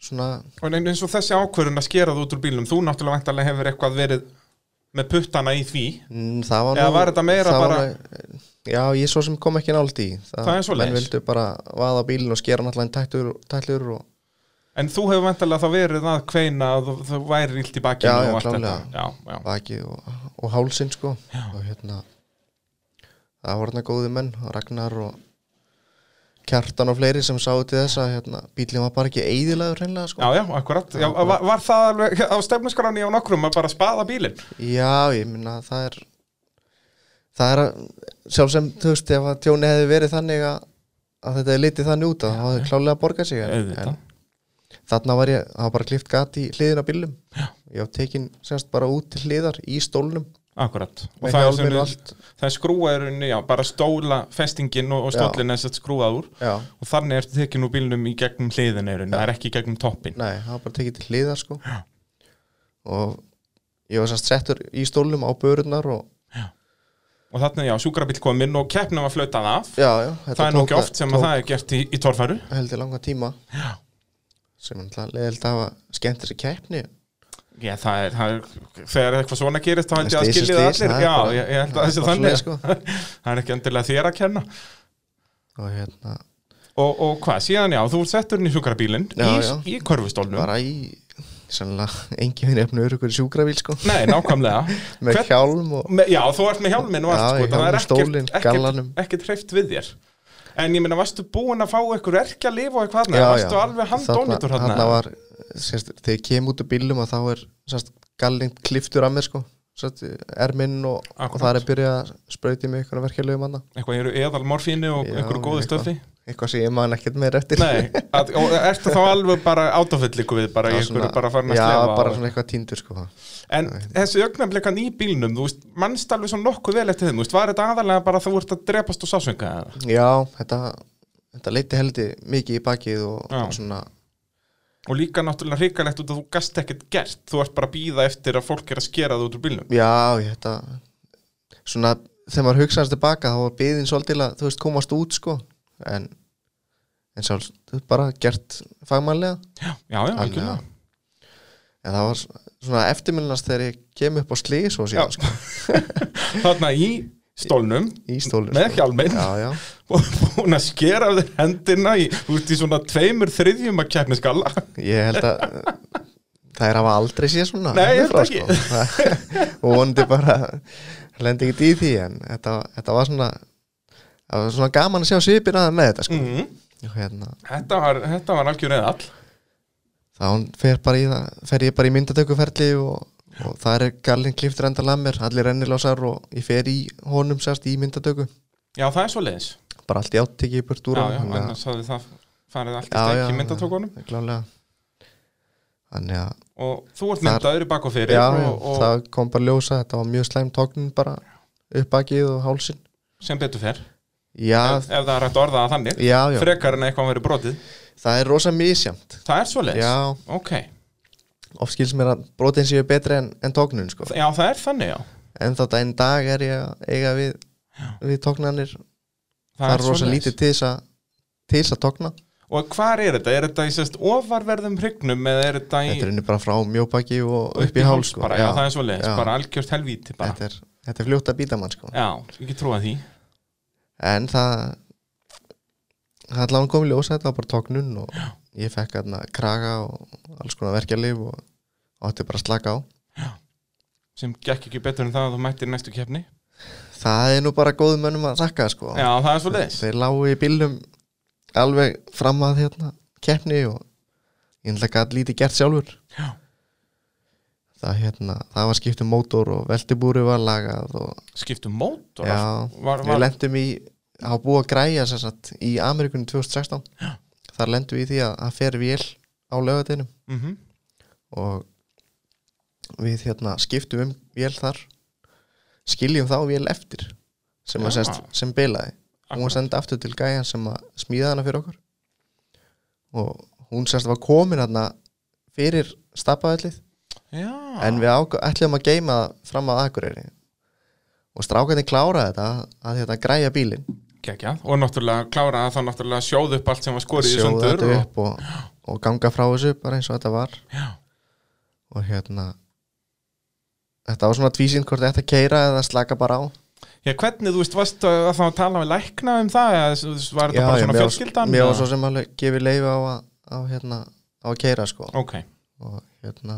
Speaker 2: svona
Speaker 1: Og en- eins og þessi ákvörðun að skera þú út úr bílnum, þú náttúrulega vantarlega hefur eitthvað verið með puttana í því.
Speaker 2: Mm, Það var
Speaker 1: Eða var þetta meira
Speaker 2: það var
Speaker 1: bara-
Speaker 2: nú- Já, ég svo sem kom ekki nált í Það,
Speaker 1: Það er svoleiðis.
Speaker 2: Menn vildu bara vaða á bílinn og skera hann allan tætlur, tætlur og...
Speaker 1: En þú hefur vantarlega þá verið að kveina að þú- þú væri ílt í bakinu
Speaker 2: Já,
Speaker 1: og
Speaker 2: já,
Speaker 1: allt
Speaker 2: klárlega.
Speaker 1: þetta. Já, já,
Speaker 2: bakið og, og hálsinn sko og hérna það voru hérna góði menn, Ragnar og Kjartan og fleiri sem sáu til þess að hérna, bílinn var bara ekki eiðilagur hreinlega sko
Speaker 1: já, já, akkurat. Já, var, var það alveg á stefnusgráni á nokkrum að bara spaða bílinn?
Speaker 2: Já, ég minna það er það er að sjálf sem, þú veist, ef að tjóni hefði verið þannig að, að þetta er litið þannig út að það hafði klálega að borga sig en,
Speaker 1: Auðvitað.
Speaker 2: en þarna var ég, það var bara klift gat í hliðin á bílum Já. ég haf tekin semst bara út til hliðar í stólnum
Speaker 1: Akkurat. Og
Speaker 2: Með
Speaker 1: það er,
Speaker 2: hjálminn og
Speaker 1: sem, það er skrúaðurinn, já, bara stóla festingin og, og
Speaker 2: Já.
Speaker 1: stólinn er sett skrúað úr.
Speaker 2: Já,
Speaker 1: Og þannig ertu tekin úr bílnum í gegnum hliðin eirinn, það er ekki í gegnum toppin.
Speaker 2: nei, það var bara tekin til hliðar sko Já. og ég var semst settur í stólnum á börurnar og
Speaker 1: Og þannig, já, sjúkrabíl kominn og keppnum að flöta það af.
Speaker 2: já, já, þetta
Speaker 1: Það er nú
Speaker 2: tók
Speaker 1: ekki oft sem að
Speaker 2: tók
Speaker 1: það er gert í, í torfæru.
Speaker 2: heldur langa tíma Já. sem er leðilt að hafa skemmt þessi keppni
Speaker 1: Já, það er, það er, þegar eitthvað svona gerist þá held ég að
Speaker 2: Stis er
Speaker 1: skilja það
Speaker 2: stis,
Speaker 1: allir
Speaker 2: það er
Speaker 1: Já,
Speaker 2: bara-
Speaker 1: ég, ég held að
Speaker 2: það er
Speaker 1: þessi
Speaker 2: bara
Speaker 1: þannig
Speaker 2: svoleiðis, sko.
Speaker 1: Það er ekki endilega þér að kenna
Speaker 2: og hérna
Speaker 1: Og, og hvað, síðan já, þú ert settur inn í sjúkrabílinn
Speaker 2: Já,
Speaker 1: í,
Speaker 2: já.
Speaker 1: í körfustólnum
Speaker 2: bara í sannlega engin vinn efnu örugur sjúkrabíl sko
Speaker 1: Nei, nákvæmlega
Speaker 2: með
Speaker 1: Hvern-
Speaker 2: hjálm og
Speaker 1: me, Já, þú ert með hjálminn og
Speaker 2: Já,
Speaker 1: allt
Speaker 2: í
Speaker 1: sko, það er
Speaker 2: hjálminn, stólinn,
Speaker 1: ekkert, ekkert,
Speaker 2: gallanum.
Speaker 1: ekkert hreift við þér En ég meina, varstu búin að fá ykkur erkja lif og eitthvað þarna?
Speaker 2: Já,
Speaker 1: Varstu
Speaker 2: já.
Speaker 1: alveg
Speaker 2: Þarna-
Speaker 1: handónýtur þarna?
Speaker 2: þarna var, sérst, þegar ég kem út úr bílum að þá er sérst, gallin kliftur að mér sko sérst, erminn og, og
Speaker 1: Akkurat.
Speaker 2: það er byrjað að sprauti mig eitthvað verkeflegum anna
Speaker 1: Eitthvað, ég eru eðal morfínu og
Speaker 2: Já,
Speaker 1: ykkur góðu
Speaker 2: eitthvað.
Speaker 1: stöfi
Speaker 2: eitthvað sem ég man ekkert meir eftir
Speaker 1: Nei, að, og ertu þá alveg bara átofill ykkur við bara,
Speaker 2: Það var
Speaker 1: ykkur
Speaker 2: svona-
Speaker 1: er bara farin að
Speaker 2: já,
Speaker 1: slefa
Speaker 2: bara
Speaker 1: og-
Speaker 2: svona eitthvað tindur sko
Speaker 1: En þessi augnablikan í bílnum, þú veist, mannst alveg svo nokkuð vel eftir þeim, þú veist, var þetta aðalega bara að þú ert að drepast og sásönga eða?
Speaker 2: já, þetta, þetta leiti heldi mikið í bakið og,
Speaker 1: Já.
Speaker 2: og svona
Speaker 1: Og líka náttúrulega hrikalegt út að þú gast ekkert gert, þú ert bara að býða eftir að fólk er að skera það út úr bílnum.
Speaker 2: Já, ég þetta svona, þegar maður hugsaðast tilbaka þá var byðin svolítil að, þú veist, komast út sko, en en svo, þú veist, bara gert fagmannlega,
Speaker 1: Já, já, já,
Speaker 2: Þannig
Speaker 1: algjörlega.
Speaker 2: að- en það var svona eftirminnast þegar ég kem upp á slís og síðan, sko,
Speaker 1: Þarna í stólnum,
Speaker 2: í stólur
Speaker 1: með hjálminn,
Speaker 2: Já, já,
Speaker 1: og búin að skera af þér hendina í, út í svona tveimur þriðjum að keppni skalla.
Speaker 2: ég held að það er hafa aldrei séð svona
Speaker 1: Nei, ég
Speaker 2: hérna frá,
Speaker 1: held
Speaker 2: sko. og vonandi bara lendi ekki í því, en þetta, þetta var svona það var svona gaman að sjá svipin aðeins með þetta sko.
Speaker 1: mm.
Speaker 2: og hérna,
Speaker 1: þetta var, þetta var algjör eða all
Speaker 2: þá fer, bara í, það- fer ég bara í myndatökuferli og, og það er gallin kliftur enda lammer allir rennilásar og ég fer í honum sérst í myndatöku
Speaker 1: já það er svo leiðis já,
Speaker 2: bara allt í áttekki í burt úr
Speaker 1: já,
Speaker 2: honum, þannig að-
Speaker 1: annars hafði það farið allt í
Speaker 2: Já,
Speaker 1: stekki
Speaker 2: já,
Speaker 1: í myndatókunum
Speaker 2: já, klálega þannig að
Speaker 1: og þú ert
Speaker 2: Þar-
Speaker 1: myndaður í bak og fyrir
Speaker 2: já,
Speaker 1: og, og
Speaker 2: það kom bara ljósa þetta var mjög slæm tóknin bara uppbakið og hálsin
Speaker 1: sem betur fer
Speaker 2: já,
Speaker 1: ef, ef það er hægt að orða það þannig
Speaker 2: já, já,
Speaker 1: frekar en eitthvað verið brotið
Speaker 2: það er rosa misjamt
Speaker 1: það er svo leiðis
Speaker 2: já,
Speaker 1: ok,
Speaker 2: oft skils mér að brotin séu betri en, en tóknin sko.
Speaker 1: já það er þannig já
Speaker 2: en þá daginn dag er ég að eiga við, við tóknanir það, er rosa
Speaker 1: svoleiðis.
Speaker 2: lítið til þess að til þess að tókna
Speaker 1: og hvar er þetta? Er þetta í sérst ofarverðum hrygnum eða er þetta í
Speaker 2: þetta er inni bara frá mjóbaki og upp, í háls sko.
Speaker 1: bara, já, það er svo leiðis,
Speaker 2: já.
Speaker 1: bara algjört helvíti bara.
Speaker 2: þetta er, þetta er fljótt að býta mann sko.
Speaker 1: já, ekki trúa því
Speaker 2: en það það er langt komið ljósa þetta var bara tóknun og ég fekk hérna kraga og alls konar verkjalið og átti bara að slaka á
Speaker 1: sem gekk ekki betur en það að þú mættir í næstu keppni
Speaker 2: það er nú bara góðum mönnum að rakka sko.
Speaker 1: já, það er svo leiðis
Speaker 2: þeir lágu í bílnum alveg fram að hérna keppni og ég ætla gæt lítið gert sjálfur
Speaker 1: Já.
Speaker 2: það hérna það var skipt um mótor og veltibúri var lagað og
Speaker 1: skiptum mótor
Speaker 2: já,
Speaker 1: var,
Speaker 2: við
Speaker 1: var,
Speaker 2: lendum í á búið að græja sér satt í Amerikunum 2016 já. þar lendum við í því að það fer vél á lögadeinum
Speaker 1: mm
Speaker 2: og við hérna skiptum um vél þar skiljum þá vél eftir sem, að
Speaker 1: Já.
Speaker 2: sest, sem bilaði hún var
Speaker 1: Akkurat.
Speaker 2: senda aftur til gæjan sem að smíða hana fyrir okkur og hún sérst var komin hana fyrir stapaðallið
Speaker 1: já,
Speaker 2: en við ákvæ- ætlum að geima það fram að Akureyri og strákarnir kláraði þetta að þetta græja bílinn
Speaker 1: geggjað og náttúrulega klára það þá náttúrulega sjóð upp allt sem var skorið í
Speaker 2: sjóða
Speaker 1: sundur
Speaker 2: þetta
Speaker 1: og,
Speaker 2: upp og, og ganga frá þessu bara eins og þetta var
Speaker 1: já,
Speaker 2: og hérna þetta var svona tvísinn hvort þetta keira eða slaka bara á
Speaker 1: já, hvernig þú veist, varst að þá tala við lækna um það eða þú veist, var þetta bara svona
Speaker 2: mér var-
Speaker 1: fjölskyldan
Speaker 2: mér
Speaker 1: eða?
Speaker 2: var svo sem alveg gefið leifi á að, á, hérna, á að keira sko
Speaker 1: ok,
Speaker 2: og hérna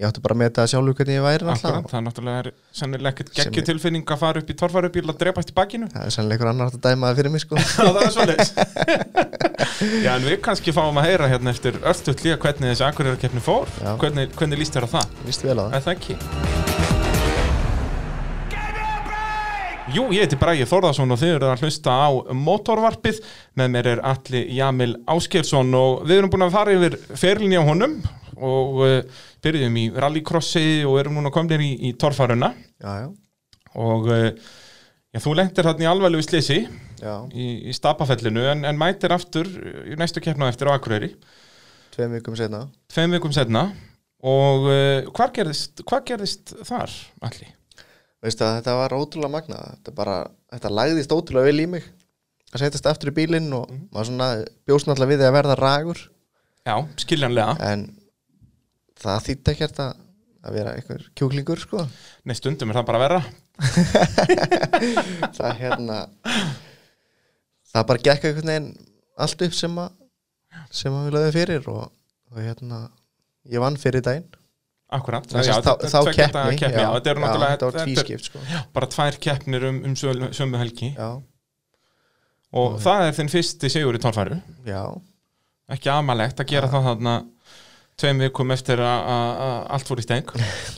Speaker 2: ég átti bara að meta það sjálfur hvernig ég væri
Speaker 1: akkurat,
Speaker 2: náttúrulega
Speaker 1: það er náttúrulega er sennilega ekkert
Speaker 2: Sem-
Speaker 1: geggju tilfinning að fara upp í torfarubíl að drepast í bakinu
Speaker 2: það er sannlega einhver annar átt að dæma það fyrir mig sko
Speaker 1: Já, það er svoleiðis Já, en við kannski fáum að heyra hérna eftir örstuðt líka hvernig þessi akkurýrarkeppni fór
Speaker 2: Já.
Speaker 1: hvernig, hvernig líst þér á það?
Speaker 2: víst vel á það
Speaker 1: Er það ekki? Jú, ég heiti Bræði Þórðarsson og þið eru að hlusta á motorvarpið með mér er Alli Jamil Áskjörsson og við erum búin að fara yfir ferlinni á honum og uh, byrjum í rallycrossi og erum núna komin í, í torfaruna
Speaker 2: já, já,
Speaker 1: og uh, já, þú lentir hann í alvarlegu slisi
Speaker 2: já,
Speaker 1: í, í stapafellinu en, en mætir aftur í næstu keppna á eftir á Akureyri
Speaker 2: tveim vikum setna
Speaker 1: tveim vikum setna og uh, hvað, gerðist, hvað gerðist þar allir?
Speaker 2: veistu að þetta var ótrúlega magnað þetta bara, þetta lagðist ótrúlega vel í mig að setjast aftur í bílinn og
Speaker 1: Mhm.
Speaker 2: maður svona bjóst náttúrulega við því að verða ragur
Speaker 1: Já, skiljanlega,
Speaker 2: en það þýtti ekkert að að vera einhver kjúklingur sko
Speaker 1: nei stundum er það bara verra
Speaker 2: það hérna það bara gekk einhvern veginn allt upp sem að sem að við lögðum fyrir og, og hérna ég vann fyrir daginn
Speaker 1: Akkurat,
Speaker 2: Sem sagt, þá, þá
Speaker 1: tveggja daga
Speaker 2: keppni,
Speaker 1: keppni, já, þetta er náttúrulega
Speaker 2: þetta var
Speaker 1: þetta er
Speaker 2: tvískipt sko.
Speaker 1: bara tvær keppnir um, um sömu, sömu helgi
Speaker 2: já,
Speaker 1: og það er þinn fyrsti sigur í tónfæru
Speaker 2: já,
Speaker 1: ekki amalegt að gera það þarna tveim vikum eftir að- að að allt fór í steng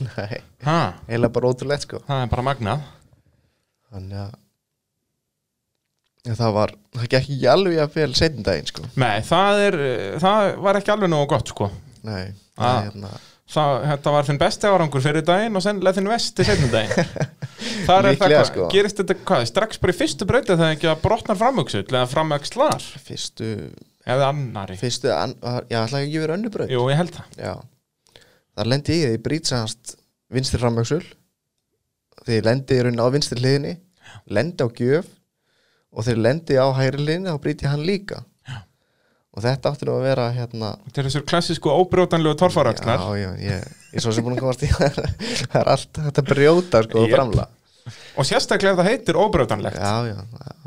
Speaker 2: nei
Speaker 1: ha,
Speaker 2: heila bara ótrúlegt sko
Speaker 1: það er bara magnað
Speaker 2: þannig að Já, það var, það gekk ekki alveg að fel setjum daginn sko
Speaker 1: Nei, það, er, eh, það var ekki alveg nógu gott sko.
Speaker 2: nei, það,
Speaker 1: Ah.
Speaker 2: er hérna,
Speaker 1: það, Þetta var þinn besti árangur fyrir daginn og sennilega þinn vesti setnum daginn Það er það
Speaker 2: Líklega,
Speaker 1: hvað,
Speaker 2: sko.
Speaker 1: gerist þetta hvað strax bara í fyrstu breytið það ekki að brotnar framöksull eða framökslar
Speaker 2: fyrstu,
Speaker 1: eða annari
Speaker 2: fyrstu an, var, já, ætlaði ekki að vera önnubröð
Speaker 1: Jú, ég held það
Speaker 2: Já Þar lendi ég í því brýtsast vinstri framöksul Þegar lendi ég í raun á vinstri hliðinni Lendi á gjöf Og þegar lendi ég á hægri hliðinni Þá brýti ég hann líka Já. Og þetta átti nú að vera hérna
Speaker 1: Þetta eru þessir klassísku óbrjótanlegu torfarakslar
Speaker 2: Já, já, ég, ég er svo sem búin að komast í Það er allt þetta brjóta sko
Speaker 1: Jep.
Speaker 2: yep. framla
Speaker 1: og sérstaklega ef það heitir óbrjótanlegt
Speaker 2: Já, já,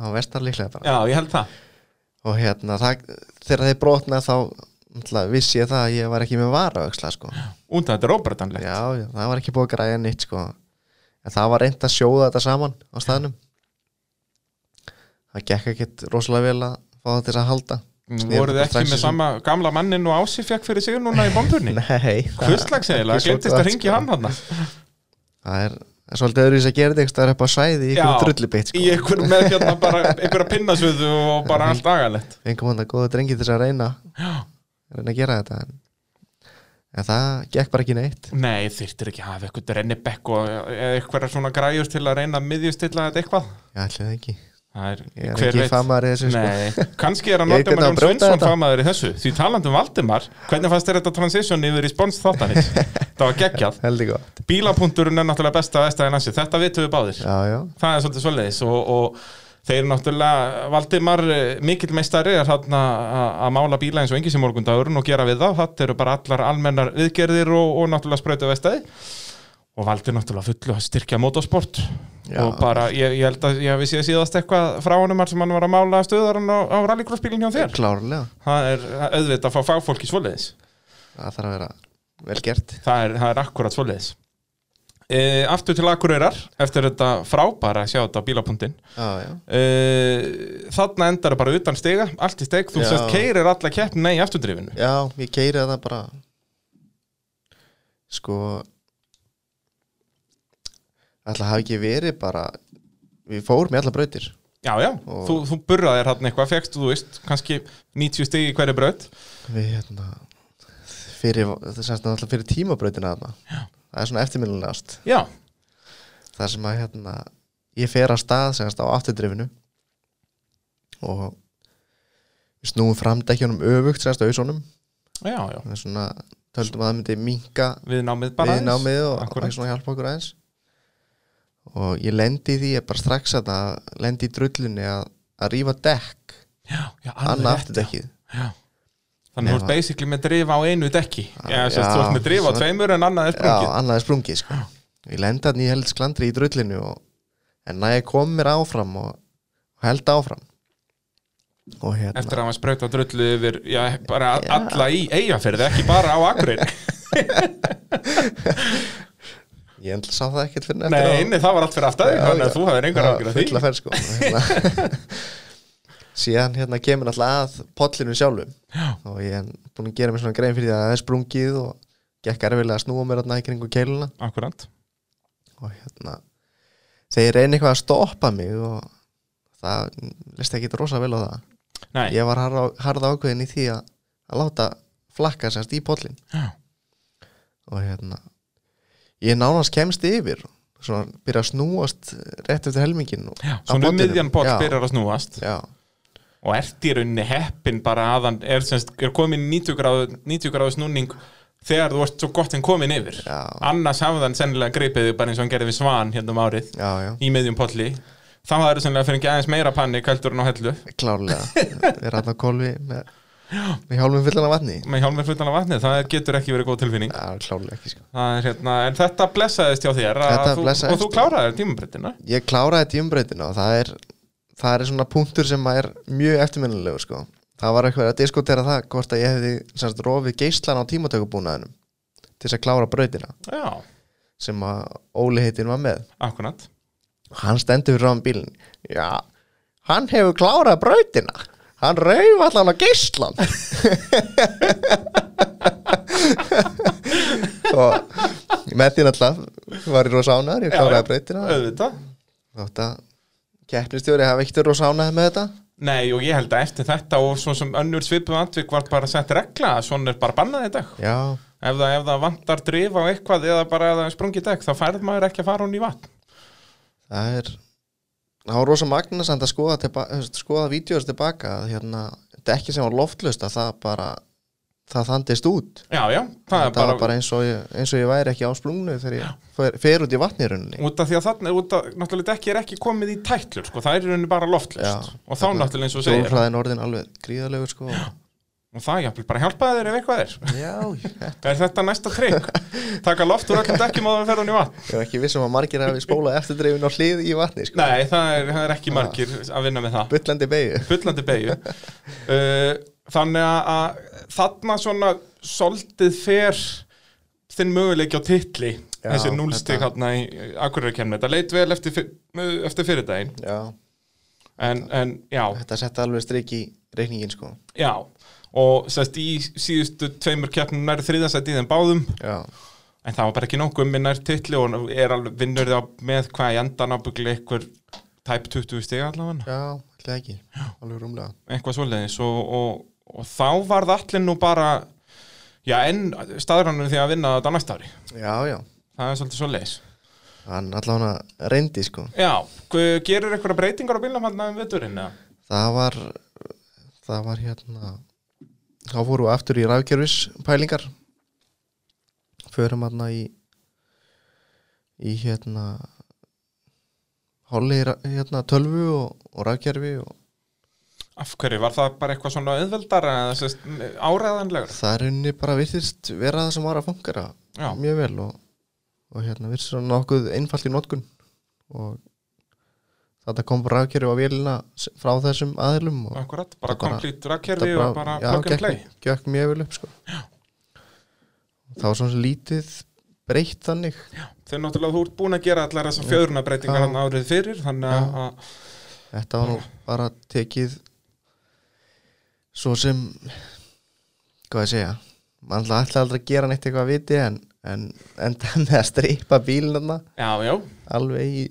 Speaker 2: það vestar líklega bara
Speaker 1: Já, ég held það
Speaker 2: Og hérna, það, þegar þeir brotna þá náttúrulega vissi ég það að ég var ekki með varaöxla sko.
Speaker 1: Út að þetta er óbrjótanlegt
Speaker 2: Já, já, það var ekki búið að græja nýtt sko. en það var reynd að sjóða þetta saman á staðnum það gekk ekkert rosalega vel að fá það til þess að halda Snerist
Speaker 1: Mm, voruð þið
Speaker 2: bara
Speaker 1: ekki
Speaker 2: strax
Speaker 1: með
Speaker 2: í-
Speaker 1: sama gamla mannin og Ási fekk fyrir sig núna í bombunni
Speaker 2: Nei, það,
Speaker 1: hvistlags eiginlega,
Speaker 2: Ekki svo
Speaker 1: glendist að
Speaker 2: gott,
Speaker 1: ringi
Speaker 2: sko.
Speaker 1: hann hann
Speaker 2: það er það er svolítið öðru í þess að gera þetta eitthvað upp á svæði í
Speaker 1: Já.
Speaker 2: einhverju drullubitt
Speaker 1: í
Speaker 2: sko.
Speaker 1: einhver með hérna bara einhverja pinnasöðu og bara allt agalett
Speaker 2: fengum hann að góða drengi til þess að reyna reyna að gera þetta en, en það gekk bara ekki neitt
Speaker 1: Nei, þyrtir ekki að hafa eitthvað rennibekk og eða eitthvað svona græjur til að reyna að miðjustilla þetta eitthvað
Speaker 2: ég ætli það ekki,
Speaker 1: Það er,
Speaker 2: ég er ekki famaður í þessu sko.
Speaker 1: Nei, kannski er hann
Speaker 2: Ég
Speaker 1: Valdimar
Speaker 2: gæti að
Speaker 1: Jón
Speaker 2: brjóta
Speaker 1: Sveinsson
Speaker 2: þetta.
Speaker 1: famaður í þessu Því talandi um Valdimar, hvernig fannst þér þetta transition yfir í spons þáttanins? það var geggjað
Speaker 2: heldig gott
Speaker 1: Bílapunkturinn er náttúrulega besta að estaði nansi Þetta vitum við báðir
Speaker 2: já, já,
Speaker 1: Það er svolítið svoleiðis og, og þeir náttúrulega Valdimar eh, mikill meistari er þarna að að mála bíla eins og engi sem morgundagurinn og gera við þá, þetta eru bara allar almennar viðgerðir og, og náttúrulega sprautu vestæði og Valdi náttúrulega fullu að styrkja motorsport
Speaker 2: Já.
Speaker 1: og bara, ég, ég held að ég hafi séð síðast eitthvað frá honum þar sem hann var að mála stöðaran á, á rallycrossbílinn hjá þér
Speaker 2: klárlega
Speaker 1: það er auðvitað að fá fagfólki svoleiðis
Speaker 2: það þarf að vera vel gert
Speaker 1: það er, það er akkurat svoleiðis e, aftur til Akureyrar eftir þetta frábæra að sjá þetta á bílapunktin
Speaker 2: já, já,
Speaker 1: uh, þarna endar það bara utan stiga allt í steg, þú
Speaker 2: Já.
Speaker 1: sérst keirir alla keppnina í afturdrifinu
Speaker 2: já ég keiri það bara sko ætla hafi ekki verið bara við fórum í alla brautir
Speaker 1: já, já,
Speaker 2: Og-
Speaker 1: þú, þú burraðir hann eitthvað fegst, þú veist, kannski 90 stig í hverju braut
Speaker 2: við hérna fyrir, það er semst náttúrulega fyrir tímabrautina þarna það er svona eftirminnilegast
Speaker 1: já,
Speaker 2: þar sem að hérna ég fer á stað semst á afturdrifinu og við snúum framdekjunum öfugt semst auðsónum
Speaker 1: já, já
Speaker 2: það er svona, töldum að það myndi minka
Speaker 1: við námið bara
Speaker 2: við námið og
Speaker 1: Akkúrat.
Speaker 2: svona hjálpa okkur aðeins og ég lendi í því, ég bara strax að það lendi í drullunni að, að rífa dekk,
Speaker 1: já, já, alveg
Speaker 2: annað
Speaker 1: rétt, já.
Speaker 2: afturdekkið
Speaker 1: Já. þannig að þú ert
Speaker 2: Nema- Ah,
Speaker 1: basically með drifa á einu dekki já,
Speaker 2: Já,
Speaker 1: sérst, þú ert með drifa á
Speaker 2: svona-
Speaker 1: tveimur en annað er
Speaker 2: Já,
Speaker 1: sprungið
Speaker 2: annað er sprungið sko. Ég lenda þannig í held sklandri í drullinu og, en næja kom mér áfram og, og held áfram og hérna
Speaker 1: eftir að maður sprauta drullu yfir já, bara alla í eigafyrði, ekki bara á akurinn
Speaker 2: ég enda sá það ekkert fyrir
Speaker 1: nei, inni, það var allt fyrir aftan þig, þannig að þú hafðir einhver ágjur af því
Speaker 2: fulla ferð sko og hérna, síðan hérna kemur alltaf að pollinu sjálfum
Speaker 1: Já.
Speaker 2: og ég er búin að gera mér svona grein fyrir því að það er sprungið og gekk erfilega að snúa mér þarna í kringu keiluna
Speaker 1: akkurant
Speaker 2: og hérna þeir reyni eitthvað að stoppa mig og það leist ekki rosa vel á það
Speaker 1: nei,
Speaker 2: ég var harða, harða ákveðin í því að, að láta flakka sérst í pollin
Speaker 1: Já.
Speaker 2: og hérna ég nánast kemst yfir svona byrja að snúast rétt eftir helmingin og,
Speaker 1: Já,
Speaker 2: á
Speaker 1: svona um
Speaker 2: pollinum.
Speaker 1: miðjan pott
Speaker 2: Já.
Speaker 1: byrjar að snúast
Speaker 2: já,
Speaker 1: og ert í rauninni heppin bara aðan er, semst, er komin í 90 gráðu, 90 gráðu snúning þegar þú ert svo gott en komin yfir
Speaker 2: já,
Speaker 1: annars hafði hann sennilega gripið þig bara eins og hann gerði við svan hérna um árið
Speaker 2: já, já,
Speaker 1: í miðjum polli þá hafði það sennilega fyrir ekki aðeins meira panni kældur en á hellu
Speaker 2: klárlega við erum að kólfi með, með hjálmum fullan af vatni
Speaker 1: með hjálmur fullan af vatni, það getur ekki verið góð tilfinning
Speaker 2: já, klárlega ekki sko
Speaker 1: Það er, hérna, en þetta blessaðist hjá þér að
Speaker 2: Þetta
Speaker 1: þú,
Speaker 2: blessaðist.
Speaker 1: og þú kláraðir tímabrittina
Speaker 2: ég kláraði tíumbreytina og það er það er svona punktur sem er mjög eftirminnilegur sko það var eitthvað að diskutera það hvort að ég hefði semst rofið geislan á tímatökubúnaðinum til þess að klára brautina
Speaker 1: já,
Speaker 2: sem að Óli heitin var með
Speaker 1: akkurat
Speaker 2: hann stendur fyrir ráðan bílinn já, hann hefur klárað brautina hann rauf allan á geislan og með því náttúrulega var ég rosa ánæður, ég
Speaker 1: Já, já.
Speaker 2: kláraði brautina
Speaker 1: auðvitað
Speaker 2: þátt að keppnistjóri hafa ekkert rosa ánæður með þetta
Speaker 1: Nei og ég held að eftir þetta og svo sem önnur svipuð andvik var bara sett regla að svona er bara bannað í dag
Speaker 2: já,
Speaker 1: ef það, ef það vantar drif á eitthvað eða bara ef það er sprungið dekk þá færð maður ekki að fara hún í vatn
Speaker 2: það er það var rosa magnasamt að skoða tilba, þú veist, skoða vídeos tilbaka að hérna, dekki sem var loftlust að það bara það þandist út
Speaker 1: Já, já, það
Speaker 2: það
Speaker 1: er bara,
Speaker 2: var bara eins og, ég, eins og ég væri ekki á splungnu þegar ég fer, fer út í vatnirunni
Speaker 1: út af því að þarna út af, náttúrulega dekki er ekki komið í tætlur sko, það er í rauninni bara loftlust
Speaker 2: Já.
Speaker 1: og þá náttúrulega eins og segir
Speaker 2: Hjólfræðin orðin alveg gríðalegur sko
Speaker 1: og það jafnvel bara hjálpaði þér ef eitthvað er
Speaker 2: Já, ég
Speaker 1: er þetta næsta trikk taka loft úr öllum dekkjum og það ferða hún í vatn
Speaker 2: er ekki vissum að margir hafi spólað eftirdreifin og hlið í vatni sko
Speaker 1: Nei, það er, það er ekki margir að vinna með það
Speaker 2: Bullandi beigju
Speaker 1: fullandi beigju uh, þannig að- að þarna svona soldið fer þinn möguleik á titli
Speaker 2: Já,
Speaker 1: þessi núlstig
Speaker 2: þetta-
Speaker 1: hérna í Akureyri kemni þetta leit vel eftir, fyr- uh, eftir fyrir daginn
Speaker 2: Já,
Speaker 1: en, en já,
Speaker 2: Þetta setti alveg strik í reikningin sko
Speaker 1: já og sérst í síðustu tveimur keppnum nær þriðasætt í þeim báðum
Speaker 2: Já,
Speaker 1: en það var bara ekki nokkuð um nær titli og hann er alveg vinnur þá með hvað í endan ábyggli einhver tæp 20 stiga allavega
Speaker 2: já, ætlaði ekki Alveg rúmlega
Speaker 1: eitthvað svoleiðis og, og, og þá varð allir nú bara já enn staðrannur því að vinna þetta næsta ári
Speaker 2: Já, já,
Speaker 1: það er svolítið svoleiðis
Speaker 2: hann allavega reyndi sko
Speaker 1: já, gu- gerir eitthvað breytingar á bílum hann um vetturinn eða?
Speaker 2: Það var Það var hérna Þá fórum við aftur í rafkerfis pælingar Förum hérna í Í hérna Hálli í ra- hérna tölvu og, og rafkerfi og
Speaker 1: af hverju, var það bara eitthvað svona auðveldar eða sérst áræðanlegur
Speaker 2: það er unni bara virtist vera það sem var að fungera
Speaker 1: Já.
Speaker 2: mjög vel og, og hérna virtist svona nokkuð einfalt í notkun og þetta kom bara rafkerfi á vélina s- frá þessum aðilum og
Speaker 1: Akkurat, bara
Speaker 2: Það bara-
Speaker 1: komplít rakkerfi og bara
Speaker 2: já,
Speaker 1: plug and
Speaker 2: gekk-
Speaker 1: play
Speaker 2: gekk mjög vel upp sko. það var svona lítið breytt þannig
Speaker 1: Þegar náttúrulega þú ert búin að gera allar þessar fjörunabreitingar
Speaker 2: Já.
Speaker 1: hann árið fyrir þannig að- að
Speaker 2: þetta var nú bara tekið svo sem hvað ég segja mann ætla alltaf aldrei að gera neitt eitthvað að viti en, en, en það með að streypa bílina
Speaker 1: Já, já,
Speaker 2: alveg í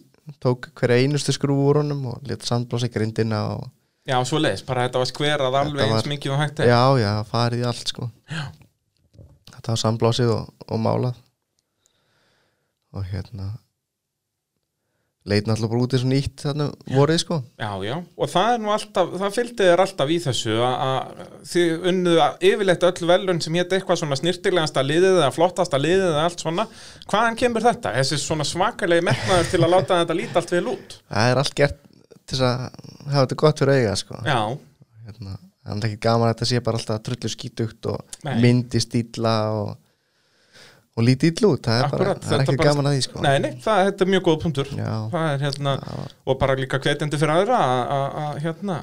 Speaker 2: tók hverja einustu skrúfu úr honum og létt sandblása í grindina og
Speaker 1: já, svo leis, bara þetta var skverað alveg
Speaker 2: var-
Speaker 1: eins mikið og hægt er
Speaker 2: já, já, farið í allt sko já. þetta var samblásið og, og málað og hérna leit náttúrulega bara út í svona ítt þarna vorið sko
Speaker 1: Já, já, og það er nú alltaf, það fylgdi þér alltaf í þessu að- að þið unnuðu að yfirleitt öll velun sem hétt eitthvað svona snirtilegasta liðið eða flottasta liðið eða allt svona Hvaðan kemur þetta? Þessi svona svakalegi metnaður til að láta þetta líta allt vel út
Speaker 2: það er allt gert til þess að hafa þetta gott fyrir auga sko
Speaker 1: Já,
Speaker 2: hérna, það er ekki gaman að þetta sé bara alltaf trullu skítugt og
Speaker 1: Nei.
Speaker 2: myndi stíla og, og lítið ítlu út það er, bara,
Speaker 1: Akkurat,
Speaker 2: það er
Speaker 1: þetta
Speaker 2: ekki
Speaker 1: bara-
Speaker 2: gaman að því sko
Speaker 1: Nei, nei, það, þetta er mjög góð punktur
Speaker 2: Já.
Speaker 1: Það er hérna, og bara líka hvetjandi fyrir aðra að- að að, hérna,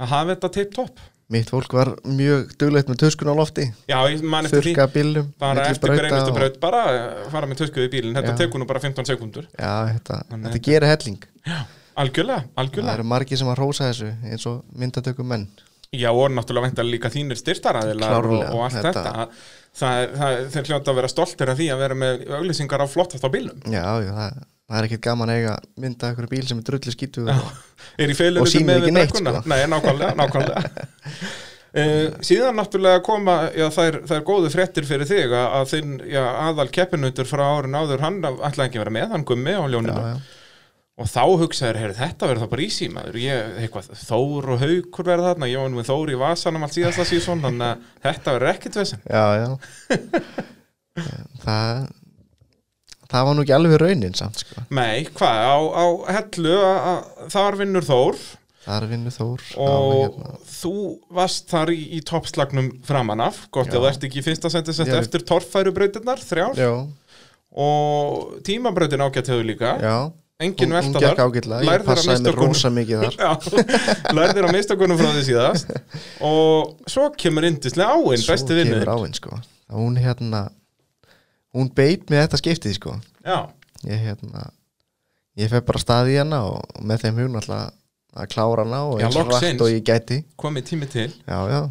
Speaker 1: að hafa þetta tip top
Speaker 2: mitt fólk var mjög duglegt með töskun á lofti
Speaker 1: Já, ég man eftir því
Speaker 2: þurka bílum
Speaker 1: bara
Speaker 2: milli
Speaker 1: eftir hver
Speaker 2: brauta
Speaker 1: einustu
Speaker 2: og-
Speaker 1: braut bara eh, fara með töskuð í bílinn, þetta
Speaker 2: Já.
Speaker 1: tekur nú bara 15 sekundur
Speaker 2: Já, þetta,
Speaker 1: Þannig
Speaker 2: þetta gerir helling
Speaker 1: Algjörlega,
Speaker 2: Það
Speaker 1: algjörlega
Speaker 2: eru margir sem að rósa þessu eins og myndatökum menn
Speaker 1: Já, og náttúrulega væntanlega líka þínir styrtaraðilar og,
Speaker 2: Klárlega,
Speaker 1: og allt
Speaker 2: þetta-
Speaker 1: þetta, Það, er- það, er- þeir hljóta að vera stoltir af því að vera með auglýsingar á flottast á bílum
Speaker 2: Já, já það, það er ekkert gaman að eiga mynda ykkur bíl sem er drullu skítu
Speaker 1: er í feilur
Speaker 2: Og sýnir ekki neitt, sko.
Speaker 1: Nei, nákvæmlega, nákvæmlega. Uh, síðan náttúrulega koma já, það, er, það er góðu fréttir fyrir þig að, að þinn já, aðal keppinutur frá árun áður hann ætlaði ekki að vera með, hann gummi á ljóninu
Speaker 2: já.
Speaker 1: og þá hugsaður, heyrðu þetta verður það bara í símaður ég, eitthvað, Þór og Haukur verða þarna ég var nú með Þór í vasanum allt síðasta síðan þannig að þetta verður ekkit vesen
Speaker 2: Já, já Það Það var nú ekki alveg raunin samt sko.
Speaker 1: Nei, hvað, á, á hellu að- að þar vinnur Þór
Speaker 2: Það er vinnu Þór
Speaker 1: og
Speaker 2: hérna.
Speaker 1: þú varst þar í, í toppslagnum framan af, gott
Speaker 2: Já.
Speaker 1: eða ert ekki í fyrsta sendi sett
Speaker 2: Ég er-
Speaker 1: eftir torfærubrautirnar þrjár
Speaker 2: Já,
Speaker 1: og tímabrautin ágætt hefur líka
Speaker 2: já
Speaker 1: engin
Speaker 2: Hún- hún
Speaker 1: velta
Speaker 2: gekk
Speaker 1: þar
Speaker 2: ágætlega, ég
Speaker 1: lærðir að
Speaker 2: passaði mér
Speaker 1: mistökunum
Speaker 2: rosa mikið þar
Speaker 1: Já, lærðir að mistökunum frá því síðast og svo kemur indislega áinn,
Speaker 2: Svo
Speaker 1: besti vinnur
Speaker 2: kemur áinn sko Það Hún hérna Hún beit með þetta skiptið sko
Speaker 1: já,
Speaker 2: ég hérna ég fer bara af stað í hana og með þeim hugn alltaf að klára hana og
Speaker 1: Já,
Speaker 2: eins og
Speaker 1: loksins.
Speaker 2: rætt og ég gæti
Speaker 1: komið tími til
Speaker 2: já, já,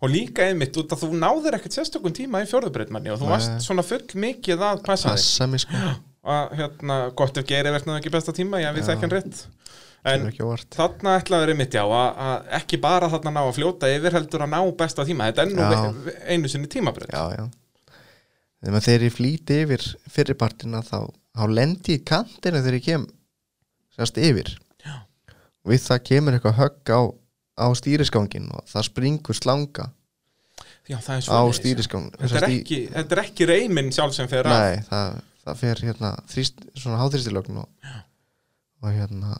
Speaker 1: og líka einmitt út að þú náðir ekkert sérstökum tíma í fjórðubreitmanni og þú varst svona full mikið að passa þig
Speaker 2: passa mig sko
Speaker 1: að hérna, gott ef geiri verðnaði ekki besta tíma, ég við þekkan rétt en
Speaker 2: Kemur ekki á óvart.
Speaker 1: þarna ætlaður einmitt já að, að ekki bara þarna ná að fljóta yfir heldur að ná besta tíma, þetta er nú
Speaker 2: Já.
Speaker 1: ve- ve- einu sinni tímabröð
Speaker 2: já, já þegar þegar ég flýti yfir fyrirpartina þá, þá lendi ég í kantinu þegar ég kem sérst yfir já. við það kemur eitthvað högg á, á stýriskangin og það springur slanga
Speaker 1: já, það er
Speaker 2: á
Speaker 1: svoleiðis.
Speaker 2: stýriskangin
Speaker 1: þetta er, ekki, þetta er ekki reymin sjálf sem fer að
Speaker 2: Nei, það, það fer hérna þrýst, svona háþrýstilögn og, og hérna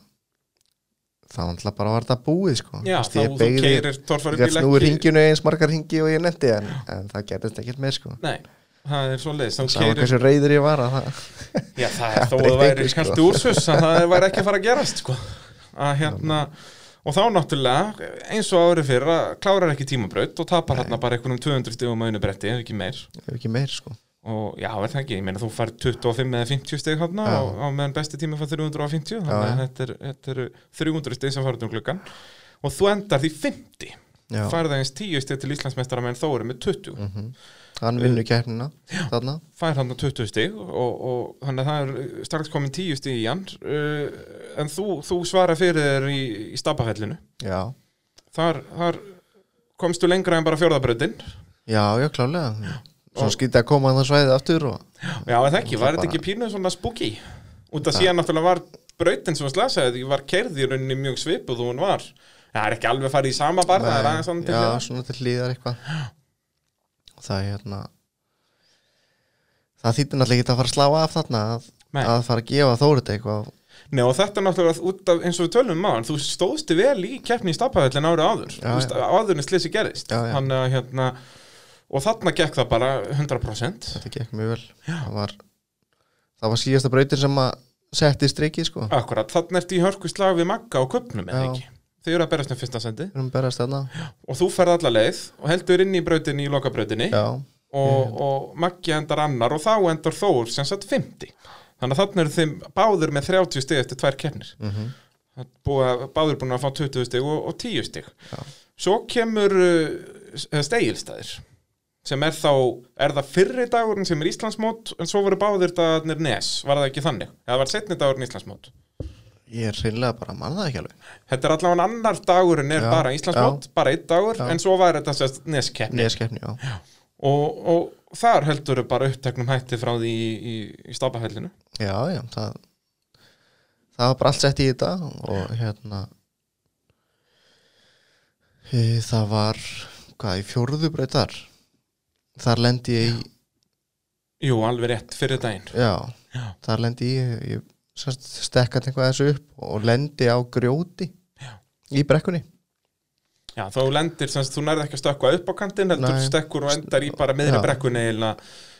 Speaker 2: þá náttúrulega bara var þetta búið sko
Speaker 1: já,
Speaker 2: Vist,
Speaker 1: þá
Speaker 2: ég
Speaker 1: þú
Speaker 2: beygði-
Speaker 1: keirir
Speaker 2: ég
Speaker 1: torfari
Speaker 2: gætt
Speaker 1: bíl
Speaker 2: snúið
Speaker 1: ekki
Speaker 2: ringinu eins margar ringi og ég nefndi en, en það gerðist ekkert meir sko
Speaker 1: nei, það er svo leiðis þá
Speaker 2: Sama
Speaker 1: keirir,
Speaker 2: hversu reyður ég var að það
Speaker 1: já það er þó að
Speaker 2: breytti
Speaker 1: það væri
Speaker 2: engu, sko.
Speaker 1: kannski úrsus að það væri ekki að fara að gerast sko. að hérna og þá náttúrulega, eins og árið fyrir að klárar ekki tímabröð og tapar hérna bara einhvernum 200 stigum á einu bretti, ef ekki meir
Speaker 2: ef ekki meir sko
Speaker 1: og já, er það ekki, ég meina þú fær 25 eða 50 stig hann
Speaker 2: Já.
Speaker 1: og, og meðan besti tími fær 350 þannig að þetta er- þetta eru 300 stig sem farið um gluggan og þú endar því 50
Speaker 2: Já. Mm.
Speaker 1: færið aðeins 10 stig til Íslandsmeistara menn þó eru með 20
Speaker 2: hann vinnur keppnina þarna
Speaker 1: fær hann 20 stig og, og þannig að það er strax komin 10 stig í hann uh, en þú, þú svara fyrir þér í, í stabafellinu
Speaker 2: já,
Speaker 1: þar, þar komstu lengra en bara fjórðabröðin
Speaker 2: já, já, klálega svo
Speaker 1: Og-
Speaker 2: skýtti að koma að það svæðið aftur og
Speaker 1: Já, en það ekki, var þetta
Speaker 2: bara-
Speaker 1: ekki pínuð svona spooky? Út af síðan náttúrulega var brautin sem hún slasaði, því var kerð í rauninni mjög svipuð og hún var. Það er ekki alveg farið í sama barða, það er aðeins
Speaker 2: Nei,
Speaker 1: svona til
Speaker 2: já,
Speaker 1: hliðar.
Speaker 2: svona til hlýðar eitthvað og það er hérna það þýttir náttúrulega ekki að fara að slá af þarna að,
Speaker 1: Nei.
Speaker 2: að fara að gefa þórit eitthvað
Speaker 1: Nei, og þetta er náttúrulega út af, eins og við tölum maður, þú stóðstu vel í keppni í stafahöllin árið áður,
Speaker 2: Já,
Speaker 1: Þú veist, áður en slisi gerist.
Speaker 2: Já, já.
Speaker 1: Þannig að hérna, og þarna gekk það bara 100%.
Speaker 2: þetta gekk mjög vel það var, það var síðasta brautin sem að setti strikið sko
Speaker 1: Akkurat, þarna ertu í hörku slag við Magga og köpnum, eða
Speaker 2: Já.
Speaker 1: ekki? Þau eru að berast um fyrsta sendi
Speaker 2: við erum berast þarna
Speaker 1: og þú ferð alla leið og heldur inn í brautinni í lokabrautinni
Speaker 2: já, Mhm.
Speaker 1: og, og Maggi endar annar og þá endar Þór sem sagt 50 þannig að þannig eru þeim báður með 30 stig eftir tvær kefnir mm
Speaker 2: Mhm.
Speaker 1: -hmm. báður búin að fá 20 stig og, og 10 stig
Speaker 2: Já.
Speaker 1: svo kemur uh, stegilstæðir sem er þá, er það fyrri dagurinn sem er Íslandsmót en svo voru báðir dagarnir Nes, var það ekki þannig eða var setni dagurinn Íslandsmót
Speaker 2: ég er hreinlega bara að manna það ekki alveg
Speaker 1: þetta er allavega annar dagurinn er
Speaker 2: Já,
Speaker 1: bara Íslandsmót, bara einn dagur en svo var þetta sérst Neskeppni
Speaker 2: neskeppni, já,
Speaker 1: og, og þar heldur þau bara uppteknum hætti frá því í, í, í stafahellinu
Speaker 2: já, já það, það var bara allt sett í þetta og hérna e, það var hvað, í fjórðu brautar þar lendi ég í
Speaker 1: Jú, alveg rétt fyrir daginn
Speaker 2: já,
Speaker 1: Já.
Speaker 2: þar lendi ég, ég semst, stekkaði eitthvað þessu upp og lendi á grjóti
Speaker 1: Já.
Speaker 2: í brekkunni
Speaker 1: Já, þá lendir, sem sagt, þú nærði ekki að stökkva upp á kantinn heldur
Speaker 2: Nei.
Speaker 1: stekkur og endar í bara miðri
Speaker 2: Já.
Speaker 1: brekkunni eða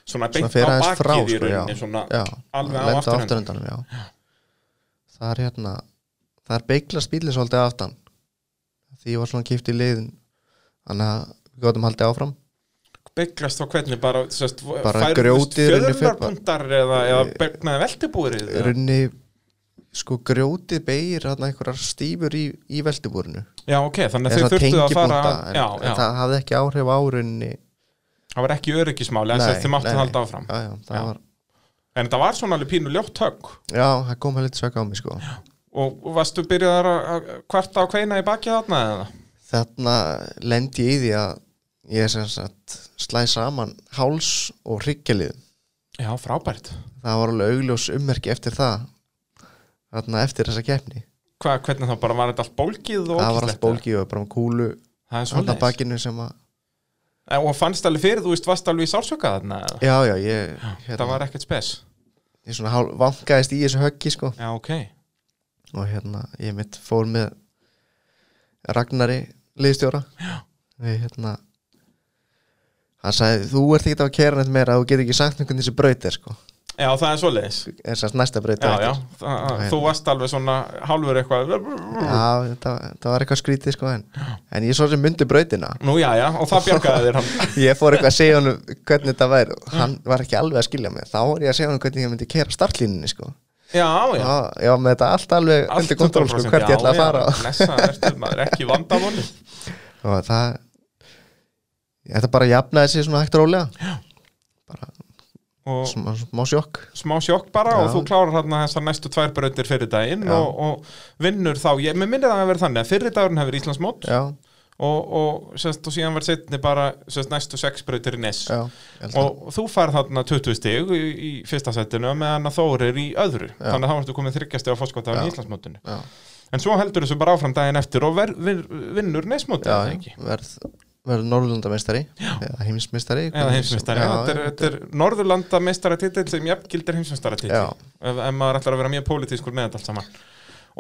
Speaker 1: svona beint
Speaker 2: svona fyrir
Speaker 1: á
Speaker 2: aðeins
Speaker 1: bakið
Speaker 2: frá
Speaker 1: í
Speaker 2: sko, já,
Speaker 1: rauninni svona,
Speaker 2: já,
Speaker 1: alveg á
Speaker 2: lendi
Speaker 1: afturendanum.
Speaker 2: afturendanum, já. þar hérna þar beiglast bílinn svolítið aftan því ég var svona kipt í liðin þannig að við gotum haldið áfram
Speaker 1: bygglast þá hvernig bara, sem sagt,
Speaker 2: Bara
Speaker 1: færðust
Speaker 2: grjótið runni fyrir-
Speaker 1: fjöðrunarpunktar eða, eða begnaði veltibúrið eða-
Speaker 2: runni sko grjótið beigir hérna einhverjar stífur í, í veltibúrinu
Speaker 1: Já, ok, þannig
Speaker 2: eða
Speaker 1: að þau
Speaker 2: svona
Speaker 1: þurftu að fara
Speaker 2: tengipunta
Speaker 1: að-
Speaker 2: en,
Speaker 1: Já,
Speaker 2: en
Speaker 1: já,
Speaker 2: það hafði ekki áhrif á runni
Speaker 1: það var ekki öryggismáli en sem sagt, þau máttu halda áfram
Speaker 2: já, já, það
Speaker 1: Já.
Speaker 2: Var,
Speaker 1: En þetta var svona alveg pínu ljótt högg
Speaker 2: já, það kom að lítið svaka á mig sko
Speaker 1: og og varstu byrjaðar að að kvarta á kveina í bakið þarna eða?
Speaker 2: þarna lendi ég í því að ég sem sagt slæ saman háls og hryggjalið
Speaker 1: Já, frábært
Speaker 2: það var alveg augljós ummerki eftir það þarna eftir þessa keppni
Speaker 1: Hva, hvernig þá bara var þetta allt bólgið og
Speaker 2: það var allt
Speaker 1: ógeðslegt,
Speaker 2: bólgi og bara um kúlu
Speaker 1: eða? það er
Speaker 2: þarna
Speaker 1: svoleiðis
Speaker 2: bakinu sem að
Speaker 1: Eh, og fannst alveg fyrir, þú veist, varst alveg í sársöka þarna eða?
Speaker 2: já já ég,
Speaker 1: þetta
Speaker 2: hérna,
Speaker 1: var ekkert spes
Speaker 2: ég svona hál, vankaðist í þessu höggi sko
Speaker 1: já, ok,
Speaker 2: og hérna ég mitt fór með Ragnari liðstjóra við hérna hann sagði þú ert ekki að kera neitt meira þú getur ekki sagt mér hvernig þessi braut er sko
Speaker 1: já, það er svoleiðis já,
Speaker 2: er sérst næsta braut á eftir.
Speaker 1: já, það,
Speaker 2: Já,
Speaker 1: þú varst alveg svona hálfur eitthvað
Speaker 2: Já, þetta, þetta var eitthvað skrítið sko en, en ég svo sem myndi brautina
Speaker 1: nú, já, já, og það bjargaði þér hann
Speaker 2: Ég fór eitthvað að segja honum hvernig þetta væri og Hann
Speaker 1: Mm.
Speaker 2: var ekki alveg að skilja mig Þá var ég að segja honum hvernig ég myndi kera startlínunni sko
Speaker 1: já, já,
Speaker 2: Já, já með þetta allt alveg
Speaker 1: allt
Speaker 2: undir kontról sko
Speaker 1: 100%,
Speaker 2: Hvert ég
Speaker 1: já,
Speaker 2: ætla að
Speaker 1: já,
Speaker 2: fara
Speaker 1: blessa, ertu, maður, ekki vandavonni
Speaker 2: Og það Þetta bara jafnaði sig svona hægt og rólega
Speaker 1: og
Speaker 2: Smá, smá sjokk
Speaker 1: smá sjokk bara
Speaker 2: Já.
Speaker 1: og þú klárar hérna þessar næstu tvær bröndir fyrir daginn
Speaker 2: Já.
Speaker 1: og, og vinnur þá, ég, mér minnir það að vera þannig að fyrir dagurinn hefur Íslandsmót
Speaker 2: Já,
Speaker 1: og, og, sérst, og síðan var setni bara sérst, næstu sex brautir í nes
Speaker 2: já ég held
Speaker 1: og þú færð þarna 20 stig í, í fyrsta setinu meðan að Þór er í öðru þannig að þá ertu komið þryggjast eða fórskotafin í Íslandsmótinu
Speaker 2: það.
Speaker 1: en svo heldur þessu bara áfram daginn eftir og ver, vin, vinnur nesmótinu
Speaker 2: Já,
Speaker 1: eða
Speaker 2: já,
Speaker 1: ekki?
Speaker 2: verð, verð Norrlundameistari Eða heimsmeistari
Speaker 1: eða heimsmeistari,
Speaker 2: Já,
Speaker 1: þetta er, þetta er norðurlanda meistara titill sem jafngildir heimsmeistara titill
Speaker 2: Já.
Speaker 1: ef, ef maður ætlar að vera mjög pólitískur með þetta allt saman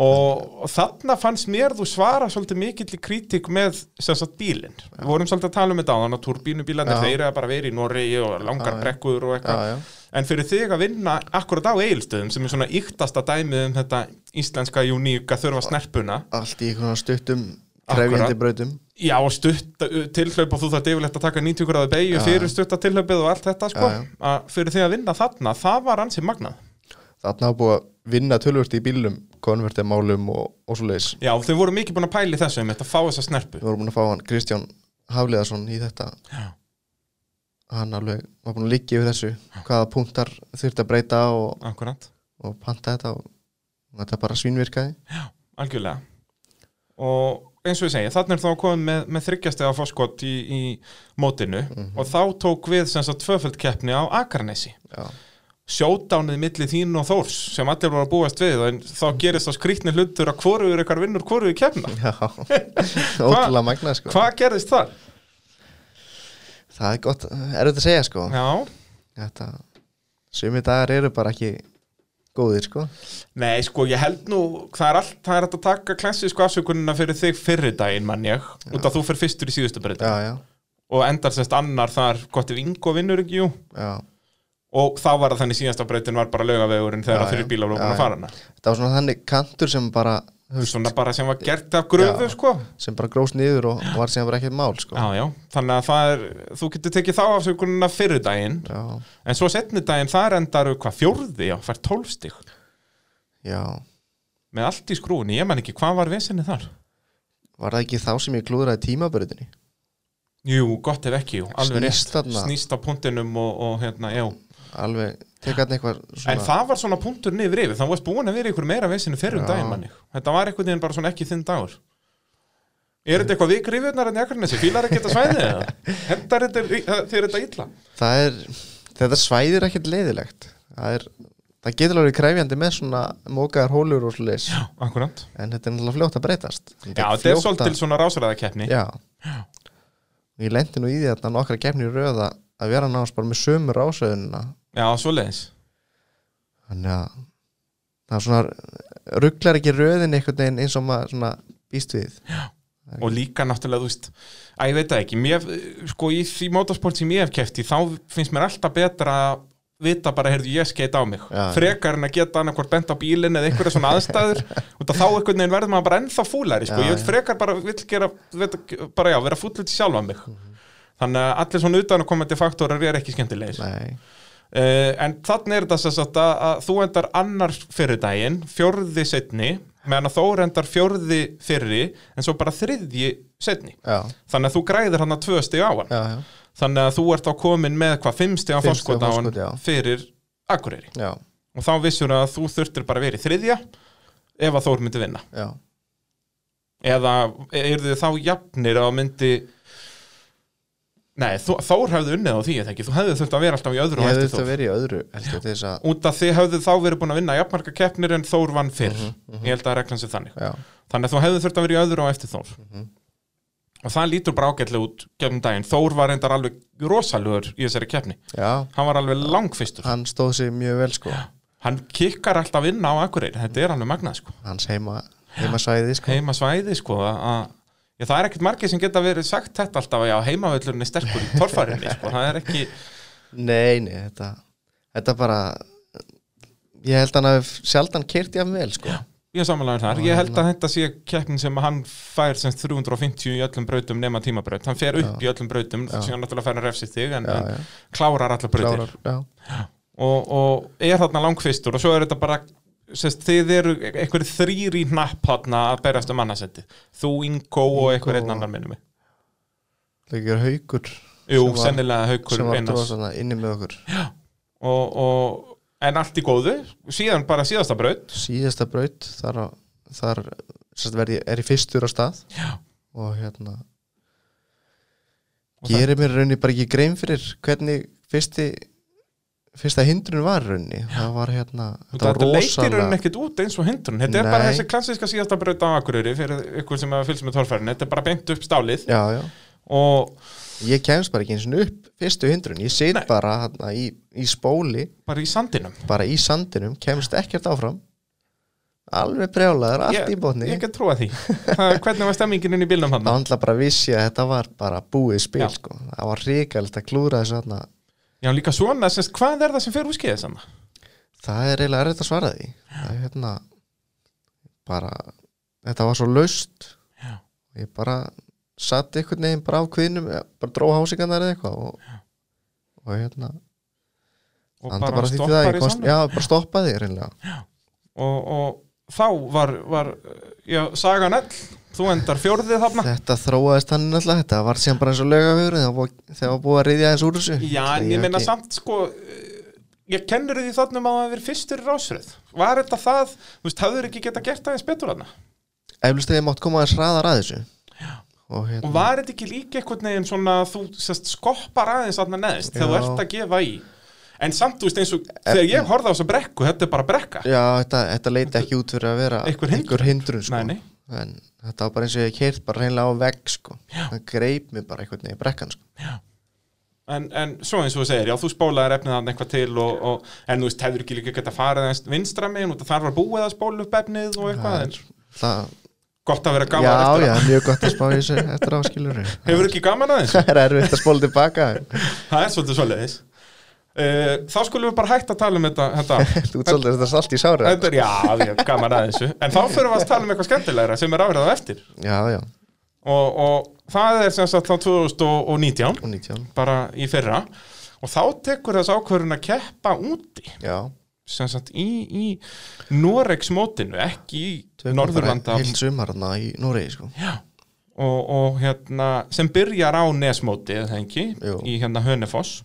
Speaker 1: og, og þarna fannst mér þú svara svolítið mikill í kritík með sem sagt bílinn, við vorum svolítið að tala um þetta á þannig að turbínubílarnir
Speaker 2: Já.
Speaker 1: þeir að bara verið í Noregi og langar
Speaker 2: Já, já.
Speaker 1: brekkur og
Speaker 2: já,
Speaker 1: eitthvað
Speaker 2: já.
Speaker 1: en fyrir þig að vinna akkurat á eigilstöðum sem er svona yktasta dæmið um þetta íslenska uníka þurfa snerpuna
Speaker 2: allt í einhvern stuttum
Speaker 1: Akkurat.
Speaker 2: krefjandi brautum
Speaker 1: Já, og stutt tilhlaup og þú þarf yfirleitt að taka 90 gráðu beigju
Speaker 2: Já,
Speaker 1: fyrir
Speaker 2: já.
Speaker 1: stutta tilhlaupið og allt þetta sko.
Speaker 2: Já, já.
Speaker 1: að fyrir því að vinna þarna, það var ansið magnað.
Speaker 2: Þarna hafa búið að vinna tölvörst í bílum, konvertimálum og, og svo leiðis.
Speaker 1: Já, þau voru mikið búin að pæli þessu um þetta að fá þessa snerpu.
Speaker 2: Við vorum búin að fá hann Kristján Hafliðarsson í þetta.
Speaker 1: Já.
Speaker 2: Hann alveg var búin að liggja yfir þessu, hvaða punktar þurfti að breyta og,
Speaker 1: Akkurat,
Speaker 2: og panta þetta og þetta bara svínvirkaði.
Speaker 1: algjörlega. Og eins og ég segi, þarna er þá komið með, með þryggjastega foskot í, í mótinu
Speaker 2: Mhm.
Speaker 1: og þá tók við sem sagt tvöföld keppni á Akarnesi.
Speaker 2: Já,
Speaker 1: Sjótánið milli þín og Þórs sem allir voru að búast við en þá gerist þá skrýtni hlutur að hvoruður ykkar vinnur hvoruður keppna.
Speaker 2: já. ótrúlega magnað sko.
Speaker 1: Hvað gerðist þar?
Speaker 2: Það er gott, er þetta að segja sko.
Speaker 1: Já,
Speaker 2: Þetta, sumi dagar eru bara ekki góðir sko.
Speaker 1: Nei, sko, ég held nú, það er allt, það er hægt að taka klassísku afsökunina fyrir þig fyrri daginn, mann ég, út að þú fyrir fyrstur í síðustu breyta
Speaker 2: Já, já,
Speaker 1: og endar sérst annar þar, gott ef Ingo vinnur ekki, jú,
Speaker 2: já.
Speaker 1: og þá var það þannig síðasta breytin var bara laugavegurinn þegar
Speaker 2: Já,
Speaker 1: að
Speaker 2: já.
Speaker 1: fyrir bílar voru
Speaker 2: Já,
Speaker 1: búin að
Speaker 2: já.
Speaker 1: fara hana.
Speaker 2: Þetta var svona þannig kantur sem bara, þú veist,
Speaker 1: Svona bara sem var gert af gröfu,
Speaker 2: Já.
Speaker 1: sko.
Speaker 2: sem bara grós niður og var síðan bara ekkert mál sko.
Speaker 1: Já, já, þannig að það er, þú getur tekið þá afsökunina fyrri daginn,
Speaker 2: já,
Speaker 1: en svo setni daginn þar endar hvað fjórði, já, fær tólfstig
Speaker 2: já.
Speaker 1: með allt í skrúinni, ég man ekki, hvað var vesinni þar?
Speaker 2: var það ekki þá sem ég klúðraði tímabröðinni
Speaker 1: Jú, gott ef ekki, jú, alveg
Speaker 2: Snýst
Speaker 1: rétt,
Speaker 2: þarna.
Speaker 1: snýst á punktinum og, og hérna, já,
Speaker 2: alveg, teka hann eitthvað
Speaker 1: en
Speaker 2: svona
Speaker 1: það var svona punktur niður yfir, það varst búin að vera ykkur meira vesinu fyrir um
Speaker 2: Já.
Speaker 1: daginn manni, þetta var einhvern veginn bara svona ekki þinn dagur. Er þetta eitthvað við grifjurnar en jakkarnesi, fílar ekki þetta svæðið eða? Hendar þetta, það- þér þetta illa?
Speaker 2: það er, þetta svæði er ekkert leiðilegt það er, það getur alveg kræfjandi með svona mókaðar hólur og slis
Speaker 1: Já, akkurant.
Speaker 2: en þetta er náttúrulega fljótt að breytast
Speaker 1: Já, þetta er svolítil svona rásræðakeppni.
Speaker 2: já. ég lendi nú í því að nokkra kemni röða að vera náðast bara með sömu rásöðunina
Speaker 1: Já, svoleiðis.
Speaker 2: þannig að það er svona rugglar ekki röðin einhvern veginn eins og maður svona býst við
Speaker 1: Og líka náttúrulega, þú veist, að ég veit það ekki, mér, sko, í því motorsport sem ég hef kefti, þá finnst mér alltaf betra að vita bara, heyrðu, ég skeit á mig
Speaker 2: Já, já.
Speaker 1: frekar en að geta annarkvort bent á bílinn eða einhverja svona aðstæður og þá einhvern veginn verður maður bara ennþá fúlari sko.
Speaker 2: Já,
Speaker 1: ég vil
Speaker 2: já.
Speaker 1: frekar bara, vil gera, veit, bara já, vera fúllit sjálfa mig
Speaker 2: Mhm.
Speaker 1: þannig að allir svona utan að komandi faktorar er ekki skemmtilegis uh,
Speaker 2: nei,
Speaker 1: Eh, en þannig er þetta sem sagt að, að þú endar annar fyrir daginn, fjórði setni meðan að Þór endar fjórði fyrri en svo bara þriðji setni
Speaker 2: já,
Speaker 1: þannig að þú græðir hann að tvö stig á hann
Speaker 2: já, já
Speaker 1: þannig að þú ert þá komin með hvað fimm stiga
Speaker 2: Fimm
Speaker 1: fórskot
Speaker 2: stiga
Speaker 1: á
Speaker 2: forskot, já.
Speaker 1: hann fyrir Akureyri
Speaker 2: Já,
Speaker 1: og þá vissur að þú þurftir bara að vera í þriðja ef að Þór myndi vinna
Speaker 2: já,
Speaker 1: eða eru þið þá jafnir að myndi nei, þú, Þór hefði unnið á því eða ekki, þú hefði þurft að vera alltaf í öðru
Speaker 2: ég
Speaker 1: og
Speaker 2: hefði
Speaker 1: eftir
Speaker 2: þetta
Speaker 1: Þór
Speaker 2: verið í öðru held ég til þess að,
Speaker 1: út af þið hefði þá verið búin að vinna jafnmarka keppnir en Þór vann fyrr ég held að reglan sér þannig
Speaker 2: já,
Speaker 1: þannig að þú hefði þurft að vera í öðru á eftir Þór og það lítur bara ágætlega út gefnum daginn, Þór var reyndar alveg rosalugur í þessari keppni
Speaker 2: já
Speaker 1: hann var alveg langfyrstur
Speaker 2: hann stóð sér mjög vel sko
Speaker 1: hann kikkar alltaf inn á Akureyri þetta er alveg magnað sko
Speaker 2: hans heima, heimasvæði sko
Speaker 1: heima svæði sko að að- já, það er ekkert margir sem geta verið sagt þetta alltaf að já, heimavöllurinn er sterkur í torfærinni sko. það er ekki,
Speaker 2: Nei, nei, þetta þetta bara ég held hann að sjaldan kert ég af vel sko
Speaker 1: ég er samanlega þar ég
Speaker 2: hérna.
Speaker 1: held að þetta sé keppnin sem að hann fær sem 350 í öllum brautum nema tímabraut hann fer upp í öllum brautum sem hann náttúrulega fær að refsi þig en,
Speaker 2: Já, já.
Speaker 1: en klárar allar brautir
Speaker 2: klárar, já,
Speaker 1: og, og er þarna langfistur og svo er þetta bara sest, þið eru einhverjir þrýr í hnapp þarna að berjast um annarsetti þú, Ingo og einhver einn annar minnum mig.
Speaker 2: það ekki er haukur
Speaker 1: Jú,
Speaker 2: sem var-
Speaker 1: sennilega haukur
Speaker 2: sem var
Speaker 1: einnars og,
Speaker 2: dróðsana inni með okkur
Speaker 1: og, en allt í góðu síðan bara síðasta braut
Speaker 2: síðasta braut þar, á, þar sérst, verði, er ég fyrstur á stað
Speaker 1: Já.
Speaker 2: og hérna
Speaker 1: Og
Speaker 2: gerir mér raunni bara ekki grein fyrir hvernig fyrsti fyrsta hindrun var raunni það var hérna
Speaker 1: þetta, þetta leitir hann ekkert út eins og hindrun þetta er bara
Speaker 2: Nei.
Speaker 1: þessi klassiska síðasta braut á Akureyri fyrir ykkur sem hefur fylgst með torfærin þetta er bara beint upp stálið
Speaker 2: já, já.
Speaker 1: og
Speaker 2: ég kemst bara ekki eins og upp fyrstu hindrun, ég sit
Speaker 1: Nei.
Speaker 2: bara hérna, í, í spóli,
Speaker 1: bara í sandinum
Speaker 2: bara í sandinum kemst ekkert áfram alveg brjálaður, allt í botni
Speaker 1: ég, ég get trúa því Það- hvernig var stemmingin inn í bílnum hann
Speaker 2: það vandla bara vissi að þetta var bara búið spil
Speaker 1: Já.
Speaker 2: sko. það var ríkalegt að klúra þessu hérna.
Speaker 1: Já, líka svona, sérst, hvað er það sem fer úrskeiðis hann?
Speaker 2: það er eiginlega erfitt að svara því það er hérna bara, þetta var svo laust
Speaker 1: Já.
Speaker 2: ég bara satt einhvern veginn bara á kviðnum eða bara dró hásingarnar eða eitthvað og, og hérna
Speaker 1: og
Speaker 2: anda
Speaker 1: bara, bara
Speaker 2: bara því til það
Speaker 1: stoppar
Speaker 2: ég
Speaker 1: í
Speaker 2: komst,
Speaker 1: samlega
Speaker 2: já, bara stoppaði reynlega
Speaker 1: og, og þá var, var já, sagan all, þú endar fjórðið þarna
Speaker 2: þetta þróaðist hann alltaf þetta var síðan bara eins og lögavegur þegar var- þegar var búið að riðja eins úr þessu
Speaker 1: já, en
Speaker 2: Ég
Speaker 1: ég
Speaker 2: ekki-
Speaker 1: meina samt sko eh, ég kennur því þarna um að það hafi verið fyrstur í rásröð var þetta það, þú veist, hafður ekki geta gert aðeins betur þarna
Speaker 2: eflust þegar ég mátt koma aðeins hraðar að þessu og
Speaker 1: og
Speaker 2: hérna,
Speaker 1: var þetta ekki líka einhvern veginn svona að þú sest, skoppar aðeins þarna neðst þegar þú
Speaker 2: Já.
Speaker 1: ert að gefa í en samt, þú veist, eins og þegar ég horfði á þessa brekku þetta er bara brekka
Speaker 2: já, þetta, þetta leiti ekki út fyrir að vera
Speaker 1: Einhver hindrun.
Speaker 2: hindrun sko.
Speaker 1: Nei, nei.
Speaker 2: en þetta var bara eins og ég keirt bara reynlega á vegg sko. það greip mig bara einhvern veginn í brekkan sko.
Speaker 1: en, en svo eins og þú segir, já, þú spólaðir efnið þarna eitthvað til og, og, en þú veist, hefur ekki líka geta farið aðeins vinstra megin og þar var búið að spóla upp efnið og eitthvað, en
Speaker 2: það,
Speaker 1: gott að vera
Speaker 2: já,
Speaker 1: gaman eftir
Speaker 2: já,
Speaker 1: það
Speaker 2: mjög gott að spá í þessu eftir áskilur
Speaker 1: hefur ekki gaman aðeins,
Speaker 2: það er erfitt að spóla tilbaka
Speaker 1: það er svolítið svoleiðis uh, þá skulum við bara hægt að tala um þetta, þetta.
Speaker 2: þú ert svolítið að þetta er salt í sára
Speaker 1: þetta er, já, já, gaman aðeins en þá fyrir við að tala um eitthvað skemmtilegra sem er árið á eftir
Speaker 2: já, já,
Speaker 1: og, og það er sem sagt þá 2019
Speaker 2: og 19
Speaker 1: bara í fyrra og þá tekur þess ákvörðun að keppa úti
Speaker 2: já,
Speaker 1: sem sagt í, í Noregs mótinu, ekki í Norðurlanda
Speaker 2: heilt sumarna í Noregi sko.
Speaker 1: Já. og, og hérna sem byrjar á Nesmóti eða það ekki,
Speaker 2: Jú.
Speaker 1: í hérna Hönefoss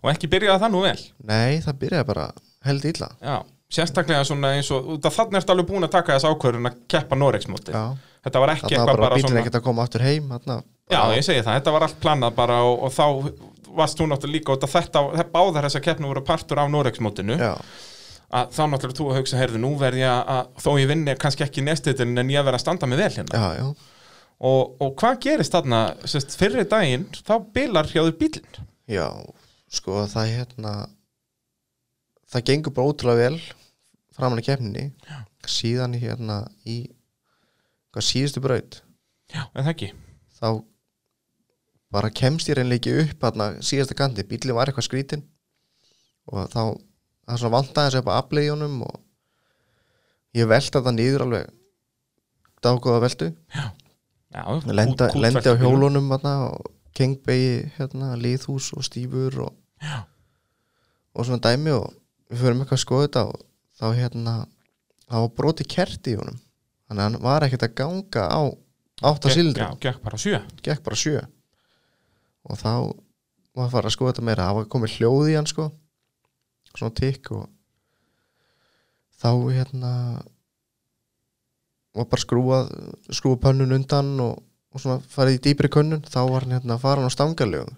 Speaker 1: og ekki byrjaði það nú vel
Speaker 2: nei, það byrjaði bara held illa
Speaker 1: Já, sérstaklega svona eins og það, þannig ertu alveg búin að taka þess ákvörðun að keppa Noregsmóti
Speaker 2: já,
Speaker 1: þetta var ekki
Speaker 2: þarna var
Speaker 1: eitthvað
Speaker 2: bara
Speaker 1: bara
Speaker 2: bílinn
Speaker 1: svona
Speaker 2: ekkert að koma aftur heim þarna,
Speaker 1: Já, ég segi það, þetta var allt planað bara og, og þá varst þú náttúrulega líka og þetta, þetta báðar þessa keppnum voru partur af Noregsmótinu
Speaker 2: já,
Speaker 1: að þá náttúrulega þú að hugsa, heyrðu, nú verð ég að- að þó ég vinni kannski ekki nestitin en ég verð að standa mig vel hérna
Speaker 2: já, já,
Speaker 1: og, og hvað gerist þarna, sérst, fyrri daginn þá bilar hjáðu bílinn
Speaker 2: já sko það hérna það gengur bara ótrúlega vel framlega kemni síðan hérna í hvað síðustu braut
Speaker 1: Já, en það ekki
Speaker 2: þá bara kemst ég reynleiki upp hérna síðasta kandi, bílinn var eitthvað skrítin og þá það er svona vantaði þessu upp að aflega í honum og ég velta það nýður alveg dágóða veltu
Speaker 1: Já,
Speaker 2: lenda,
Speaker 1: kú- kútfært
Speaker 2: lendi á
Speaker 1: bílum.
Speaker 2: hjólunum þarna, og kengbegi, hérna, liðhús og stífur og, og svona dæmi og við förum eitthvað að skoða þetta og þá hérna það var broti kerti í honum þannig að hann var ekkert að ganga á átta
Speaker 1: Gekk-
Speaker 2: sildri,
Speaker 1: Já, gekk bara á sjö
Speaker 2: gekk bara sjö og þá var að fara að skoða þetta meira það var komið hljóð í hann sko svona tikk og þá hérna var bara skrúað skrúað pönnun undan og, og svona farið í dýpri könnun þá var hann hérna farin á stangalögum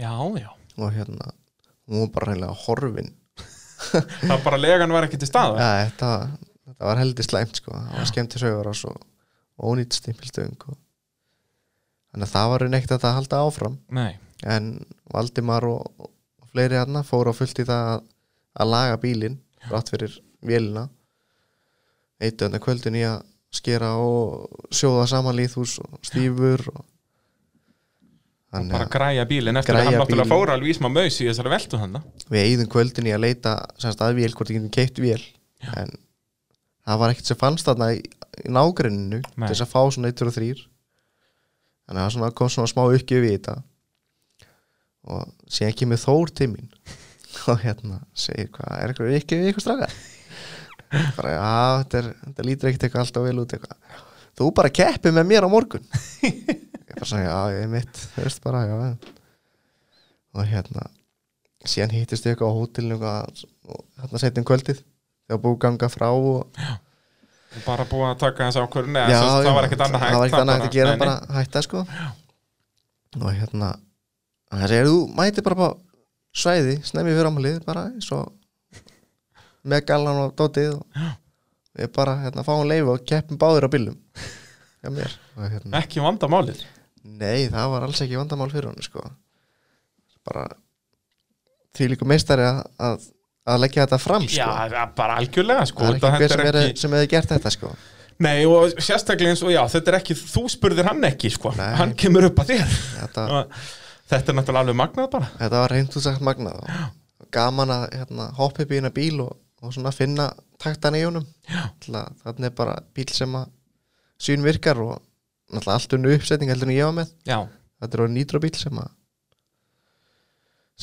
Speaker 1: Já, já
Speaker 2: og hérna hún var bara reynilega horfin
Speaker 1: Það bara legan var ekki til staða
Speaker 2: ja, þetta, þetta var heldur slæmt sko það var skemmt í sögur og svo ónýtt stimpildöng og... þannig að það var reyni ekkert að það halda áfram
Speaker 1: Nei,
Speaker 2: en Valdimar og, og fleiri hérna fóru á fullt í það að, að laga bílinn rátt fyrir vélina eittu þarna kvöldin í að skera og sjóða saman líðhús og stífur og þannig
Speaker 1: bara
Speaker 2: að
Speaker 1: græja bílinn eftir
Speaker 2: Græja
Speaker 1: að hann náttúrulega
Speaker 2: bílinn.
Speaker 1: fór alveg í smá maus í þessari veltu hann
Speaker 2: við eigðum kvöldin í að leita semst að vél hvort ég getum keitt vél en það var ekkert sem fannst þarna í, í nágrenninu
Speaker 1: Nei.
Speaker 2: til þess að fá svona 1 og 3 þannig að það svona kom svona smá uppgjöf í þetta og síðan kemur Þór til mín og hérna segir hvað er eitthvað uppgjöf í eitthvað straka bara já, þetta, er, þetta lítur ekkert eitthvað alltaf vel út eitthvað þú bara keppi með mér á morgun ég bara svona já, ég er mitt þú veist bara, já og hérna síðan hittist ég eitthvað á hótelinu eitthvað, og þarna setjum kvöldið þegar búið að ganga frá og,
Speaker 1: bara búið að taka þess ákvörðun eða sem sagt, það var ekkert annað hægt
Speaker 2: það var ekkert annað
Speaker 1: bara-
Speaker 2: hægt að gera
Speaker 1: nei, nei.
Speaker 2: bara hætta sko og hérna hann segir þú mæti bara á svæði snemmi fyrir ámalið bara svo með gallan og dótið og við bara hérna fáum leif og keppum báðir á bílum hjá mér og hérna
Speaker 1: ekki vandamálið
Speaker 2: Nei, það var alls ekki vandamál fyrir hann sko. bara því líka meistari að, að, að leggja þetta fram sko.
Speaker 1: já, það er bara algjörlega sko,
Speaker 2: það er
Speaker 1: þetta-
Speaker 2: ekki hver
Speaker 1: þetta
Speaker 2: sem, er, sem hefði gert þetta sko.
Speaker 1: nei, og sérstaklega eins og já, þetta er ekki þú spurðir hann ekki, sko,
Speaker 2: Nei.
Speaker 1: hann kemur upp að þér
Speaker 2: þetta,
Speaker 1: þetta er náttúrulega alveg magnað bara
Speaker 2: þetta var reynd úr sagt magnað og og gaman að hérna, hoppa upp í hérna bíl og, og svona finna taktan í honum Ætla, þannig er bara bíl sem að sýn virkar og náttúrulega allt unnu uppsetning heldur en ég var með
Speaker 1: já,
Speaker 2: þetta er orðin nýtróbíl sem að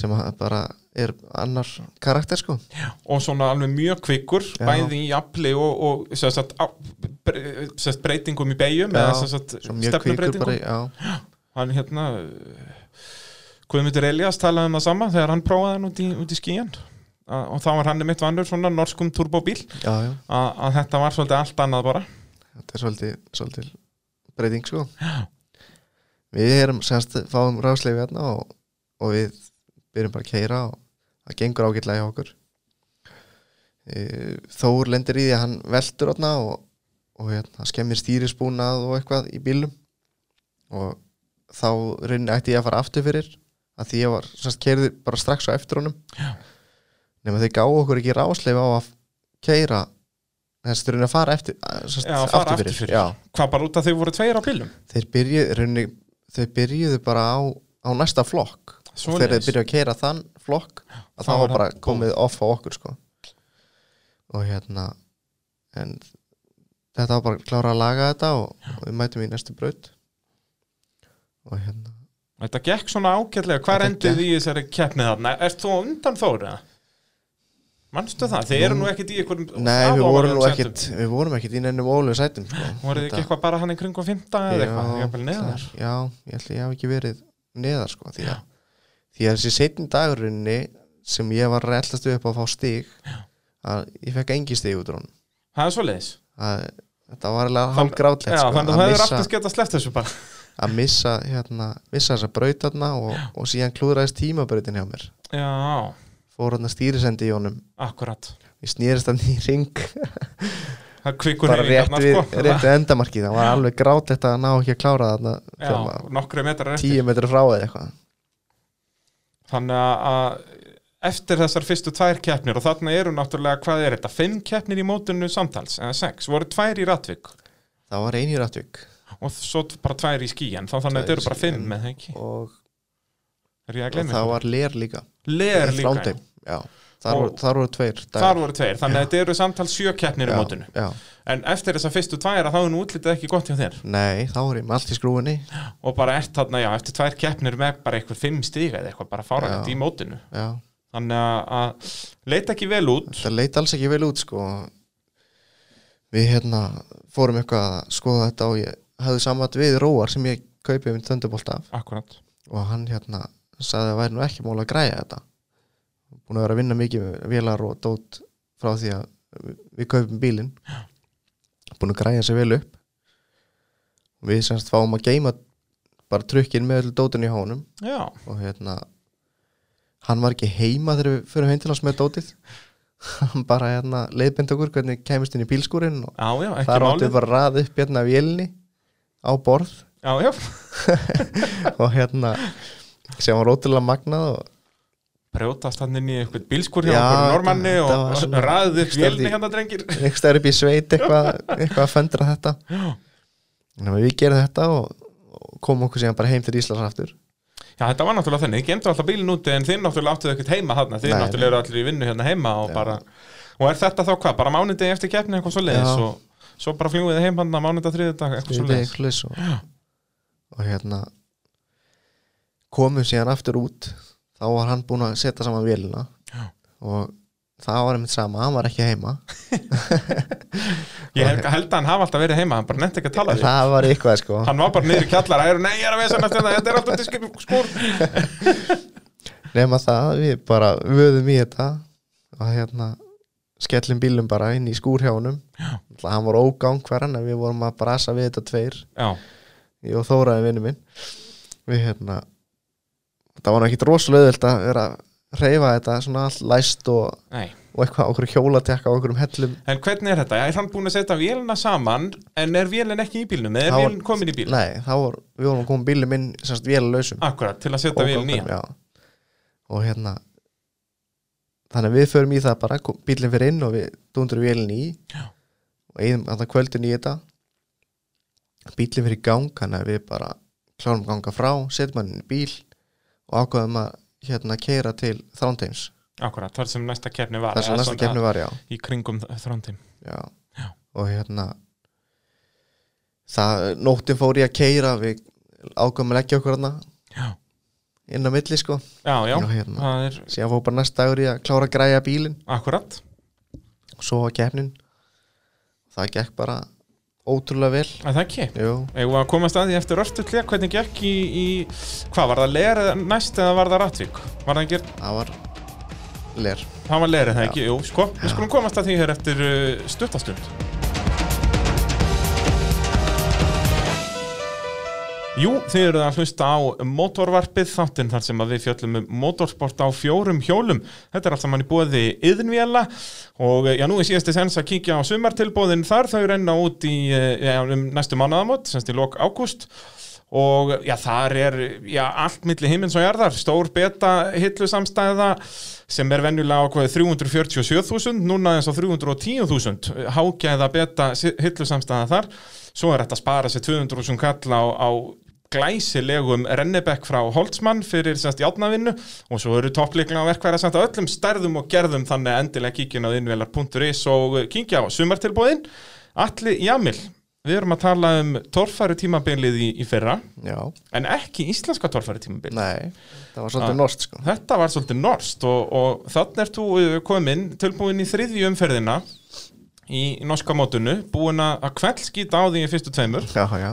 Speaker 2: sem að bara er annar karakter sko
Speaker 1: og svona alveg mjög kvikkur
Speaker 2: Já.
Speaker 1: bæði í afli og, og sem sagt, á, bre, sem sagt, breytingum í beigjum
Speaker 2: Já,
Speaker 1: eða sem sagt,
Speaker 2: svo mjög kvíkur bara,
Speaker 1: stefnubreytingum
Speaker 2: já,
Speaker 1: hann hérna Guðmundur Elias talaði um það sama þegar hann prófaði hann út í, út í skíjan A, og þá var hann mitt vannur svona norskum turbóbíl
Speaker 2: já, já,
Speaker 1: a, að þetta var svolítið allt annað bara
Speaker 2: þetta er svolítið, svolítið breyting sko við erum semst fáum ráðsleifu hérna og, og við byrjum bara að keira og það gengur ágætlega hjá okkur e, Þór lendir í því að hann veltur hérna og, og hérna skemmir stýrisbúnað og eitthvað í bílum og þá rauninni ætti ég að fara aftur fyrir að því ég var semst keirði bara strax á eftir honum
Speaker 1: Já.
Speaker 2: nema þau gáðu okkur ekki ráðsleifu á að keira þessi rauninni að fara eftir að, semst,
Speaker 1: Já, að fara aftur fyrir.
Speaker 2: Já,
Speaker 1: hvað bara út að þau voru tveir á bílum
Speaker 2: þeir byrjuðu rauninni, þau byrjuðu bara á, á næsta flokk og þegar
Speaker 1: Svoleiðis.
Speaker 2: þeir byrjuðu að keira þann flokk að
Speaker 1: þá
Speaker 2: það
Speaker 1: var
Speaker 2: var bara
Speaker 1: hann
Speaker 2: komið off á okkur sko og hérna en þetta var bara að klára að laga þetta og, og við mætum í næstu braut og hérna
Speaker 1: Þetta gekk svona ágætlega, hvað
Speaker 2: Þetta
Speaker 1: endið í þessari keppnið þarna? Ert þú á undan Þór eða? Manstu það? Þið eru nú ekkert í einhverjum
Speaker 2: nei við
Speaker 1: afávalegum
Speaker 2: vorum nú
Speaker 1: sætum.
Speaker 2: ekkit við vorum ekkit í neinum ólega sætum sko.
Speaker 1: um Voruð þið ekki
Speaker 2: Þetta-
Speaker 1: eitthvað bara hann í kringum fymta eða eitthvað, jafnvel neðar?
Speaker 2: það- já, ég ætli ég hafi ekki verið neðar sko, því að, því að þessi seitin dagurinni sem ég var rellast upp á að fá stig að ég fekk engi stig út úr hún
Speaker 1: Það er svoleiðis.
Speaker 2: að þetta var alveg
Speaker 1: Þann-
Speaker 2: hálf grátlegt
Speaker 1: Já,
Speaker 2: sko,
Speaker 1: þannig að
Speaker 2: að,
Speaker 1: það er
Speaker 2: missa,
Speaker 1: aftur skett að sleppt þessu bara.
Speaker 2: að missa hérna, missa þessa braut þarna og, og síðan klúðraðist tímabrautin hjá mér
Speaker 1: Já,
Speaker 2: fór hann að stýrisendi í honum
Speaker 1: akkurat.
Speaker 2: ég snýrist hann í ring
Speaker 1: Það er kvikur hérna,
Speaker 2: bara rétt við,
Speaker 1: sko.
Speaker 2: rétt við endamarkið það var alveg grátlegt að ná ekki að klára þarna
Speaker 1: Já,
Speaker 2: þegar maður-
Speaker 1: nokkru metrar eftir.
Speaker 2: Hérna, tíu metri frá eða eitthvað
Speaker 1: Þannig að- að eftir þessar fyrstu tvær keppnir og þarna eru náttúrulega, hvað er þetta? Fimm keppnir í mótinu samtals, eða sex, voru tvær í ratvík
Speaker 2: það var einhjur aðtök
Speaker 1: og svo bara tvær í skíin, þá þannig að
Speaker 2: Tvær
Speaker 1: þetta eru
Speaker 2: í
Speaker 1: bara fimm,
Speaker 2: skýin.
Speaker 1: eða ekki?
Speaker 2: og
Speaker 1: Er ég að
Speaker 2: og
Speaker 1: gleyma
Speaker 2: það
Speaker 1: ykkur?
Speaker 2: var ler líka
Speaker 1: Leir líka
Speaker 2: Þrándheim, já. þar,
Speaker 1: Og-
Speaker 2: voru, þar voru tveir dagar.
Speaker 1: Þar voru tveir, þannig að þetta eru samtals sjö keppnir í
Speaker 2: Já,
Speaker 1: mótinu
Speaker 2: já.
Speaker 1: En eftir þess að fyrstu tvær að þá er nú útlitið ekki gott hjá þér
Speaker 2: nei, þá voru ég með allt í skrúinni
Speaker 1: Og bara ert þarna, já, eftir tvær keppnir með bara einhver fimm stíga eða eitthvað bara fáralegt
Speaker 2: Já.
Speaker 1: í mótinu
Speaker 2: já.
Speaker 1: Þannig að- að leita ekki vel út
Speaker 2: það leit alls ekki vel út sko. við hérna fórum eitthvað að skoða þetta og ég hafði saman við Róar sem ég kaupið minn þöndubolt af
Speaker 1: Akkurat
Speaker 2: og hann hérna sagði að það væri nú ekki mál að græja þetta búin að vera að vinna mikið með vélar og dót frá því að við- við kaupum bílinn búin að græja sér vel upp og við semst fáum að geima bara trukkin með öllu dótin í hónum
Speaker 1: Já,
Speaker 2: og hérna hann var ekki heima þegar við fyrir heim til hans með dótið hann bara hérna leiðbind okkur hvernig kemist inn í bílskúrin og
Speaker 1: já, já, ekki
Speaker 2: þar áttu
Speaker 1: málið
Speaker 2: bara að ræða upp hérna vélni á borð
Speaker 1: Já, já,
Speaker 2: og hérna sem var ótrúlega magnað og
Speaker 1: brjótast hann inn í eitthvað bílskur hjá
Speaker 2: Já,
Speaker 1: okkur normanni
Speaker 2: þetta var
Speaker 1: og
Speaker 2: svona-
Speaker 1: ræðið upp
Speaker 2: Stærði-
Speaker 1: vélni hérna drengir
Speaker 2: einhvers staðar upp í sveit eitthvað eitthvað að föndra þetta
Speaker 1: Já.
Speaker 2: Þannig að við gerum þetta og, og komum okkur síðan bara heim til Íslands aftur
Speaker 1: Já, þetta var náttúrulega þannig, þið gemdu alltaf bílinn úti en þið náttúrulega áttuðu ekkert heima þarna, þið
Speaker 2: Nei,
Speaker 1: náttúrulega eru allir í vinnu hérna heima og
Speaker 2: Já.
Speaker 1: bara, og er þetta þá hvað, bara mánudegi eftir keppni eitthvað svo leiðis
Speaker 2: Já.
Speaker 1: og svo bara fljúið heim hann að mánudag þriðudag eitthvað svo leiðis.
Speaker 2: Svoleiðis og, og hérna komum síðan aftur út þá var hann búinn að setja saman vélina
Speaker 1: Já.
Speaker 2: og það var einmitt sama, hann var ekki heima
Speaker 1: Ég held, held að hann hafa alltaf verið heima, hann bara nefndi ekki að tala því.
Speaker 2: það var eitthvað sko
Speaker 1: Hann var bara niður í kjallara, ég er, nei, ég er að veisa næstu þetta, þetta er alltaf diskið skúr.
Speaker 2: nema það, við bara vöðum í þetta og hérna skellum bílum bara inn í skúrhjánum
Speaker 1: Já.
Speaker 2: hann var ógang hverjan en við vorum að brasa við þetta tveir
Speaker 1: Já,
Speaker 2: ég og Þóraði vinnu minn við hérna það var ekki rosalega auðvelt að vera að reyfa þetta svona allt læst og,
Speaker 1: nei.
Speaker 2: og eitthvað á okkur hjólatekka á okkur um hellum
Speaker 1: En hvernig er þetta? Er hann búin að setja vélina saman, en er vélin ekki í bílnum, eða er
Speaker 2: Þá var-
Speaker 1: vélin komin í bíl?
Speaker 2: nei, þá var, við vorum að koma bílum inn semst vel lausum
Speaker 1: Akkurat, til að setja vélin í hann.
Speaker 2: já. og hérna þannig að við förum í það bara kom- bílinn fyrir inn og við dundurum vélinn í
Speaker 1: Já.
Speaker 2: og eigum að það kvöldin í þetta bílinn fyrir í gang þannig að við bara klárum að ganga frá setjum hann inn í bíl og ákveðum að hérna keira til þrándeims
Speaker 1: Akkurat, þar sem næsta keppni var.
Speaker 2: þar sem
Speaker 1: eða
Speaker 2: næsta
Speaker 1: svona
Speaker 2: kemni var já,
Speaker 1: Í kringum þrándin.
Speaker 2: já.
Speaker 1: Já.
Speaker 2: og hérna það, nóttin fór ég að keira við ákvæmum að leggja okkur hana
Speaker 1: Já.
Speaker 2: inn á milli sko
Speaker 1: já, já,
Speaker 2: Já, hérna.
Speaker 1: það er
Speaker 2: síðan fór bara næst dagur í að klára að græja bílinn
Speaker 1: akkurat
Speaker 2: og svo var keppnin það gekk bara ótrúlega vel
Speaker 1: að það ekki
Speaker 2: Jú,
Speaker 1: Eða að komast að því eftir örstulega hvernig gekk í, í hvað var það leir eða næst eða var það ratvík var það gert,
Speaker 2: það var ler
Speaker 1: það var leir eða ekki, jú sko, við skulum komast að því hér eftir uh, stuttastund Jú, þið eruð að hlusta á motorvarpið þáttinn þar sem að við fjöllum um motorsport á fjórum hjólum. Þetta er allt saman í bóði yðnvéla og eh, já, nú er síðasti sens að kíkja á sumartilbóðin þar. Þau renna út í eh, já, um næstu mánuðamót, semst í lok ágúst og já, þar er já, allt milli himins og jarðar. Stór beta hillusamstæða sem er venjulega ákveðið 347.000, núna eins og 310.000. Hágæða beta hillusamstæða þar. Svo er þetta að spara sér 200.000 kall á, á glæsilegum rennebekk frá Holtzmann fyrir semst játnavinnu og svo eru toppleiklega verkværa semst á öllum stærðum og gerðum þannig að endilega kíkja á innvelar.is og eh, kíkja á sumartilbóðin. Alli Jamil, við erum að tala um torfæru tímabilið í, í fyrra
Speaker 2: Já,
Speaker 1: en ekki íslenska torfæru tímabilið.
Speaker 2: nei, það var svolítið norst sko
Speaker 1: Þetta var svolítið norst og, og þannig ert þú uh, kominn tilbúin í þriðju umferðina í norska mótunu, búin að kveldskýta á því í fyrstu tveimur
Speaker 2: Já, já,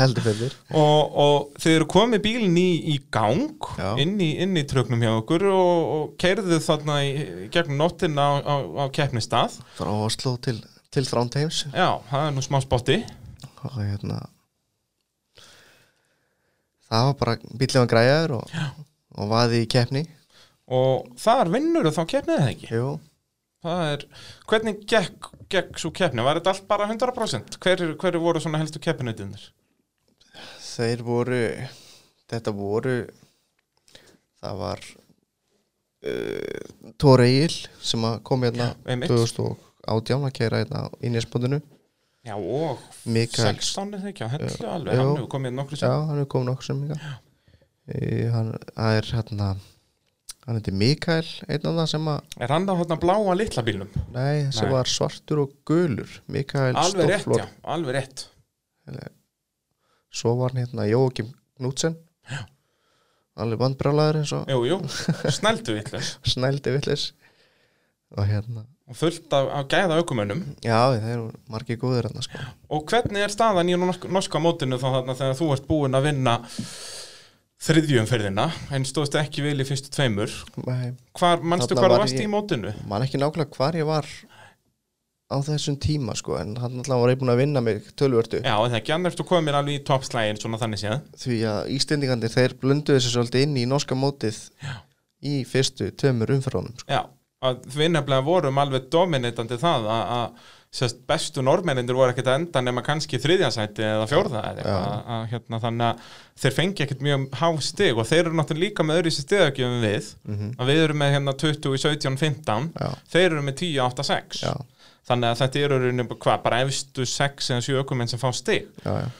Speaker 2: heldur fyrir
Speaker 1: og, og þið eru komið bílinn í, í gang
Speaker 2: Já.
Speaker 1: inn í, inn í trögnum hjá okkur og, og keirðu þarna í, í gegnum nóttina á, á, á keppnistað
Speaker 2: frá Oslo til, til Þrándheims
Speaker 1: Já, það er nú smá spotti
Speaker 2: og hérna það var bara bíllum að græjaður og, og vaði í keppni
Speaker 1: og þar vinnur þá keppnið það ekki
Speaker 2: Jú,
Speaker 1: það er, Hvernig gekk, gekk svo keppni? Var þetta allt bara 100%? Hverju hver voru svona helstu keppinutinnir?
Speaker 2: þeir voru þetta voru það var uh, Tóra Egil sem að kom hérna
Speaker 1: einmitt.
Speaker 2: 2018 að keira hérna í nýjaspóndinu
Speaker 1: Já, og
Speaker 2: Mikael
Speaker 1: 16 er það ekki, hann heldur
Speaker 2: Jú.
Speaker 1: alveg, hann hefur komið nokkru
Speaker 2: Já,
Speaker 1: sem
Speaker 2: hann er komin okkur sem ykkar hann það er hérna hann heiti Mikael einn af það sem að
Speaker 1: Er hann á hérna bláa litla bílnum?
Speaker 2: Nei, þessi
Speaker 1: Nei.
Speaker 2: var svartur og gulur Mikael
Speaker 1: Alveg rétt,
Speaker 2: Stofflor
Speaker 1: já, alveg rétt
Speaker 2: Svo var hann hérna Jóakim Knudsen Alveg vandbrálaður eins og
Speaker 1: Jú, jú, snældu vitlega
Speaker 2: snældi villis Og hérna
Speaker 1: og fullt af, af gæða aukumönnum
Speaker 2: Já, þeir eru margir góður hérna sko
Speaker 1: og hvernig er staðan í norsk, norska mótinu þá þarna þegar þú ert búinn að vinna þriðjumferðina en stóðst ekki vel í fyrstu tveimur
Speaker 2: Nei,
Speaker 1: hvar, manstu
Speaker 2: Þarna
Speaker 1: hvar
Speaker 2: var
Speaker 1: þú varst
Speaker 2: ég-
Speaker 1: í mótinu?
Speaker 2: Man ekki nákvæmlega hvar ég var á þessum tíma sko En hann alltaf var einbúin að vinna mig tölvörtu
Speaker 1: Já, það ekki, annars þú komir alveg í toppslægin svona þannig séð
Speaker 2: Því að Íslendingandir þeir blönduðu þessu svolítið inn í norska mótið Já. Í fyrstu tömur umferðunum sko.
Speaker 1: Já, að við nefnilega vorum alveg dominitandi það að, að sérst, bestu normennindur voru ekkert að enda nema kannski þriðjansæti eða fjórða eða eitthvað, að, að, hérna, þannig að þeir fengi ekkert mjög há stig og þeir eru náttúrulega líka með öðru sér stigagjöfum við að við erum með hérna 20, 17, 15
Speaker 2: Mhm. Já.
Speaker 1: þeir eru með 10, 8, 6
Speaker 2: Já,
Speaker 1: þannig að þetta eru í rauninni bara- hvað, bara efstu 6 eða 7 ökumenn sem fá stig
Speaker 2: já, já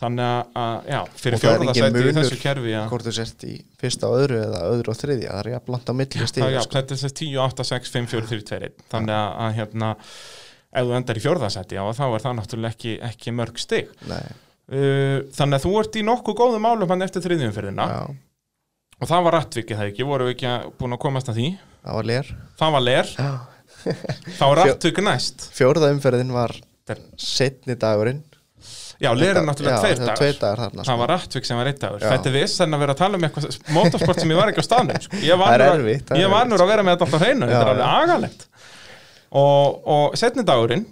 Speaker 1: þannig að, að já, fyrir
Speaker 2: Og það er engin
Speaker 1: fjórðarsæti í
Speaker 2: munur
Speaker 1: þessu kerfi að,
Speaker 2: hvort þú sért í fyrsta og öðru eða öðru og þriðja það er jafn langt á milli
Speaker 1: það, já,
Speaker 2: stíð sko.
Speaker 1: þetta er þess 10, 8, 6, 5, 4, 3, 2 1. þannig að, að hérna ef þú endar í fjórðasæti, já, þá er það náttúrulega ekki, ekki mörg stig
Speaker 2: Nei,
Speaker 1: uh, þannig að þú ert í nokkuð góðum álum hann eftir þriðjumferðina
Speaker 2: já,
Speaker 1: og það var rattvikið það ekki, voru við ekki að- búin að komast að því
Speaker 2: það var lér
Speaker 1: það var ler, þá er rattvik næst
Speaker 2: fjórða umferðin var
Speaker 1: Þetta er-
Speaker 2: setni dagurinn
Speaker 1: já, ler er náttúrulega
Speaker 2: Já,
Speaker 1: tveir
Speaker 2: það var
Speaker 1: dagar
Speaker 2: tveir dagar þarna, sko.
Speaker 1: það var rattvik sem var eitt dagur
Speaker 2: Já.
Speaker 1: þetta er viss en að vera að tala um eitthvað motorsport sem ég var ekki á staðnum sko. ég
Speaker 2: Það
Speaker 1: var
Speaker 2: er
Speaker 1: nú að-
Speaker 2: erfitt, það er
Speaker 1: ég var
Speaker 2: erfitt,
Speaker 1: nú að vera með þetta alltaf á hreinu þetta er
Speaker 2: Já,
Speaker 1: alveg agalegt og, og setni dagurinn,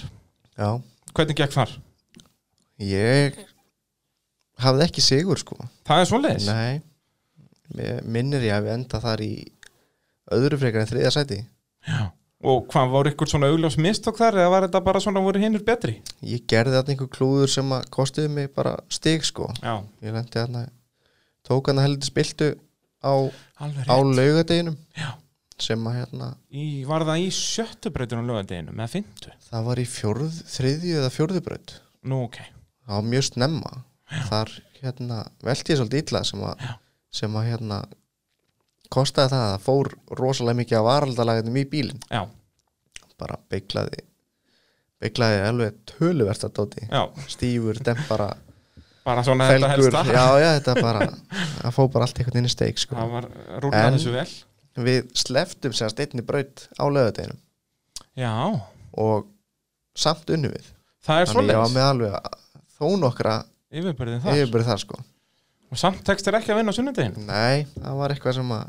Speaker 2: já,
Speaker 1: hvernig gekk þar?
Speaker 2: ég hafði ekki sigur sko
Speaker 1: Það er svoleiðis?
Speaker 2: Nei, Mér minnir ég að við enda þar í öðru frekar en þriðja sæti
Speaker 1: Já. Og hvað, voru ykkur svona augljós mistök þar eða var þetta bara svona voru hinnur betri?
Speaker 2: ég gerði þarna einhver klúður sem að kostiði mig bara stig sko
Speaker 1: Já,
Speaker 2: ég lendi þarna tók hann að heldur spiltu á,
Speaker 1: alveg
Speaker 2: á laugadeginum
Speaker 1: Já.
Speaker 2: sem að hérna
Speaker 1: Í, var það í sjöttu breytinu á lögadeginu með fintu?
Speaker 2: Það var í fjórð, þriðju eða fjórðu braut
Speaker 1: Nú, ok.
Speaker 2: Það var mjög snemma Þar hérna, velti ég svolítið illa sem að, sem að hérna kostaði það að það fór rosalega mikið af varaldalaginum í bílinn
Speaker 1: Já,
Speaker 2: bara beiglaði Beklaði alveg töluvert að dóti
Speaker 1: Já,
Speaker 2: Stífur, dempara,
Speaker 1: bara svona þetta
Speaker 2: felgur
Speaker 1: helsta
Speaker 2: Já, já, þetta bara Það fóð bara allt einhvern inn í steik sko.
Speaker 1: Það var rúlað
Speaker 2: En-
Speaker 1: þessu vel
Speaker 2: Við sleftum semst einni braut á lögadeginum
Speaker 1: Já,
Speaker 2: og samt unnu við
Speaker 1: það er
Speaker 2: Þannig ég var
Speaker 1: svoleiðis
Speaker 2: með alveg að- þó nokkra
Speaker 1: Yfirbyrðin þar
Speaker 2: yfirbyrð þar sko
Speaker 1: Og samt tekst er ekki að vinna á sunnudeginu
Speaker 2: Nei, það var eitthvað sem að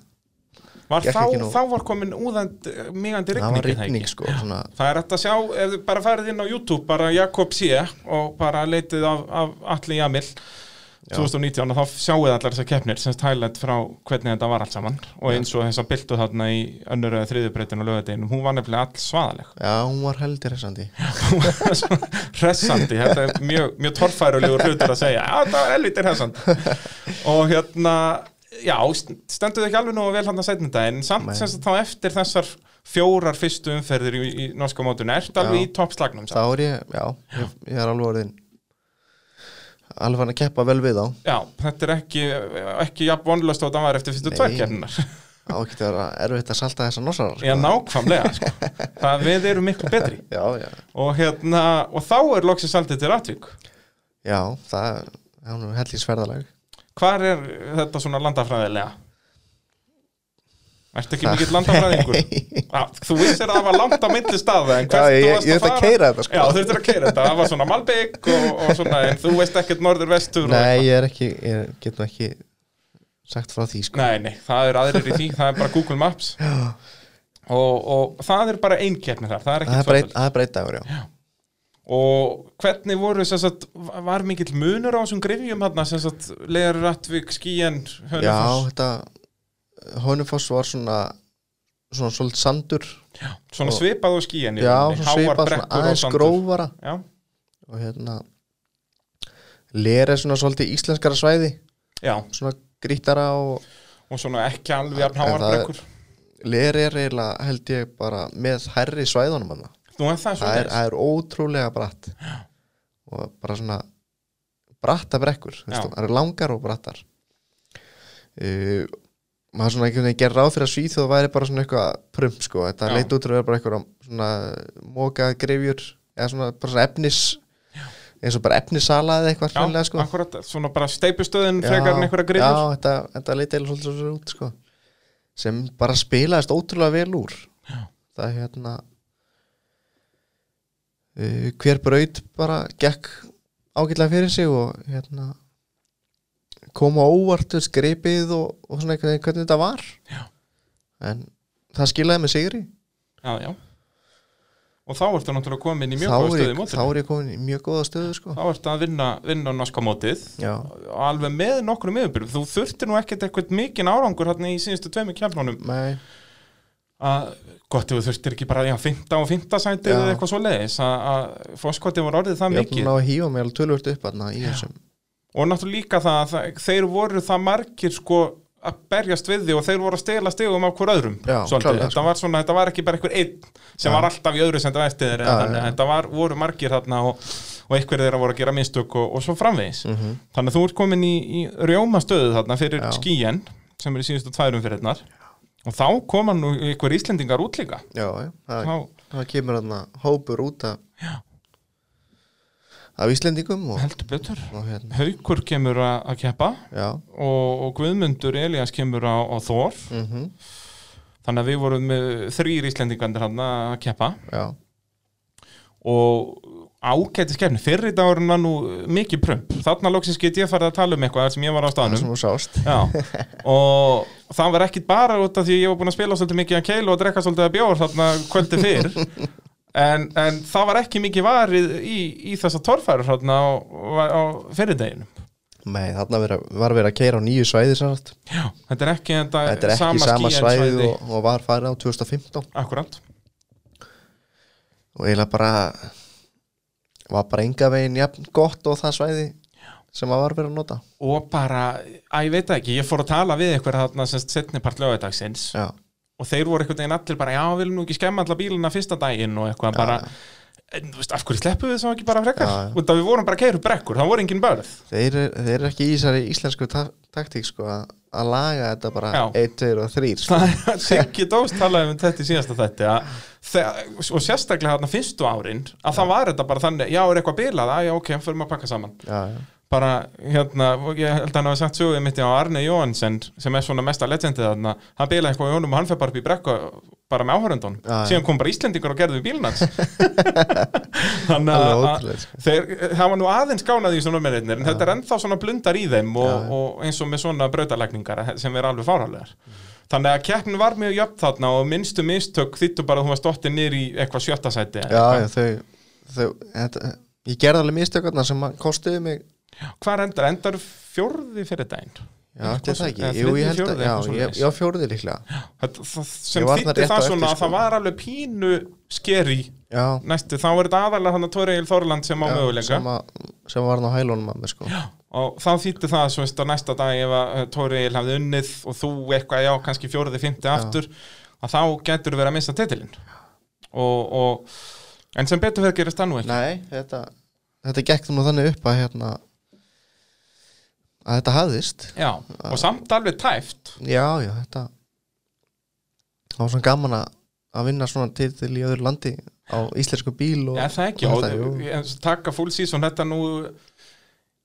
Speaker 1: var
Speaker 2: Gekk
Speaker 1: þá,
Speaker 2: ekki nóg.
Speaker 1: þá var komin úðand migandi
Speaker 2: það
Speaker 1: rigning,
Speaker 2: var
Speaker 1: er það ekki?
Speaker 2: rigning sko svona,
Speaker 1: Það er hægt að sjá, ef þið bara farið inn á YouTube bara Jakob Sjö og bara leitið af, af Alli Jamil 2019 og þá sjáu þið allar þessar keppnir sem stælætt frá hvernig þetta var allt saman og eins og þess að byltu þarna í önnur eða þriðjubreytin og lögadeginum, hún var nefnilega all svaðaleg
Speaker 2: Já, hún var heldur þessandi
Speaker 1: Hún var svona hressandi, þetta er mjög, mjög torfærulegur hlutur að segja, já þetta var elvitir hressandi og hérna já, stendur þið ekki alveg nú vel hann að setna þetta en samt
Speaker 2: Nei.
Speaker 1: sem sagt þá eftir þessar fjórar fyrstu umferðir í, í norska mótun ert alveg í toppslagnum
Speaker 2: Þá
Speaker 1: samt.
Speaker 2: er ég, já, Ég, ég er alveg orðin alveg hann að keppa vel við á
Speaker 1: Já, þetta er ekki, ekki jafn vonlust og þetta var eftir fyrstu
Speaker 2: Nei. sko.
Speaker 1: tvær keppninar
Speaker 2: á ekki að vera erfitt að salta þessa nossarar
Speaker 1: Já, nákvæmlega sko. Það við erum miklu betri
Speaker 2: já, já,
Speaker 1: og, hérna, og þá er loksins aldrei til aðtvík
Speaker 2: já, það er- það er nú hellingsferðalag
Speaker 1: Hvar er þetta svona landafræðilega? Ertu ekki mikill landafræðingur?
Speaker 2: landafræðingur
Speaker 1: Já, þú vissir að það var langt á myndi staða en hvert
Speaker 2: Já,
Speaker 1: þú
Speaker 2: ég- ég-
Speaker 1: varst
Speaker 2: ég
Speaker 1: að
Speaker 2: þurfti
Speaker 1: fara
Speaker 2: að keyra þetta, sko.
Speaker 1: Já, þú þurftir að keira þetta, það var svona Malbygg og, og svona, en þú veist ekkert norður vestur og...
Speaker 2: Nei, ég er ekki, ég get nú ekki sagt frá því sko
Speaker 1: nei, nei, það er aðrir í því, það er bara Google Maps og, og það er bara ein keppni þar, það er
Speaker 2: það
Speaker 1: ekki
Speaker 2: er bara einn- það er bara einn dagur, já
Speaker 1: og hvernig voru sem sagt, var mikill munur á þessum grifjum hann sem sagt, Leir Rattvík, Skíen
Speaker 2: Já, þetta Hónufoss var svona svona svolítið sandur
Speaker 1: svona
Speaker 2: og-
Speaker 1: svipað og Skíen
Speaker 2: Já, svona svipað, svona aðeins grófara
Speaker 1: já,
Speaker 2: og hérna Ler er svona svolítið íslenskara svæði
Speaker 1: já,
Speaker 2: svona grítara og
Speaker 1: og svona ekki alveg jafn
Speaker 2: En það er-
Speaker 1: háar brekkur
Speaker 2: Ler er eiginlega held ég bara með hærri svæðunum hann
Speaker 1: nú er það
Speaker 2: það
Speaker 1: svona
Speaker 2: er, það er ótrúlega bratt og bara svona bratta brekkur, þú veist,
Speaker 1: Já.
Speaker 2: það eru langar og brattar uh, maður svona einhvern veginn gerir ráð fyrir að Svíþjóð væri bara svona eitthvað prump sko, þetta
Speaker 1: Já.
Speaker 2: leit út fyrir að vera bara eitthvað svona mókað grefjur eða svona bara svona efnis eins og bara efnisala eða eitthvað
Speaker 1: Já,
Speaker 2: hreinlega, sko.
Speaker 1: akkurat, svona bara steipustöðin frekar en einhverja
Speaker 2: já,
Speaker 1: grifjur
Speaker 2: þetta, þetta leit eða svolítið svo út sko. sem bara spilaðist ótrúlega vel úr
Speaker 1: Já.
Speaker 2: það er hérna uh, hver braut bara gekk ágætlega fyrir sig og hérna koma óvart þú veist, gripið og, og svona einhvern veginn hvernig þetta var
Speaker 1: Já.
Speaker 2: en það skilaði með sigri
Speaker 1: já, já og þá ertu náttúrulega komin í mjög
Speaker 2: þá
Speaker 1: góð
Speaker 2: er,
Speaker 1: stöði
Speaker 2: ég, þá
Speaker 1: mótið
Speaker 2: er ég komin í mjög góða stöðu sko.
Speaker 1: þá ertu að vinna, vinna norska mótið
Speaker 2: já,
Speaker 1: og alveg með nokkrum yfirbyrjum þú þurftir nú ekkert eitthvað mikinn árangur hérna í síðustu tveimur kemlunum
Speaker 2: nei,
Speaker 1: að gott ef þú þurftir ekki bara já, 15 og 15 sætið
Speaker 2: Já.
Speaker 1: eða eitthvað svo leiðis að fórskotið voru orðið það
Speaker 2: ég er
Speaker 1: mikið
Speaker 2: búin að hýfa mig alveg tölvört upp þarna í þessum
Speaker 1: og náttúrulega líka það að það- þeir voru það margir sko að berjast við því og þeir voru að stela stegum af hver öðrum
Speaker 2: Já,
Speaker 1: svolítið.
Speaker 2: klárlega,
Speaker 1: þetta,
Speaker 2: sko.
Speaker 1: var svona, þetta var ekki bara einhver einn sem
Speaker 2: Já.
Speaker 1: var alltaf í öðru sem þetta var eftir þeir
Speaker 2: Já, já, já.
Speaker 1: þetta var, voru margir þarna og, og einhverjir þeirra voru að gera mistök og, og svo framvegis þannig að þú ert komin í, í rjóma stöðu þarna fyrir
Speaker 2: Mhm. Já.
Speaker 1: skíen sem eru síðustu tværum fyrir þarna og þá koma nú einhver íslendingar út líka
Speaker 2: já, já, það
Speaker 1: þá
Speaker 2: það kemur hann hópur út af af Íslendingum og,
Speaker 1: heldur betur
Speaker 2: og hérna,
Speaker 1: Haukur kemur að að keppa
Speaker 2: já
Speaker 1: og, og Guðmundur Elias kemur á, á Þór
Speaker 2: mm
Speaker 1: Þannig að við vorum með þrýr Íslendingandir hann að keppa
Speaker 2: já,
Speaker 1: og ágæti skefni. Fyrri dagurinn var nú mikið prump. Þarna loksins get ég farið að tala um eitthvað þar sem ég var á
Speaker 2: það sem
Speaker 1: staðnum.
Speaker 2: þú sást
Speaker 1: Já, og það var ekkit bara út af því að ég var búin að spila svolítið mikið að keilu og drekka svolítið að bjór þarna kvöldi fyrr. En, en það var ekki mikið varið í, í þessa torfæru þarna á, á fyrirdeginu.
Speaker 2: Nei, þarna vera, var verið að keira á nýju svæði sátt.
Speaker 1: Já, þetta er ekki, þetta
Speaker 2: þetta er ekki sama,
Speaker 1: skýjarsvæði.
Speaker 2: svæði og, og var farið á 2015
Speaker 1: Akkúrat.
Speaker 2: og eiginlega bara var bara enga veginn jafn gott og það svæði sem að var verið að nota
Speaker 1: og bara, að ég veit það ekki ég fór að tala við eitthvað þarna semst setnipart lögadagsins
Speaker 2: já,
Speaker 1: og þeir voru einhvern veginn allir bara, já, við viljum nú ekki skemma alla bíluna fyrsta daginn og eitthvað bara en, þú veist, af hverju sleppum við svo ekki bara frekar
Speaker 2: Já, já.
Speaker 1: út af við vorum bara keiru brekkur, það voru engin börð
Speaker 2: þeir, eru- þeir eru ekki í þessari íslensku ta taktík sko að að laga þetta bara
Speaker 1: Já.
Speaker 2: 1, 2 og 3 sko.
Speaker 1: það er að Siggi Dós talaði um þetta í síðasta þetta að þegar, og sérstaklega þarna fyrstu árin að það var þetta bara þannig, já, er eitthvað bilað að já, ok, fyrir maður að pakka saman
Speaker 2: já, já,
Speaker 1: bara, hérna, og ég held að hann hafa sagt sögum mitt á Arne Jóhansen sem er svona mesta legendið þarna, hann bilaði eitthvað í honum og hann fer bara upp í brekku bara með áhörundun,
Speaker 2: Já, já.
Speaker 1: síðan kom bara Íslendingur og gerði við bílnans þannig að
Speaker 2: alveg
Speaker 1: að-
Speaker 2: ótrúlega sko.
Speaker 1: þeir, það var nú aðeins gánað í svona mennirnir en þetta er ennþá svona blundar í þeim og,
Speaker 2: Já, já.
Speaker 1: og eins og með svona brautalækningar sem er alveg fáralegar þannig að keppnin var mjög jöfn þarna og minnstu mistök þýttu bara að hún var stóttið niður í eitthvað sjötta sæti eða
Speaker 2: já,
Speaker 1: eitthvað.
Speaker 2: já, þau, þau þetta, ég gerði alveg mistökarna sem að kostuðu mig
Speaker 1: hvar endar, endar fjórði fyrir daginn
Speaker 2: já, þetta er það
Speaker 1: Eða
Speaker 2: ekki, jú,
Speaker 1: þriðji,
Speaker 2: ég held
Speaker 1: fjórði,
Speaker 2: að
Speaker 1: eitthvað
Speaker 2: já, ég-
Speaker 1: svoleiðis.
Speaker 2: já, fjórði líklega
Speaker 1: það, það, sem
Speaker 2: Ég var þarna
Speaker 1: þýtti
Speaker 2: rétt á
Speaker 1: það
Speaker 2: eftir,
Speaker 1: svona að
Speaker 2: sko.
Speaker 1: það var alveg pínu skeri
Speaker 2: já,
Speaker 1: næstu, þá er þetta aðalega hann að Tóri Egil Þorland sem á
Speaker 2: já,
Speaker 1: möguleika
Speaker 2: sem, að, sem var nú hælunum að mér sko já,
Speaker 1: og þá þýtti það svo veist að næsta dag ef að eh, Tóri Egil hafði unnið og þú eitthvað, já, kannski fjóruði, fymti aftur að þá getur verið að missa titilinn og, og en sem betur fyrir að gerast það nú ekki
Speaker 2: Nei, þetta, þetta gekk nú þannig upp að hérna að þetta hafðist
Speaker 1: já, og samt alveg tæft
Speaker 2: Já, já, þetta það var svona gaman að, að vinna svona titil í öðru landi á íslensku bíl og
Speaker 1: Já, það ekki,
Speaker 2: og
Speaker 1: og
Speaker 2: þetta, jú.
Speaker 1: en taka full season þetta nú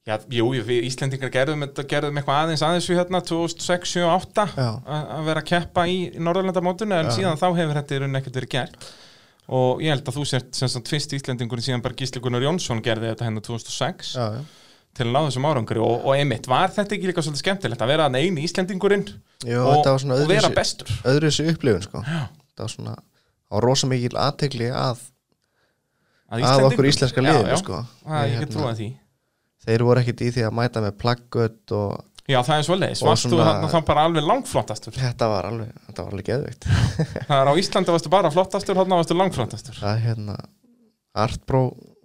Speaker 1: já, jú, jú, við Íslendingar gerðum, þetta- gerðum eitthvað aðeins aðeins við hérna 2006, 7, 8
Speaker 2: Já.
Speaker 1: að að vera að keppa í Norðurlandamótuna en síðan þá hefur þetta í rauninni ekkert verið gert og ég held að þú sért sem sagt fyrst Íslendingurinn síðan bara Gísli Gunnar Jónsson gerði þetta hérna hennar 2006
Speaker 2: Já, já,
Speaker 1: til að ná þessum árangri og, og einmitt, var þetta ekki líka svolítið skemmtilegt að vera hann eini Íslendingurinn
Speaker 2: Jú,
Speaker 1: og,
Speaker 2: þetta var svona
Speaker 1: og vera
Speaker 2: öðruvísi-
Speaker 1: bestur
Speaker 2: öðru þessu upplifun sko já. það var svona á rosa mikil aðtegli að, að okkur íslenska
Speaker 1: já, já,
Speaker 2: liðinu sko
Speaker 1: að, ég get
Speaker 2: Hérna,
Speaker 1: trúið því
Speaker 2: Þeir voru ekkit í því að mæta með plaggött og
Speaker 1: Já, það er svo leiðis,
Speaker 2: Og
Speaker 1: varstu
Speaker 2: svona-
Speaker 1: þarna þá bara alveg langflottastur
Speaker 2: þetta var alveg, þetta var alveg geðveikt
Speaker 1: Það er á Íslandi varstu bara flottastur, þarna varstu langflottastur
Speaker 2: að hérna Artbró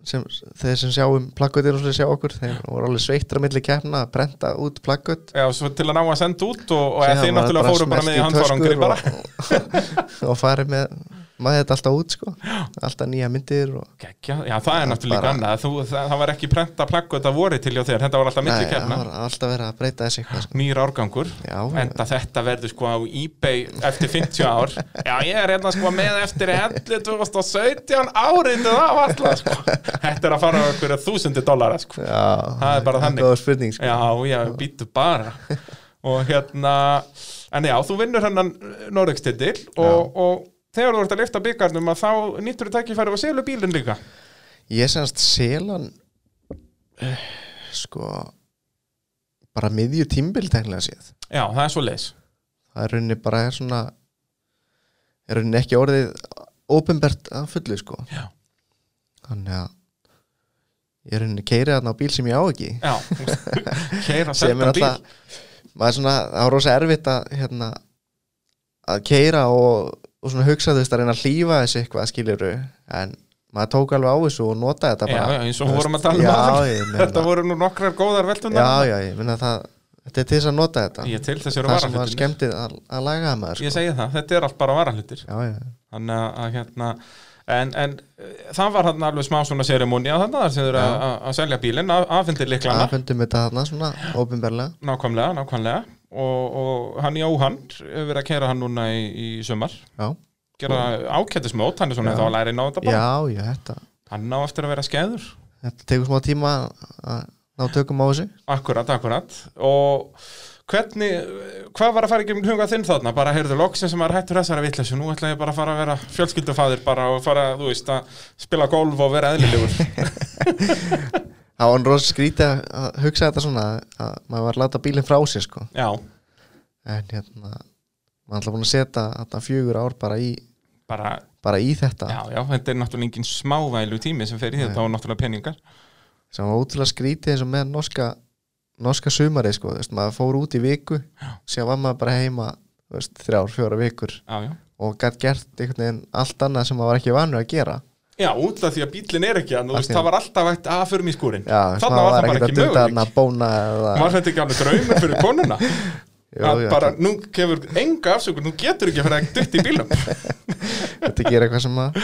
Speaker 2: sem, þeir sem sjáum plaggötir og svo sjá okkur, þeir voru alveg sveittra milli keppna að prenta út plaggöt
Speaker 1: Já, svo til að ná að senda út og, og þeir náttúrulega fóru bara með í handvarangri bara
Speaker 2: og, og farið með maður þetta alltaf út sko alltaf nýja myndir og
Speaker 1: Gekja, já, það er náttúrulega
Speaker 2: bara-
Speaker 1: bara... annað Þú, það, það var ekki prenta plakku þetta voru til hjá þér Þetta var alltaf
Speaker 2: Nei,
Speaker 1: milli
Speaker 2: það
Speaker 1: kefna
Speaker 2: var alltaf verið að breyta þessi eitthvað sko.
Speaker 1: Nýr árgangur
Speaker 2: já,
Speaker 1: Enda þetta verður sko á Ebay eftir 50 ár Já, ég er hérna sko með eftir hellu 2017 árinu það var alltaf sko Þetta er að fara á okkur þúsundi dollara sko
Speaker 2: já,
Speaker 1: Það er bara þannig.
Speaker 2: þetta var spurning sko.
Speaker 1: Já, já, býtu bara og hérna en já, þú vinnur hennan Norrökstidil og, og þegar þú ert að lifta byggarnum að þá nýttur þú tækifæri og selu bílinn líka
Speaker 2: ég semst selan eh, sko bara miðju tímbil teknilega séð
Speaker 1: Já, það er svo leis
Speaker 2: það er rauninni bara er svona er rauninni ekki orðið ofinbert að fullu sko
Speaker 1: Já.
Speaker 2: þannig að ég er rauninni keirið þarna á bíl sem ég á ekki
Speaker 1: Já, keira
Speaker 2: sem er
Speaker 1: selta bíl
Speaker 2: alltaf maður er svona, það er rosa erfitt að hérna, að keira og, og svona hugsa þú veist að reyna að hlýfa þessu eitthvað skiluru en maður tók alveg á þessu og notaði þetta
Speaker 1: Já,
Speaker 2: bara
Speaker 1: já, eins og vorum að tala um
Speaker 2: já,
Speaker 1: áðan.
Speaker 2: ég meina-
Speaker 1: Þetta voru nú nokkrar góðar
Speaker 2: já,
Speaker 1: veldunar
Speaker 2: já, ég minna það þetta er til þess að nota þetta
Speaker 1: um Ég til þess eru
Speaker 2: það sem var
Speaker 1: varahlutir
Speaker 2: skemmtið að, að laga það maður
Speaker 1: Ég
Speaker 2: sko.
Speaker 1: segi það, þetta er allt bara varahlutir
Speaker 2: já, já,
Speaker 1: Þannig að- að hérna En, en eh, það var hann alveg smá svona serimóni að þarna þar sem þau eru að- að að selja bílinn af- afhendir líklana
Speaker 2: aðfundum þetta þarna svona ofinberlega
Speaker 1: Nákvæmlega, nákvæmlega og, og hann Jóhann hefur verið að kæra hann núna í, í sumar
Speaker 2: já,
Speaker 1: gera ákættismót, hann er svona
Speaker 2: Já.
Speaker 1: þá að læra inn á þetta bara
Speaker 2: já, já, þetta
Speaker 1: hann á eftir að vera skeður
Speaker 2: þetta tekur smá tíma að- að ná tökum á þessu
Speaker 1: akkurat, akkurat og hvernig, hvað var að fara í gegnum huga þinn þarna, bara heyrðu loksin sem er hættur þessara vitleysu, nú ætla ég bara að fara að vera fjölskyldufaðir bara og fara, þú veist, að spila golf og vera eðlilegur
Speaker 2: það var hann rosa skrítið að- að hugsa þetta svona að- að maður var að láta bílinn frá sér sko
Speaker 1: já,
Speaker 2: en hérna maður er alltaf búin að setja þetta fjögur ár bara í,
Speaker 1: bara,
Speaker 2: bara í þetta
Speaker 1: já, já þetta er náttúrulega engin smávælu tími sem fer í þetta og náttúrulega peningar
Speaker 2: sem var ótrúlega skrítið eins og með norska norska sumari sko, þú veist, maður fór út í viku sem var maður bara heima þú veist, þrjár, fjóra vikur
Speaker 1: já, já
Speaker 2: og gætt gert einhvern veginn allt annað sem maður var ekki vanur að gera
Speaker 1: Já, út af því að bílinn er ekki hann, þú veist,
Speaker 2: því að-
Speaker 1: það var alltaf eitt að fyrir mig skúrin.
Speaker 2: Já,
Speaker 1: Þannig var það bara ekki
Speaker 2: þarna
Speaker 1: möguleik.
Speaker 2: að bóna eða,
Speaker 1: Var þetta ekki alveg draumur fyrir konuna?
Speaker 2: Jú,
Speaker 1: að
Speaker 2: jú,
Speaker 1: bara, nú kefur enga afsökun, nú getur ekki að fyrir að dytta í bílum.
Speaker 2: þetta gera eitthvað sem að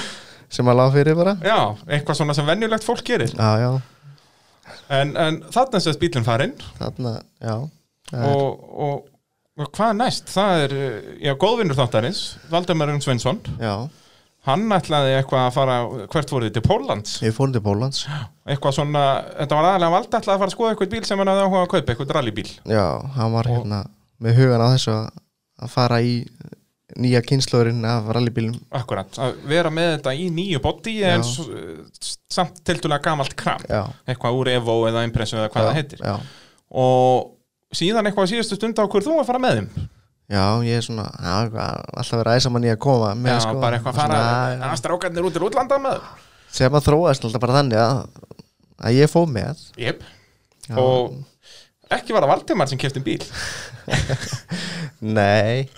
Speaker 2: sem að lág fyrir bara
Speaker 1: Já, eitthvað svona sem venjulegt fólk gerir.
Speaker 2: já, já,
Speaker 1: En, en þarna sést bílinn farinn
Speaker 2: þarna, já það er-
Speaker 1: og, og, og hvað næst? Það er, uh, já, góðvinnur þáttarins, Valdemar Jón Sveinsson.
Speaker 2: Eh, já,
Speaker 1: Hann ætlaði eitthvað að fara, hvert voruð þið, til Póllands?
Speaker 2: Við fórum til Pólans
Speaker 1: Eitthvað svona, þetta var aðalega valda, ætlaði að fara að skoða eitthvað bíl sem hann hafði áhuga að kaupa, eitthvað rallybíl.
Speaker 2: Já, hann var hérna með hugan á þessu að, að fara í nýja kynnslóðurinn af rallybílum
Speaker 1: Akkurat, að vera með þetta í nýju boddi en
Speaker 2: Já.
Speaker 1: s- s- samt tildulega gamalt kram.
Speaker 2: Já,
Speaker 1: Eitthvað úr Evo eða Impressu eða hvað
Speaker 2: já,
Speaker 1: það heitir.
Speaker 2: já.
Speaker 1: Og síðan eitthvað á síðustu stund á hver þú að fara með þeim.
Speaker 2: já, ég er svona já, eitthvað, alltaf verið æsa manni að koma með,
Speaker 1: Já,
Speaker 2: sko,
Speaker 1: bara eitthvað að
Speaker 2: svona,
Speaker 1: fara
Speaker 2: já,
Speaker 1: að strákarnir út til útlanda með.
Speaker 2: sem að þróast alltaf bara þannig að, að ég fóð með
Speaker 1: Jep.
Speaker 2: Já.
Speaker 1: Og ekki var það Valdimar sem kefti bíl.
Speaker 2: Nei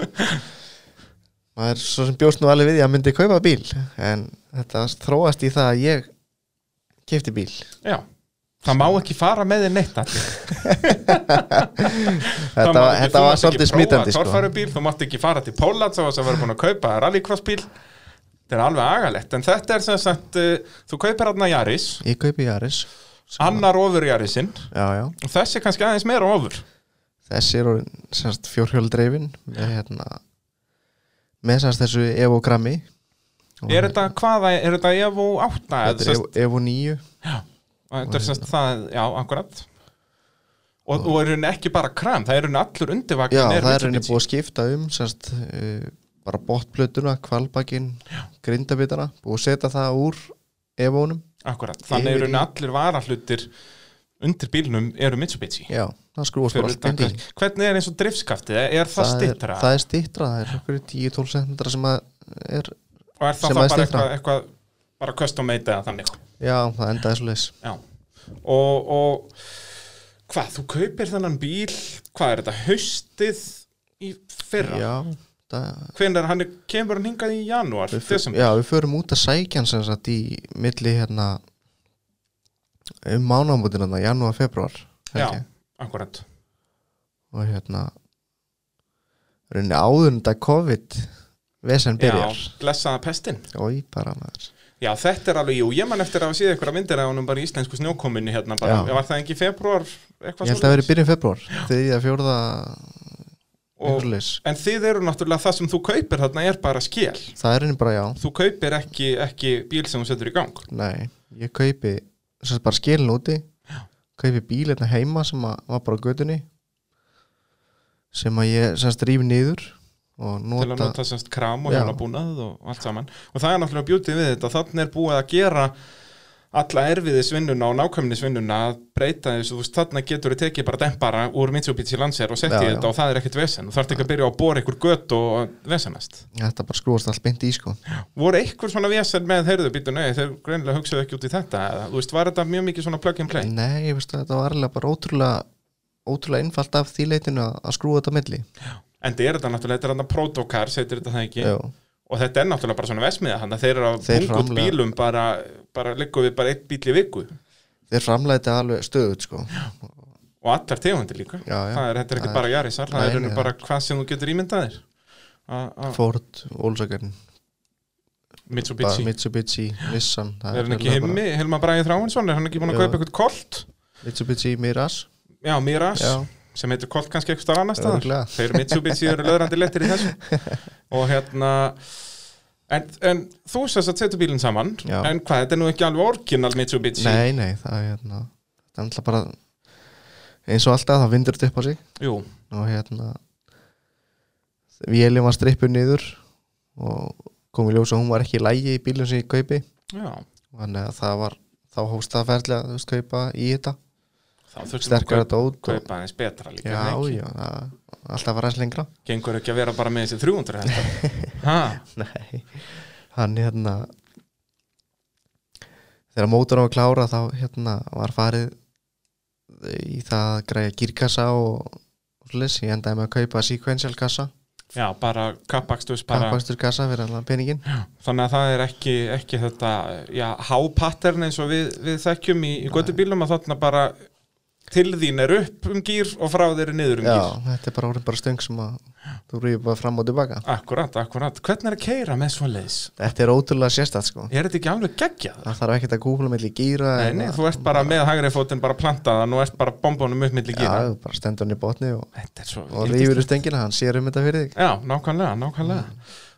Speaker 2: maður svo sem bjóst nú alveg við því að myndi kaupa bíl en þetta þróast í það að ég kefti bíl
Speaker 1: Já. Það má ekki fara með þér neitt allir.
Speaker 2: þetta,
Speaker 1: Það má
Speaker 2: var-
Speaker 1: ekki-
Speaker 2: þetta var svolítið smítandi
Speaker 1: Þú mátt ekki prófa
Speaker 2: sko.
Speaker 1: torfærubíl, þú mátt ekki fara til Pólans og þess að vera búin að kaupa rallycrossbíl Þetta er alveg agalegt, en þetta er sem sagt uh, þú kaupir hann Jaris,
Speaker 2: ég kaupi Jaris
Speaker 1: annar ofur Jarisinn
Speaker 2: já, já.
Speaker 1: og þessi er kannski aðeins meira ofur
Speaker 2: þessi er orðin semst fjórhjóldreifin með hérna með semst þessu Evo Grammi Og
Speaker 1: Er þetta hvaða, er þetta Evo 8 eða
Speaker 2: þetta er
Speaker 1: sem
Speaker 2: Evo, Evo 9
Speaker 1: Og Þetta er semst
Speaker 2: hérna.
Speaker 1: það, já, akkurat Og, og er henni ekki bara kram, það er henni allur undirvagn
Speaker 2: já, það er henni búið að skipta um semst uh, bara botplötuna, kvalbakinn grindabitana, búið að setja það úr Evonum,
Speaker 1: Akkurat, þannig
Speaker 2: Yfir í-
Speaker 1: er henni allir varahlutir undir bílnum eru Mitsubishi
Speaker 2: já, það skrúast
Speaker 1: Fyrir
Speaker 2: bara allt
Speaker 1: utan
Speaker 2: inn í
Speaker 1: hvern- Hvernig er eins og driftskaftið, er, er það, það
Speaker 2: er,
Speaker 1: stittra?
Speaker 2: það er stittra, það er okkur 10-12 cm sem að er,
Speaker 1: og er það
Speaker 2: sem
Speaker 1: þá
Speaker 2: að
Speaker 1: bara
Speaker 2: styttra.
Speaker 1: eitthvað, eitthvað bara custom made eða þannig
Speaker 2: já, það endaði svo leis
Speaker 1: já. og, og hvað, þú kaupir þennan bíl hvað er þetta, haustið í fyrra,
Speaker 2: já, það
Speaker 1: hvenær hann er, kemur hann hingað í janúar,
Speaker 2: Við fyr-
Speaker 1: desember
Speaker 2: Já, við förum út að sækja hann sem sagt í milli hérna um mánamótin hérna, janúar, februar
Speaker 1: já, akkurat
Speaker 2: og hérna rauninni áður en þetta COVID vesen
Speaker 1: já,
Speaker 2: byrjar
Speaker 1: blessaða pestin
Speaker 2: og bara maður
Speaker 1: já, þetta er alveg, jú, ég man eftir að hafa séð einhverja myndir af honum bara í íslensku snjókominu hérna bara,
Speaker 2: Já.
Speaker 1: var það ekki í februar
Speaker 2: Ég
Speaker 1: eitthvað
Speaker 2: held að vera í
Speaker 1: svoleiðis?
Speaker 2: byrjun februar þegar fjórða
Speaker 1: og,
Speaker 2: februarleis
Speaker 1: en þið eru náttúrulega það sem þú kaupir þarna er bara skil
Speaker 2: Það er rauninni bara já,
Speaker 1: þú kaupir ekki, ekki bíl sem þú setur í gang
Speaker 2: nei ég kaupi, sem sagt bara skilin úti kaupi bíl hérna heima sem að, var bara á götunni sem að ég sem sagt rífi niður og
Speaker 1: til að
Speaker 2: nota
Speaker 1: nota semst kram og
Speaker 2: Já.
Speaker 1: hjálabúnað og allt saman og það er náttúrulega bjútið við þetta þannig er búið að gera alla erfiðisvinnuna og nákvæmnisvinnuna að breyta þessu, þú veist, þannig getur þið tekið bara dempara úr Mitsubishi Lancer og settið
Speaker 2: Já, já.
Speaker 1: þetta og það er ekkert vesen og þarf ekki að byrja að bóra ykkur gött og vesenast.
Speaker 2: Þetta bara skrúast allt beint í sko
Speaker 1: Voru einhver svona vesen með heyrðu býtu nei, þeir greinilega hugsaðu ekki út í þetta eða, þú veist, var þetta mjög mikið svona plug and play?
Speaker 2: Nei, ég veist að þetta var alveg bara ótrúlega ótrúlega innfalt af því leitinu að að skrúa þetta á milli
Speaker 1: En þetta er þetta náttúrulega, þetta er þetta protokar, setur þetta það ekki?
Speaker 2: Já,
Speaker 1: og þetta er náttúrulega bara svona vesmiða þannig að þeir eru að
Speaker 2: Þeir
Speaker 1: bunga út
Speaker 2: framlega-
Speaker 1: bílum bara, bara liggum við bara eitt bíl í viku
Speaker 2: Þeir framlega þetta alveg stöðut sko
Speaker 1: og allar tegundir líka
Speaker 2: Já, já.
Speaker 1: Það er, þetta er ekki
Speaker 2: Það
Speaker 1: bara jarisar, það
Speaker 2: Nei,
Speaker 1: er
Speaker 2: nei,
Speaker 1: raunum bara hvað sem þú getur ímyndað þér A- a-
Speaker 2: Ford, Olsakarn,
Speaker 1: Mitsubishi,
Speaker 2: Mitsubishi, Nissan það
Speaker 1: er hann ekki
Speaker 2: alveg bara-
Speaker 1: himmi, Hilma Bræði Þráinsson er hann ekki búin að
Speaker 2: Já.
Speaker 1: kaupa eitthvað kolt
Speaker 2: Mitsubishi Mirage
Speaker 1: já, Miras,
Speaker 2: Já.
Speaker 1: sem heitir kolt kannski eitthvað starf annars staðar
Speaker 2: Örugglega.
Speaker 1: þeir Mitsubishi eru löðrandi lettir í þessu og hérna En, en þú sérst að setja bílinn saman
Speaker 2: Já.
Speaker 1: en hvað, þetta er nú ekki alveg orginal Mitsubishi
Speaker 2: Nei, nei, það er hérna Það er alltaf bara eins og alltaf það vindur þetta upp á sig
Speaker 1: Jú,
Speaker 2: og hérna Vélum var strippuð niður og kom í ljós og hún var ekki í lægi í bílum sem ég kaupi
Speaker 1: já
Speaker 2: þannig að það var þá hófst það ferli að þú veist kaupa í þetta
Speaker 1: þá þurfum við að
Speaker 2: sterkara
Speaker 1: kaupa,
Speaker 2: dót og,
Speaker 1: kaupa aðeins betra líka
Speaker 2: já,
Speaker 1: já,
Speaker 2: já, það, alltaf var aðeins lengra
Speaker 1: gengur ekki að vera bara með þessi 300 hestar. ha,
Speaker 2: nei, hann hérna þegar mótur á að klára þá hérna var farið í það að græja gírkassa og og svoleiðis, ég endaði með að kaupa sequential kassa,
Speaker 1: já, bara kappakstus bara,
Speaker 2: kappakstur kassa fyrir allan peningin
Speaker 1: þannig að það er ekki, ekki þetta, já, hápattern eins og við, við þekkjum í, í göttubílum að þarna bara til þín er upp um gýr og frá þér er niður um
Speaker 2: já,
Speaker 1: gýr
Speaker 2: þetta er bara orðin bara stöng sem að þú rýður bara fram og tilbaka
Speaker 1: akkurat, akkurat, hvernig er að keira með svo leiðis
Speaker 2: þetta er ótrúlega sérstætt sko
Speaker 1: er þetta ekki alveg geggjað?
Speaker 2: það þarf ekkert að kúpla melli gíra
Speaker 1: Nei,
Speaker 2: eða-
Speaker 1: nei, þú ert bara með hægri fótinn bara plantaðan og ert bara bombunum upp milli gýra
Speaker 2: já, bara stendur hann í botni og
Speaker 1: Þetta er svo
Speaker 2: og
Speaker 1: yndislegt.
Speaker 2: rýfur í stöngina, hann sér um þetta fyrir þig
Speaker 1: Já, nákvæmlega, nákvæmlega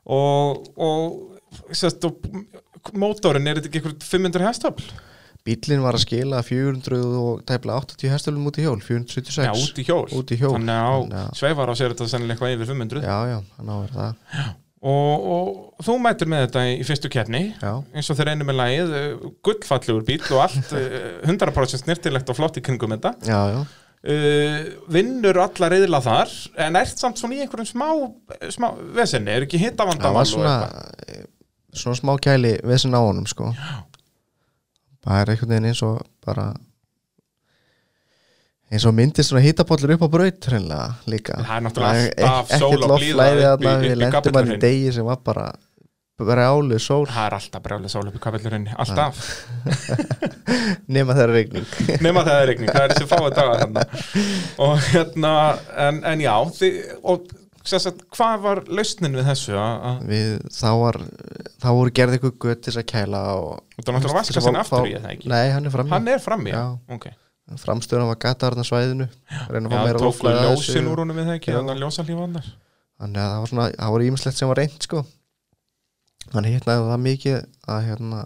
Speaker 1: og, og sest, og mótorin, er þetta ekki einhver 500 hestafl?
Speaker 2: Bíllinn var að skila 400 og tæplega 80 hestöflum út í hjól, 476.
Speaker 1: Já, út í hjól.
Speaker 2: Út í hjól.
Speaker 1: Þannig á
Speaker 2: Þannig að-
Speaker 1: sveifar á sér þetta sennilega eitthvað yfir 500.
Speaker 2: Já, já, hann áver það.
Speaker 1: Og, og þú mætir með þetta í fyrstu kefni,
Speaker 2: Já,
Speaker 1: eins og þeir einu með lagið, eh, gullfallegur bíl og allt, eh, 100% snirtilegt og flott í kringum þetta.
Speaker 2: já, já.
Speaker 1: Uh, vinnur alla reyðla þar, en ert samt svona í einhverjum smá, eh, smá vesenni, er ekki
Speaker 2: Það
Speaker 1: hittavandamál
Speaker 2: var svona, eh, svona smá kæli vesen á honum, sko. Já. Það er einhvern veginn eins og bara eins og myndist svona hitapollur upp á braut hreinlega líka.
Speaker 1: Það er náttúrulega
Speaker 2: Það er
Speaker 1: alltaf
Speaker 2: ekkert
Speaker 1: sól og
Speaker 2: loftflæði
Speaker 1: blíða upp í- upp í
Speaker 2: þarna, Við lendum að
Speaker 1: Kapellunni.
Speaker 2: í degi sem var bara brjálu sól
Speaker 1: Það er alltaf brjálega sól upp í kapellurinni, alltaf
Speaker 2: nema þeirra regning.
Speaker 1: nema það er regning, það er þessi fáið dagar hérna. og hérna en, en já, þi, og sem sagt, hvað var lausnin við þessu að- að-
Speaker 2: Við, þá var þá voru gerði ykkur gött til þess að kæla og
Speaker 1: þetta er náttúrulega vaska sinna aftur í það ekki
Speaker 2: Nei, hann er frammi
Speaker 1: hann er frammi, já,
Speaker 2: Já.
Speaker 1: ok
Speaker 2: framstöðunum var gata þarna á svæðinu reyna að fá
Speaker 1: já,
Speaker 2: meira
Speaker 1: tóku
Speaker 2: loftflæði að þessu.
Speaker 1: ljósin úr honum við það ekki,
Speaker 2: Já.
Speaker 1: þannig að ljósa lífannar
Speaker 2: þannig að það var svona, það var ímislegt sem var reynd sko þannig hérna það mikið að hérna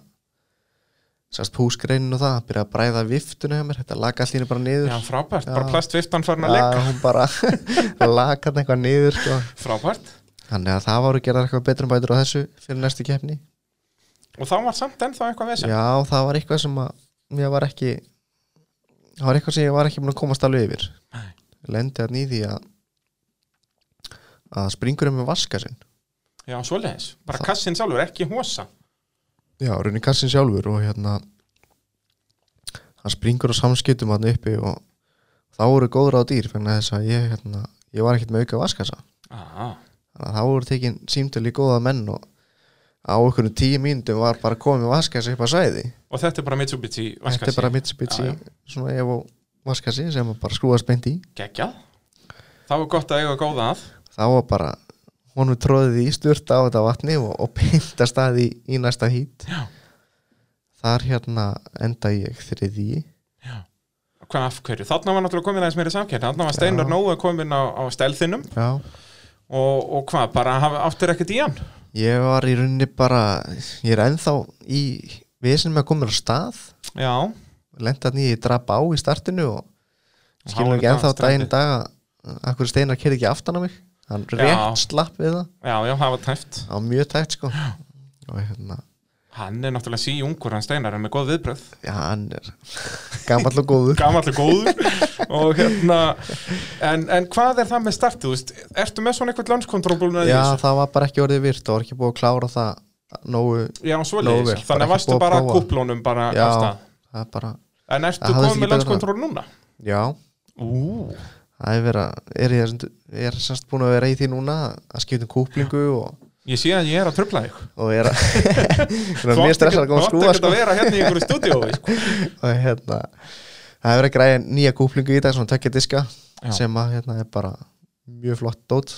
Speaker 2: sérst púskreinin og það byrja að bræða viftuna hjá mér, þetta laga allir bara niður
Speaker 1: já, frábært,
Speaker 2: Já.
Speaker 1: bara plastviftan farin að
Speaker 2: Já,
Speaker 1: leggja
Speaker 2: hún bara laga hann eitthvað niður sko.
Speaker 1: frábært,
Speaker 2: þannig að það voru gerðar eitthvað betra bætur á þessu fyrir næstu keppni
Speaker 1: og þá var samt ennþá eitthvað vesen
Speaker 2: já, það var eitthvað sem að mér var ekki það var eitthvað sem ég var ekki búin að komast alveg yfir
Speaker 1: Nei.
Speaker 2: lendi hann í því að að springurinn með vaskasinn
Speaker 1: já, svoleiðis, bara kassin sjálfur, ekki hosa
Speaker 2: Já, runni kassin sjálfur og hérna hann springur á samskiptum hann uppi og þá voru góður á dýr fyrir þess að ég, hérna, ég var ekkert með auka vaskasa
Speaker 1: ah,
Speaker 2: þannig að þá voru tekin símtöl í góða menn og á okkur tíu mínútum var bara komið vaskasa upp að svæði
Speaker 1: og þetta er bara Mitsubishi
Speaker 2: þetta er bara Mitsubishi
Speaker 1: Já, já.
Speaker 2: svona Evo vaskasi sem að bara skrúast beint í
Speaker 1: geggjað þá er gott að eiga góða að
Speaker 2: þá var bara honum tróðið í styrta á þetta vatni og, og beint að staði í næsta hít
Speaker 1: Já.
Speaker 2: þar hérna enda ég þriði
Speaker 1: Hvað af hverju? Þarna var náttúrulega komin aðeins meiri samkjörn Þarna var Steinar
Speaker 2: Já.
Speaker 1: Nóa komin á, á stelðinum
Speaker 2: Já
Speaker 1: og, og hvað, bara haf- áttir ekkert í hann?
Speaker 2: Ég var í rauninni bara ég er ennþá í vesen með að koma mér á stað
Speaker 1: Já,
Speaker 2: lenda hann í að drapa á í startinu og
Speaker 1: Og
Speaker 2: skilur
Speaker 1: háir
Speaker 2: ekki ennþá
Speaker 1: dagar
Speaker 2: daginn í dag að að hverju steinar kerði ekki aftan á mig hann rétt slapp við það
Speaker 1: já, já, það var tæft
Speaker 2: það var mjög tækt sko og hérna,
Speaker 1: Hann er náttúrulega síungur, hann Steinar er með góð viðbröð
Speaker 2: já hann er gamall og góður
Speaker 1: Gamall og góður og hérna, en, en hvað er það með startið? þú veist? Ertu með svona eitthvað landskontróbulun
Speaker 2: já það var bara ekki orðið virt og var ekki búið að klára það nógu,
Speaker 1: já,
Speaker 2: Nógu vel,
Speaker 1: svoleiðis,
Speaker 2: bara
Speaker 1: þannig
Speaker 2: ekki
Speaker 1: að varstu
Speaker 2: búið að
Speaker 1: bara
Speaker 2: prófa.
Speaker 1: kúplónum bara
Speaker 2: já
Speaker 1: af stað.
Speaker 2: það er bara,
Speaker 1: En ertu
Speaker 2: Það
Speaker 1: komið
Speaker 2: hafði ekki
Speaker 1: með
Speaker 2: betra.
Speaker 1: landskontról núna?
Speaker 2: já
Speaker 1: Ú,
Speaker 2: það er vera, er ég sem- er semst búin að vera í því núna að skipta um kúplingu og
Speaker 1: ég sé að ég er að tröfla þig
Speaker 2: og vera þannig að
Speaker 1: Þú
Speaker 2: mér
Speaker 1: átt ekki-
Speaker 2: stressar að koma að
Speaker 1: þú átt
Speaker 2: skrúa
Speaker 1: ekkert
Speaker 2: sko,
Speaker 1: að vera hérna í einhverju stúdíói sko.
Speaker 2: og hérna það er verið að græja nýja kúplingu í dag svona tökja diska
Speaker 1: Já.
Speaker 2: sem að hérna er bara mjög flott dót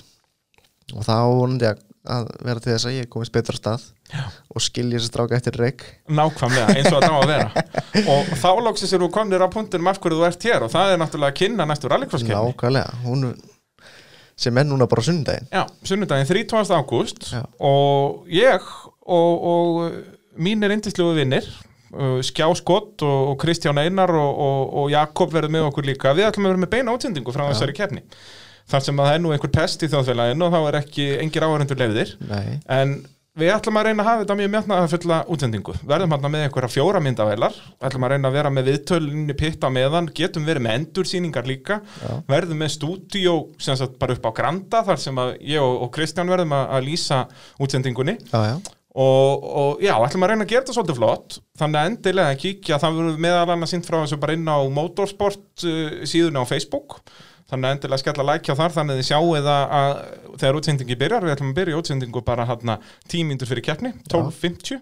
Speaker 2: og það á vonandi að, að vera til þess að ég komist betra af stað Já. og skilja þessi stráka eftir reik
Speaker 1: Nákvæmlega, eins og það á að vera Og þá loksins eru komnir að punktinum af hverju þú ert hér og það er náttúrulega að kynna næstu rallycrosskeppni
Speaker 2: nákvæmlega, hún sem er núna bara á sunnudaginn
Speaker 1: Já, sunnudaginn 30. ágúst
Speaker 2: Já.
Speaker 1: og ég og, og mínir indisluðu vinnir uh, Skjá Skott og, og Kristján Einar og, og, og Jakob verður með okkur líka við ætlum að vera með beina átsendingu frá þessari keppni þar sem að það er nú einhver test í þjóðfélaginu og þá er ekki engir áhörendur leiðir
Speaker 2: Nei.
Speaker 1: En við ætlum að reyna að hafa þetta mjög mjötnaða fulla útsendingu. Verðum hann með einhverja fjóra myndavélar, ætlum að reyna að vera með viðtölinni pitta meðan, getum verið með endursýningar líka,
Speaker 2: Já.
Speaker 1: verðum með stúdíó sem sagt bara upp á Granda þar sem að ég og, og Kristján verðum að, að lýsa útsendingunni
Speaker 2: Já, já.
Speaker 1: og, og já, ætlum að reyna að gera þetta svolítið flott þannig að endilega kíkja, það verður meðal annars sýnt frá þessu bara inn á motorsport uh, síðuna á Facebook þannig að endilega skella lækja þar þannig að þið sjáuð að, að þegar útsendingi byrjar við ætlum að byrja útsendingu bara hérna tímindur fyrir keppni, 12.50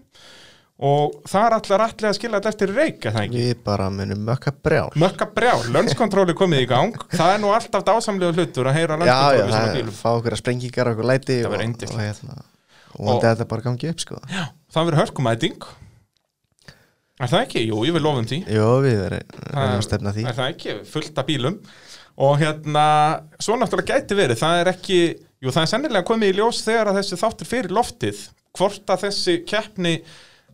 Speaker 1: og þar ætlar allir að skilla þetta eftir reik, er það ekki?
Speaker 2: við bara munum mökka brjál
Speaker 1: Mökka brjál, lönskontróli komið í gang það er nú alltaf dásamlega hlutur að heyra
Speaker 2: já, já,
Speaker 1: lönskontróli
Speaker 2: það
Speaker 1: svona
Speaker 2: er
Speaker 1: bílum
Speaker 2: fá okkur að sprengingar okkur læti
Speaker 1: Það
Speaker 2: og,
Speaker 1: verður
Speaker 2: og
Speaker 1: yndislegt.
Speaker 2: hérna og vonandi að þetta bara gangi upp sko
Speaker 1: Já, það verður hörkumæting Er það ekki? Jú, ég vil lofum því
Speaker 2: Jó, við verðum að stefna að því
Speaker 1: er það ekki, fullt af bílum og hérna, svo náttúrulega gæti verið það er ekki, jú það er sennilega komið í ljós þegar að þessi þáttur fyrir loftið hvort að þessi keppni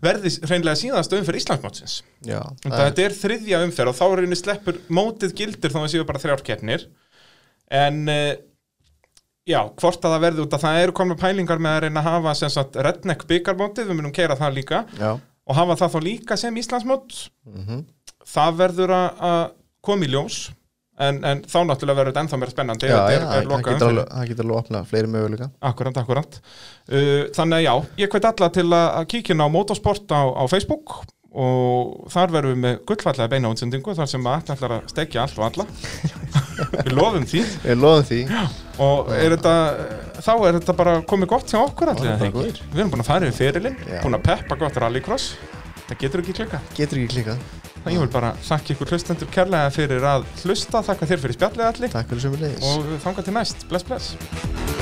Speaker 1: verði reynlega síðast umferð Íslandsmótsins
Speaker 2: Já,
Speaker 1: en
Speaker 2: það er,
Speaker 1: þetta er þriðja umferð og þá er einu sleppur mótið gildir þá að séu bara þrjár keppnir en eh, já, hvort að það verði út að það eru komna pælingar með að reyna að hafa sem sagt redneck byggarmótið, við munum keira það líka
Speaker 2: já,
Speaker 1: og hafa það þá líka sem Íslandsmót
Speaker 2: mhm,
Speaker 1: það verður að að koma í ljós en, en þá náttúrulega verður þetta ennþá meira spennandi
Speaker 2: já,
Speaker 1: ef þetta
Speaker 2: já,
Speaker 1: er,
Speaker 2: það
Speaker 1: er
Speaker 2: það
Speaker 1: lokað
Speaker 2: getur
Speaker 1: umferð.
Speaker 2: alveg, það getur alveg opnað fleiri möguleika.
Speaker 1: Akkurant, akkurant. Uh, þannig að já, ég hvet alla til að að kíkja inn á motorsport á, á Facebook og þar verðum við með gullfallega beina útsendingu þar sem að Atli ætlar að stekja allt og alla. við lofum því
Speaker 2: Við loðum því,
Speaker 1: og er þetta, þá er þetta bara komið gott hjá okkur allir.
Speaker 2: Já,
Speaker 1: eða
Speaker 2: bara
Speaker 1: ekki?
Speaker 2: góðir.
Speaker 1: Við erum búin að fara yfir fyrirlinn,
Speaker 2: Já.
Speaker 1: búin að peppa gott rallycross. Það getur ekki klikkað.
Speaker 2: getur ekki klikkað.
Speaker 1: Þannig ég vil bara þakka ykkur hlustendur kærlega fyrir að hlusta, þakka þér fyrir spjallið allir
Speaker 2: Takk fyrir sem við leiðis.
Speaker 1: og þanga til næst. Bless, bless.